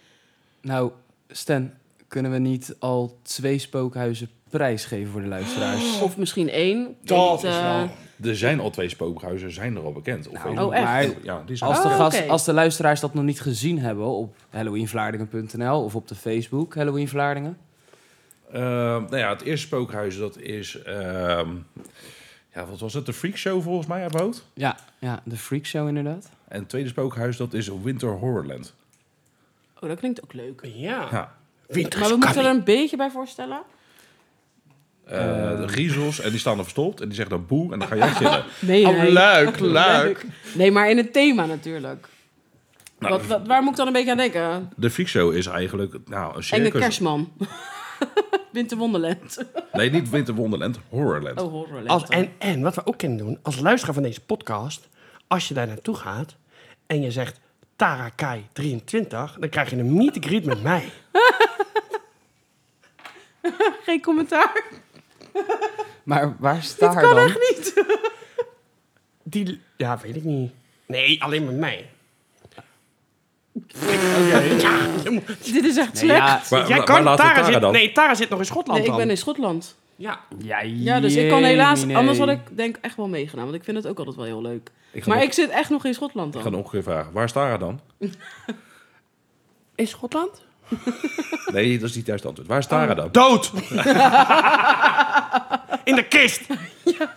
Speaker 5: Nou, Stan, kunnen we niet al twee spookhuizen prijsgeven voor de luisteraars?
Speaker 1: Of misschien één?
Speaker 2: Dat
Speaker 1: Want,
Speaker 2: is
Speaker 1: eh,
Speaker 2: wel-
Speaker 4: Er zijn al twee spookhuizen, zijn er al bekend.
Speaker 2: Nou,
Speaker 4: Op Facebook.
Speaker 1: oh, echt?
Speaker 5: Maar
Speaker 4: Ja, die zijn
Speaker 5: Dus als de,
Speaker 1: Oh,
Speaker 5: gast,
Speaker 1: oké.
Speaker 5: als de luisteraars dat nog niet gezien hebben op halloweenvlaardingen.nl of op de Facebook Halloween Vlaardingen.
Speaker 4: Ehm, nou ja, het eerste spookhuis, dat is... ehm, ja, wat was het? De Freak Show volgens mij uit mijn hoofd.
Speaker 5: Ja, ja, de Freak Show inderdaad.
Speaker 4: En het tweede spookhuis, dat is Winter Horrorland.
Speaker 1: Oh, dat klinkt ook leuk.
Speaker 2: Ja.
Speaker 4: Ja.
Speaker 2: Winter
Speaker 1: Maar
Speaker 2: is
Speaker 1: we moeten er
Speaker 2: coming.
Speaker 1: een beetje bij voorstellen.
Speaker 4: Eh,
Speaker 2: Ehm.
Speaker 4: de griezels, en die staan er verstopt. En die zeggen dan boe, en dan ga jij
Speaker 2: *laughs*
Speaker 4: chillen.
Speaker 1: Nee,
Speaker 2: Oh, leuk, leuk.
Speaker 1: Nee, maar in het thema natuurlijk.
Speaker 4: Nou,
Speaker 1: wat, wat- waar moet ik dan een beetje aan denken?
Speaker 4: De Freak Show is eigenlijk nou, een
Speaker 1: Enge
Speaker 4: circus.
Speaker 1: kerstman. *laughs* Winter Wonderland.
Speaker 4: Nee, niet Winter Wonderland, Horrorland.
Speaker 1: Oh, horrorland.
Speaker 2: Als, en, en wat we ook kunnen doen, als luisteraar van deze podcast, als je daar naartoe gaat en je zegt Tarakai 23, dan krijg je een meet and greet met mij.
Speaker 1: *laughs* Geen commentaar.
Speaker 5: Maar waar staat haar
Speaker 1: Kan
Speaker 5: dan?
Speaker 1: echt niet.
Speaker 2: Die, ja, weet ik niet. Nee, alleen met mij.
Speaker 1: *laughs*
Speaker 2: *laughs*
Speaker 1: Dit is echt
Speaker 5: Nee,
Speaker 1: slecht.
Speaker 5: ja,
Speaker 4: Waar-
Speaker 2: Jij
Speaker 4: waar-
Speaker 2: kan,
Speaker 4: waar laten we
Speaker 2: Tara zit,
Speaker 4: dan?
Speaker 2: nee, Tara zit nog in Schotland
Speaker 1: Nee, ik
Speaker 2: dan.
Speaker 1: ben in Schotland.
Speaker 2: Ja,
Speaker 5: Ja,
Speaker 1: Ja, dus ik kan helaas...
Speaker 5: jemine.
Speaker 1: Anders had ik denk echt wel meegedaan. Want ik vind het ook altijd wel heel leuk.
Speaker 4: Ik ga
Speaker 1: Maar
Speaker 4: nog-
Speaker 1: ik zit echt nog in Schotland
Speaker 4: Ik ga
Speaker 1: dan.
Speaker 4: nog een keer vragen, waar is Tara dan?
Speaker 2: in Schotland?
Speaker 4: Nee, dat is niet juist het antwoord. Waar
Speaker 2: Oh.
Speaker 4: is Tara
Speaker 2: *laughs*
Speaker 4: dan?
Speaker 2: Dood! in de kist!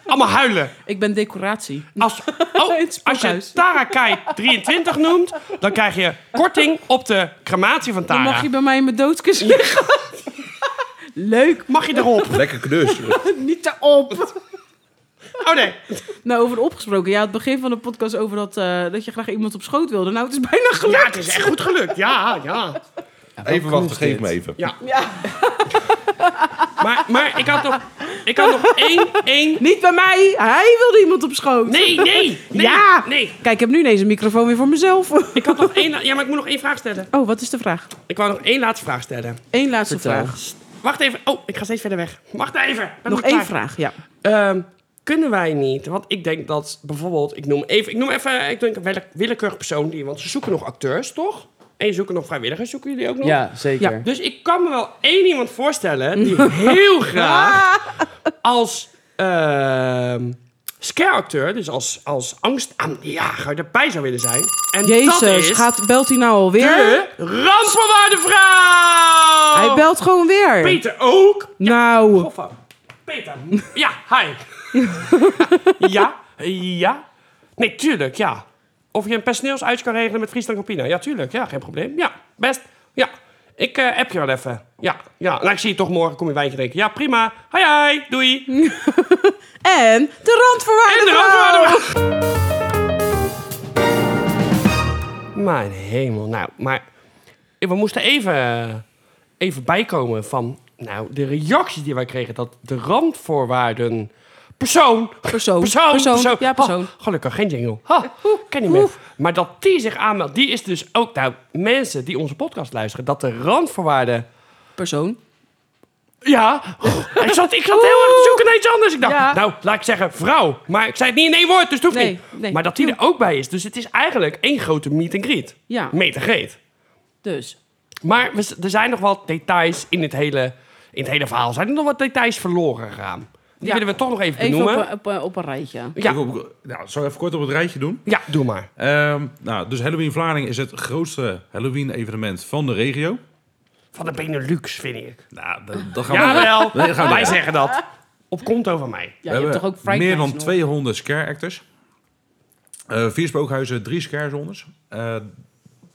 Speaker 2: Allemaal huilen.
Speaker 1: Ik ben decoratie. *laughs*
Speaker 2: Als, oh,
Speaker 1: Het
Speaker 2: als je
Speaker 1: spookhuis.
Speaker 2: Tarakai 23 noemt, dan krijg je korting op de crematie van
Speaker 4: Nou
Speaker 2: Tara.
Speaker 1: Dan mag je bij mij in mijn doodskist liggen. *laughs* leuk.
Speaker 2: Mag je erop?
Speaker 4: Lekker knus.
Speaker 1: *laughs* Niet erop.
Speaker 2: Oh nee.
Speaker 1: Nou, over opgesproken. Ja, het begin van de podcast over dat, eh, dat je graag iemand op schoot wilde. Nou, het is bijna *laughs* gelukt.
Speaker 2: Ja, het is echt goed gelukt. Ja, ja.
Speaker 4: Even wachten, geef me even.
Speaker 2: Ja. Maar, maar ik had nog, ik had nog één, één...
Speaker 1: Niet bij mij. Hij wilde iemand op schoot.
Speaker 2: Nee, nee, nee.
Speaker 1: Ja.
Speaker 2: Nee,
Speaker 1: Kijk, ik heb nu ineens een microfoon weer voor mezelf. *laughs*
Speaker 2: ik had nog één... la- Ja, maar ik moet nog één vraag stellen.
Speaker 1: Oh, wat is de vraag?
Speaker 2: Ik wou nog één laatste vraag stellen.
Speaker 1: Eén laatste
Speaker 5: Vertel.
Speaker 1: vraag.
Speaker 2: Wacht even. Oh, ik ga steeds verder weg. Wacht even. Ik ben
Speaker 1: Nog
Speaker 2: niet
Speaker 1: één
Speaker 2: klaar.
Speaker 1: vraag, ja.
Speaker 2: Ehm, kunnen wij niet, want ik denk dat bijvoorbeeld, ik noem even, ik noem even eh, ik denk een wille- willekeurig persoon die, want ze zoeken nog acteurs, toch? En je zoeken nog vrijwilligers, zoeken jullie ook nog?
Speaker 5: Ja, zeker.
Speaker 1: Ja.
Speaker 2: Dus ik kan me wel één iemand
Speaker 1: *laughs*
Speaker 2: voorstellen die heel graag als ehm scareacteur, dus als, als angstaanjager, erbij zou willen zijn. En dat
Speaker 1: Jezus,
Speaker 2: is
Speaker 1: gaat, belt hij nou alweer?
Speaker 2: de Oh. rampbewaarde vrouw!
Speaker 1: Hij belt gewoon weer.
Speaker 2: Peter ook.
Speaker 1: Nou,
Speaker 2: *laughs* Of, uh, Peter. Ja, hi. ja, ja. Nee, tuurlijk, ja. Of je een personeelsuit kan regelen met Friesland Campina. Ja, tuurlijk. Ja, geen probleem. Ja, best. Ja, ik eh, app je wel even. Ja, ja. Nou, ik zie je toch morgen. Kom je wijntje drinken. Ja, prima. Hoi, hoi. Doei.
Speaker 1: En de
Speaker 2: En de
Speaker 1: randvoorwaarden.
Speaker 2: randvoorwaarden. Mijn hemel. Nou, maar we moesten even, even bijkomen van nou, de reacties die wij kregen. Dat de randvoorwaarden... Persoon.
Speaker 1: Persoon.
Speaker 2: Persoon.
Speaker 1: Persoon. Ja, persoon.
Speaker 2: Ha, gelukkig, geen jingle. Ha, ken niet meer. Maar dat die zich aanmeldt, die is dus ook... Nou, mensen die onze podcast luisteren, dat de randvoorwaarden...
Speaker 1: Persoon.
Speaker 2: Ja, Oh, ik zat, ik zat heel erg te zoeken naar iets anders. Ik dacht,
Speaker 1: Ja.
Speaker 2: nou, laat ik zeggen vrouw. Maar ik zei het niet in één woord, dus het hoeft
Speaker 1: Nee,
Speaker 2: niet.
Speaker 1: nee.
Speaker 2: Maar dat die er ook bij is. Dus het is eigenlijk één grote meet and greet.
Speaker 1: Ja.
Speaker 2: Meet and greet.
Speaker 1: Dus.
Speaker 2: Maar we z- er zijn nog wat details in het hele, in het hele verhaal. Zijn er nog wat details verloren gegaan? Die
Speaker 1: Ja.
Speaker 2: willen we toch nog even
Speaker 1: Even op, eh,
Speaker 2: benoemen.
Speaker 1: een- op, een- op een rijtje.
Speaker 2: Ja.
Speaker 4: Ik hoop- nou, zal ik even kort op het rijtje doen?
Speaker 2: Ja, doe maar.
Speaker 4: Ehm, nou, dus Halloween Vlaardingen is het grootste Halloween-evenement van de regio.
Speaker 2: Van de Benelux, vind ik.
Speaker 4: Nou, dat, dat gaan we
Speaker 2: Jawel,
Speaker 4: Nee, dat gaan we
Speaker 2: wij
Speaker 4: doen.
Speaker 2: zeggen dat. Op konto van mij.
Speaker 1: Ja,
Speaker 4: we
Speaker 1: je hebt
Speaker 4: hebben
Speaker 1: toch ook Fright
Speaker 4: meer dan
Speaker 1: Nights nog?
Speaker 4: 200 scare actors. Eh, vier spookhuizen, drie scare zones. Eh,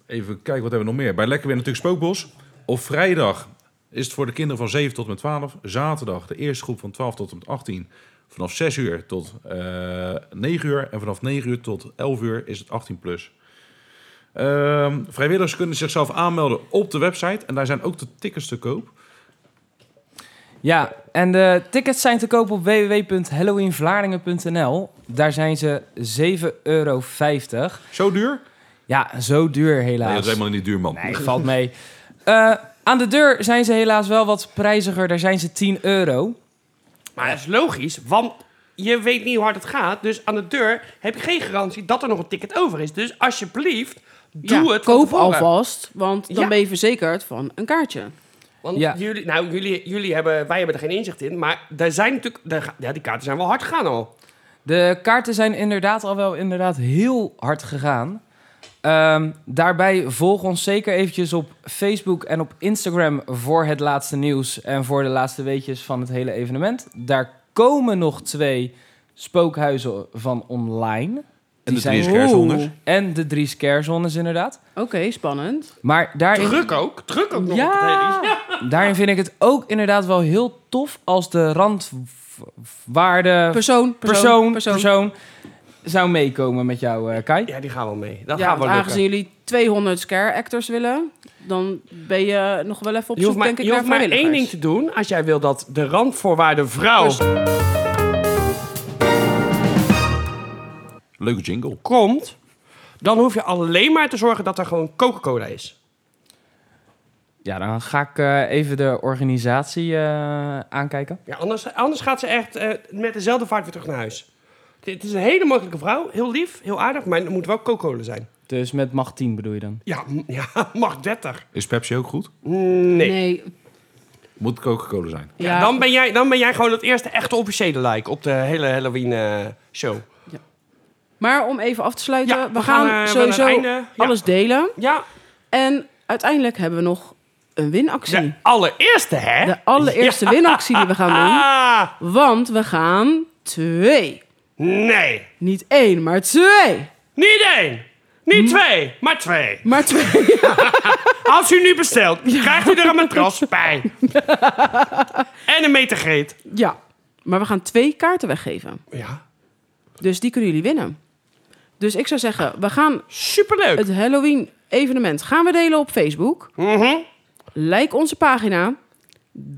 Speaker 4: even kijken, wat hebben we nog meer? Bij Lekker Weer natuurlijk Spookbos. Op vrijdag is het voor de kinderen van 7 tot en met 12. Zaterdag de eerste groep van 12 tot en met 18. Vanaf 6 uur tot eh 9 uur. En vanaf 9 uur tot 11 uur is het 18 plus. Ehm, vrijwilligers kunnen zichzelf aanmelden op de website. En daar zijn ook de tickets te koop.
Speaker 5: Ja, en de tickets zijn te koop op www.halloweenvlaardingen.nl. Daar zijn ze 7,50 euro.
Speaker 4: Zo duur?
Speaker 5: Ja, zo duur helaas.
Speaker 4: Nee, dat is helemaal niet duur, man.
Speaker 5: Nee, valt mee. Eh, aan de deur zijn ze helaas wel wat prijziger. Daar zijn ze 10 euro.
Speaker 2: Maar dat is logisch, want je weet niet hoe hard het gaat. Dus aan de deur heb je geen garantie dat er nog een ticket over is. Dus alsjeblieft, doe
Speaker 1: Ja,
Speaker 2: het van
Speaker 1: Koop
Speaker 2: tevoren.
Speaker 1: alvast, want dan
Speaker 2: Ja.
Speaker 1: ben je verzekerd van een kaartje.
Speaker 2: Want
Speaker 5: Ja.
Speaker 2: jullie, nou, jullie, jullie hebben, wij hebben er geen inzicht in. Maar daar zijn natuurlijk, daar ga- ja, die kaarten zijn wel hard gegaan al.
Speaker 5: De kaarten zijn inderdaad al wel inderdaad heel hard gegaan. Ehm, daarbij volg ons zeker eventjes op Facebook en op Instagram voor het laatste nieuws en voor de laatste weetjes van het hele evenement. Daar komen nog twee spookhuizen van online.
Speaker 4: En de
Speaker 5: zijn-
Speaker 4: drie scare zones.
Speaker 1: Oeh.
Speaker 5: En de drie scare zones inderdaad.
Speaker 1: Oké, spannend.
Speaker 5: Maar daarin
Speaker 2: Druk ook, druk ook nog.
Speaker 5: Ja.
Speaker 2: op het hele- ja.
Speaker 5: Daarin vind ik het ook inderdaad wel heel tof als de randwaarde persoon,
Speaker 1: Persoon,
Speaker 5: persoon, zou meekomen met jou, eh, Kai.
Speaker 2: Ja, die gaan wel mee. Dat
Speaker 1: Ja,
Speaker 2: gaat
Speaker 1: want
Speaker 2: wel lukken.
Speaker 1: aangezien jullie 200 scare actors willen, dan ben je nog wel even op
Speaker 2: Je
Speaker 1: zoek,
Speaker 2: hoeft maar,
Speaker 1: denk ik,
Speaker 2: je
Speaker 1: naar
Speaker 2: hoeft maar één ding
Speaker 1: vrijwilligers.
Speaker 2: te doen als jij wil dat de randvoorwaarden vrouw
Speaker 4: Leuke jingle.
Speaker 2: komt. Dan hoef je alleen maar te zorgen dat er gewoon Coca-Cola is.
Speaker 5: Ja, dan ga ik eh, even de organisatie eh, aankijken.
Speaker 2: Ja, anders, anders gaat ze echt eh, met dezelfde vaart weer terug naar huis. Het is een hele makkelijke vrouw, heel lief, heel aardig, maar het moet wel Coca-Cola zijn.
Speaker 5: Dus met macht 10 bedoel je dan?
Speaker 2: Ja, m- *laughs* ja mag 30.
Speaker 4: Is Pepsi ook goed?
Speaker 2: Nee.
Speaker 1: Nee,
Speaker 4: Moet Coca-Cola zijn.
Speaker 1: ja,
Speaker 2: Dan, ben jij, dan ben jij gewoon het eerste echte officiële like op de hele eh, Halloween-show.
Speaker 1: Maar om even af te sluiten,
Speaker 2: Ja,
Speaker 1: we,
Speaker 2: we
Speaker 1: gaan,
Speaker 2: gaan, eh, we
Speaker 1: sowieso
Speaker 2: gaan een einde, ja.
Speaker 1: alles delen.
Speaker 2: ja,
Speaker 1: En uiteindelijk hebben we nog een winactie.
Speaker 2: de allereerste, hè?
Speaker 1: De allereerste winactie die we gaan
Speaker 2: Ah, *laughs*
Speaker 1: doen. Want we gaan twee.
Speaker 2: nee.
Speaker 1: Niet één, maar twee.
Speaker 2: Niet één. Niet
Speaker 1: Hm?
Speaker 2: twee, maar twee.
Speaker 1: Maar twee.
Speaker 2: Als u nu
Speaker 1: *laughs*
Speaker 2: bestelt, krijgt u er een matras bij. en een metergreet.
Speaker 1: Ja, maar we gaan twee kaarten weggeven.
Speaker 2: Ja,
Speaker 1: Dus die kunnen jullie winnen. Dus ik zou zeggen, we gaan
Speaker 2: superleuk.
Speaker 1: het Halloween evenement gaan we delen op Facebook.
Speaker 2: Mhm.
Speaker 1: Like onze pagina.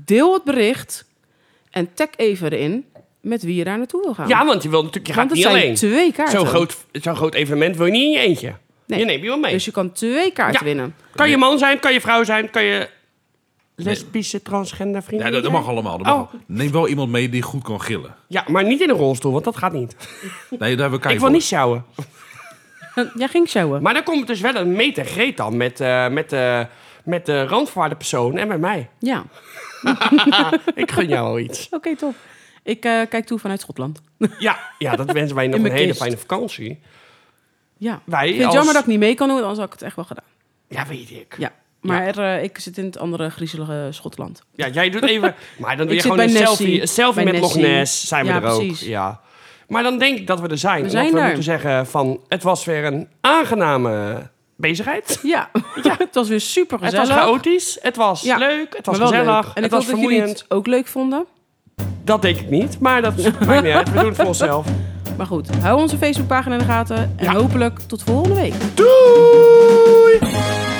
Speaker 1: Deel het bericht. En tag even erin met wie je daar naartoe wil gaan.
Speaker 2: Ja, want je, wil natuurlijk, je gaat
Speaker 1: Want het
Speaker 2: niet
Speaker 1: zijn
Speaker 2: alleen.
Speaker 1: twee kaarten.
Speaker 2: Zo'n groot, zo'n groot evenement wil je niet in je eentje.
Speaker 1: Nee.
Speaker 2: Je neemt iemand mee.
Speaker 1: Dus je kan twee kaarten
Speaker 2: Ja.
Speaker 1: winnen. *laughs*
Speaker 2: Kan je man zijn, kan je vrouw zijn, kan je lesbische, transgender vrienden
Speaker 4: Ja, dat, dat
Speaker 2: zijn?
Speaker 4: mag allemaal. dat mag
Speaker 2: Oh.
Speaker 4: allemaal. Neem wel iemand mee die goed kan gillen.
Speaker 2: Ja, maar niet in een rolstoel, want dat gaat niet.
Speaker 4: Nee, daar hebben we kijk
Speaker 2: ik wil
Speaker 4: voor.
Speaker 2: niet sjouwen.
Speaker 1: Jij ging sjouwen.
Speaker 2: Maar dan komt dus wel een meter greet dan met, eh, met, eh, met de randvaarde persoon en met mij.
Speaker 1: Ja, oké,
Speaker 2: Ik gun jou al iets.
Speaker 1: top. Ik eh, kijk toe vanuit Schotland.
Speaker 2: Ja, ja dat wensen wij nog een
Speaker 1: mijn
Speaker 2: hele
Speaker 1: kist.
Speaker 2: fijne vakantie.
Speaker 1: Ja.
Speaker 2: Wij
Speaker 1: Ik vind
Speaker 2: als-
Speaker 1: het jammer dat ik niet mee kan doen, anders had ik het echt wel gedaan.
Speaker 2: Ja, weet ik. Ja,
Speaker 1: Ja. Maar er, eh, ik zit in het andere griezelige Schotland. *laughs*
Speaker 2: jij doet even... Maar dan doe
Speaker 1: Ik
Speaker 2: je
Speaker 1: zit
Speaker 2: gewoon een
Speaker 1: bij Nessie.
Speaker 2: selfie, een selfie
Speaker 1: Bij
Speaker 2: met Loch
Speaker 1: Nessie.
Speaker 2: Ness. Zijn we
Speaker 1: Ja,
Speaker 2: er ook.
Speaker 1: precies.
Speaker 2: Ja, Maar dan denk ik dat we er zijn. En
Speaker 1: zijn
Speaker 2: dat we
Speaker 1: er.
Speaker 2: moeten zeggen van, het was weer een aangename bezigheid.
Speaker 1: Ja, *laughs* het was weer super
Speaker 2: Het
Speaker 1: gezellig.
Speaker 2: was chaotisch, het was
Speaker 1: Ja.
Speaker 2: leuk, het was
Speaker 1: maar wel
Speaker 2: gezellig,
Speaker 1: leuk. En
Speaker 2: het
Speaker 1: ik
Speaker 2: was
Speaker 1: hoop dat jullie
Speaker 2: vermoeiend.
Speaker 1: het ook leuk vonden.
Speaker 2: Dat denk ik niet, maar
Speaker 1: *laughs*
Speaker 2: dat maakt niet uit. We doen het voor onszelf.
Speaker 1: Maar goed, hou onze Facebookpagina in de gaten. En
Speaker 2: Ja.
Speaker 1: hopelijk tot volgende week.
Speaker 2: Doei!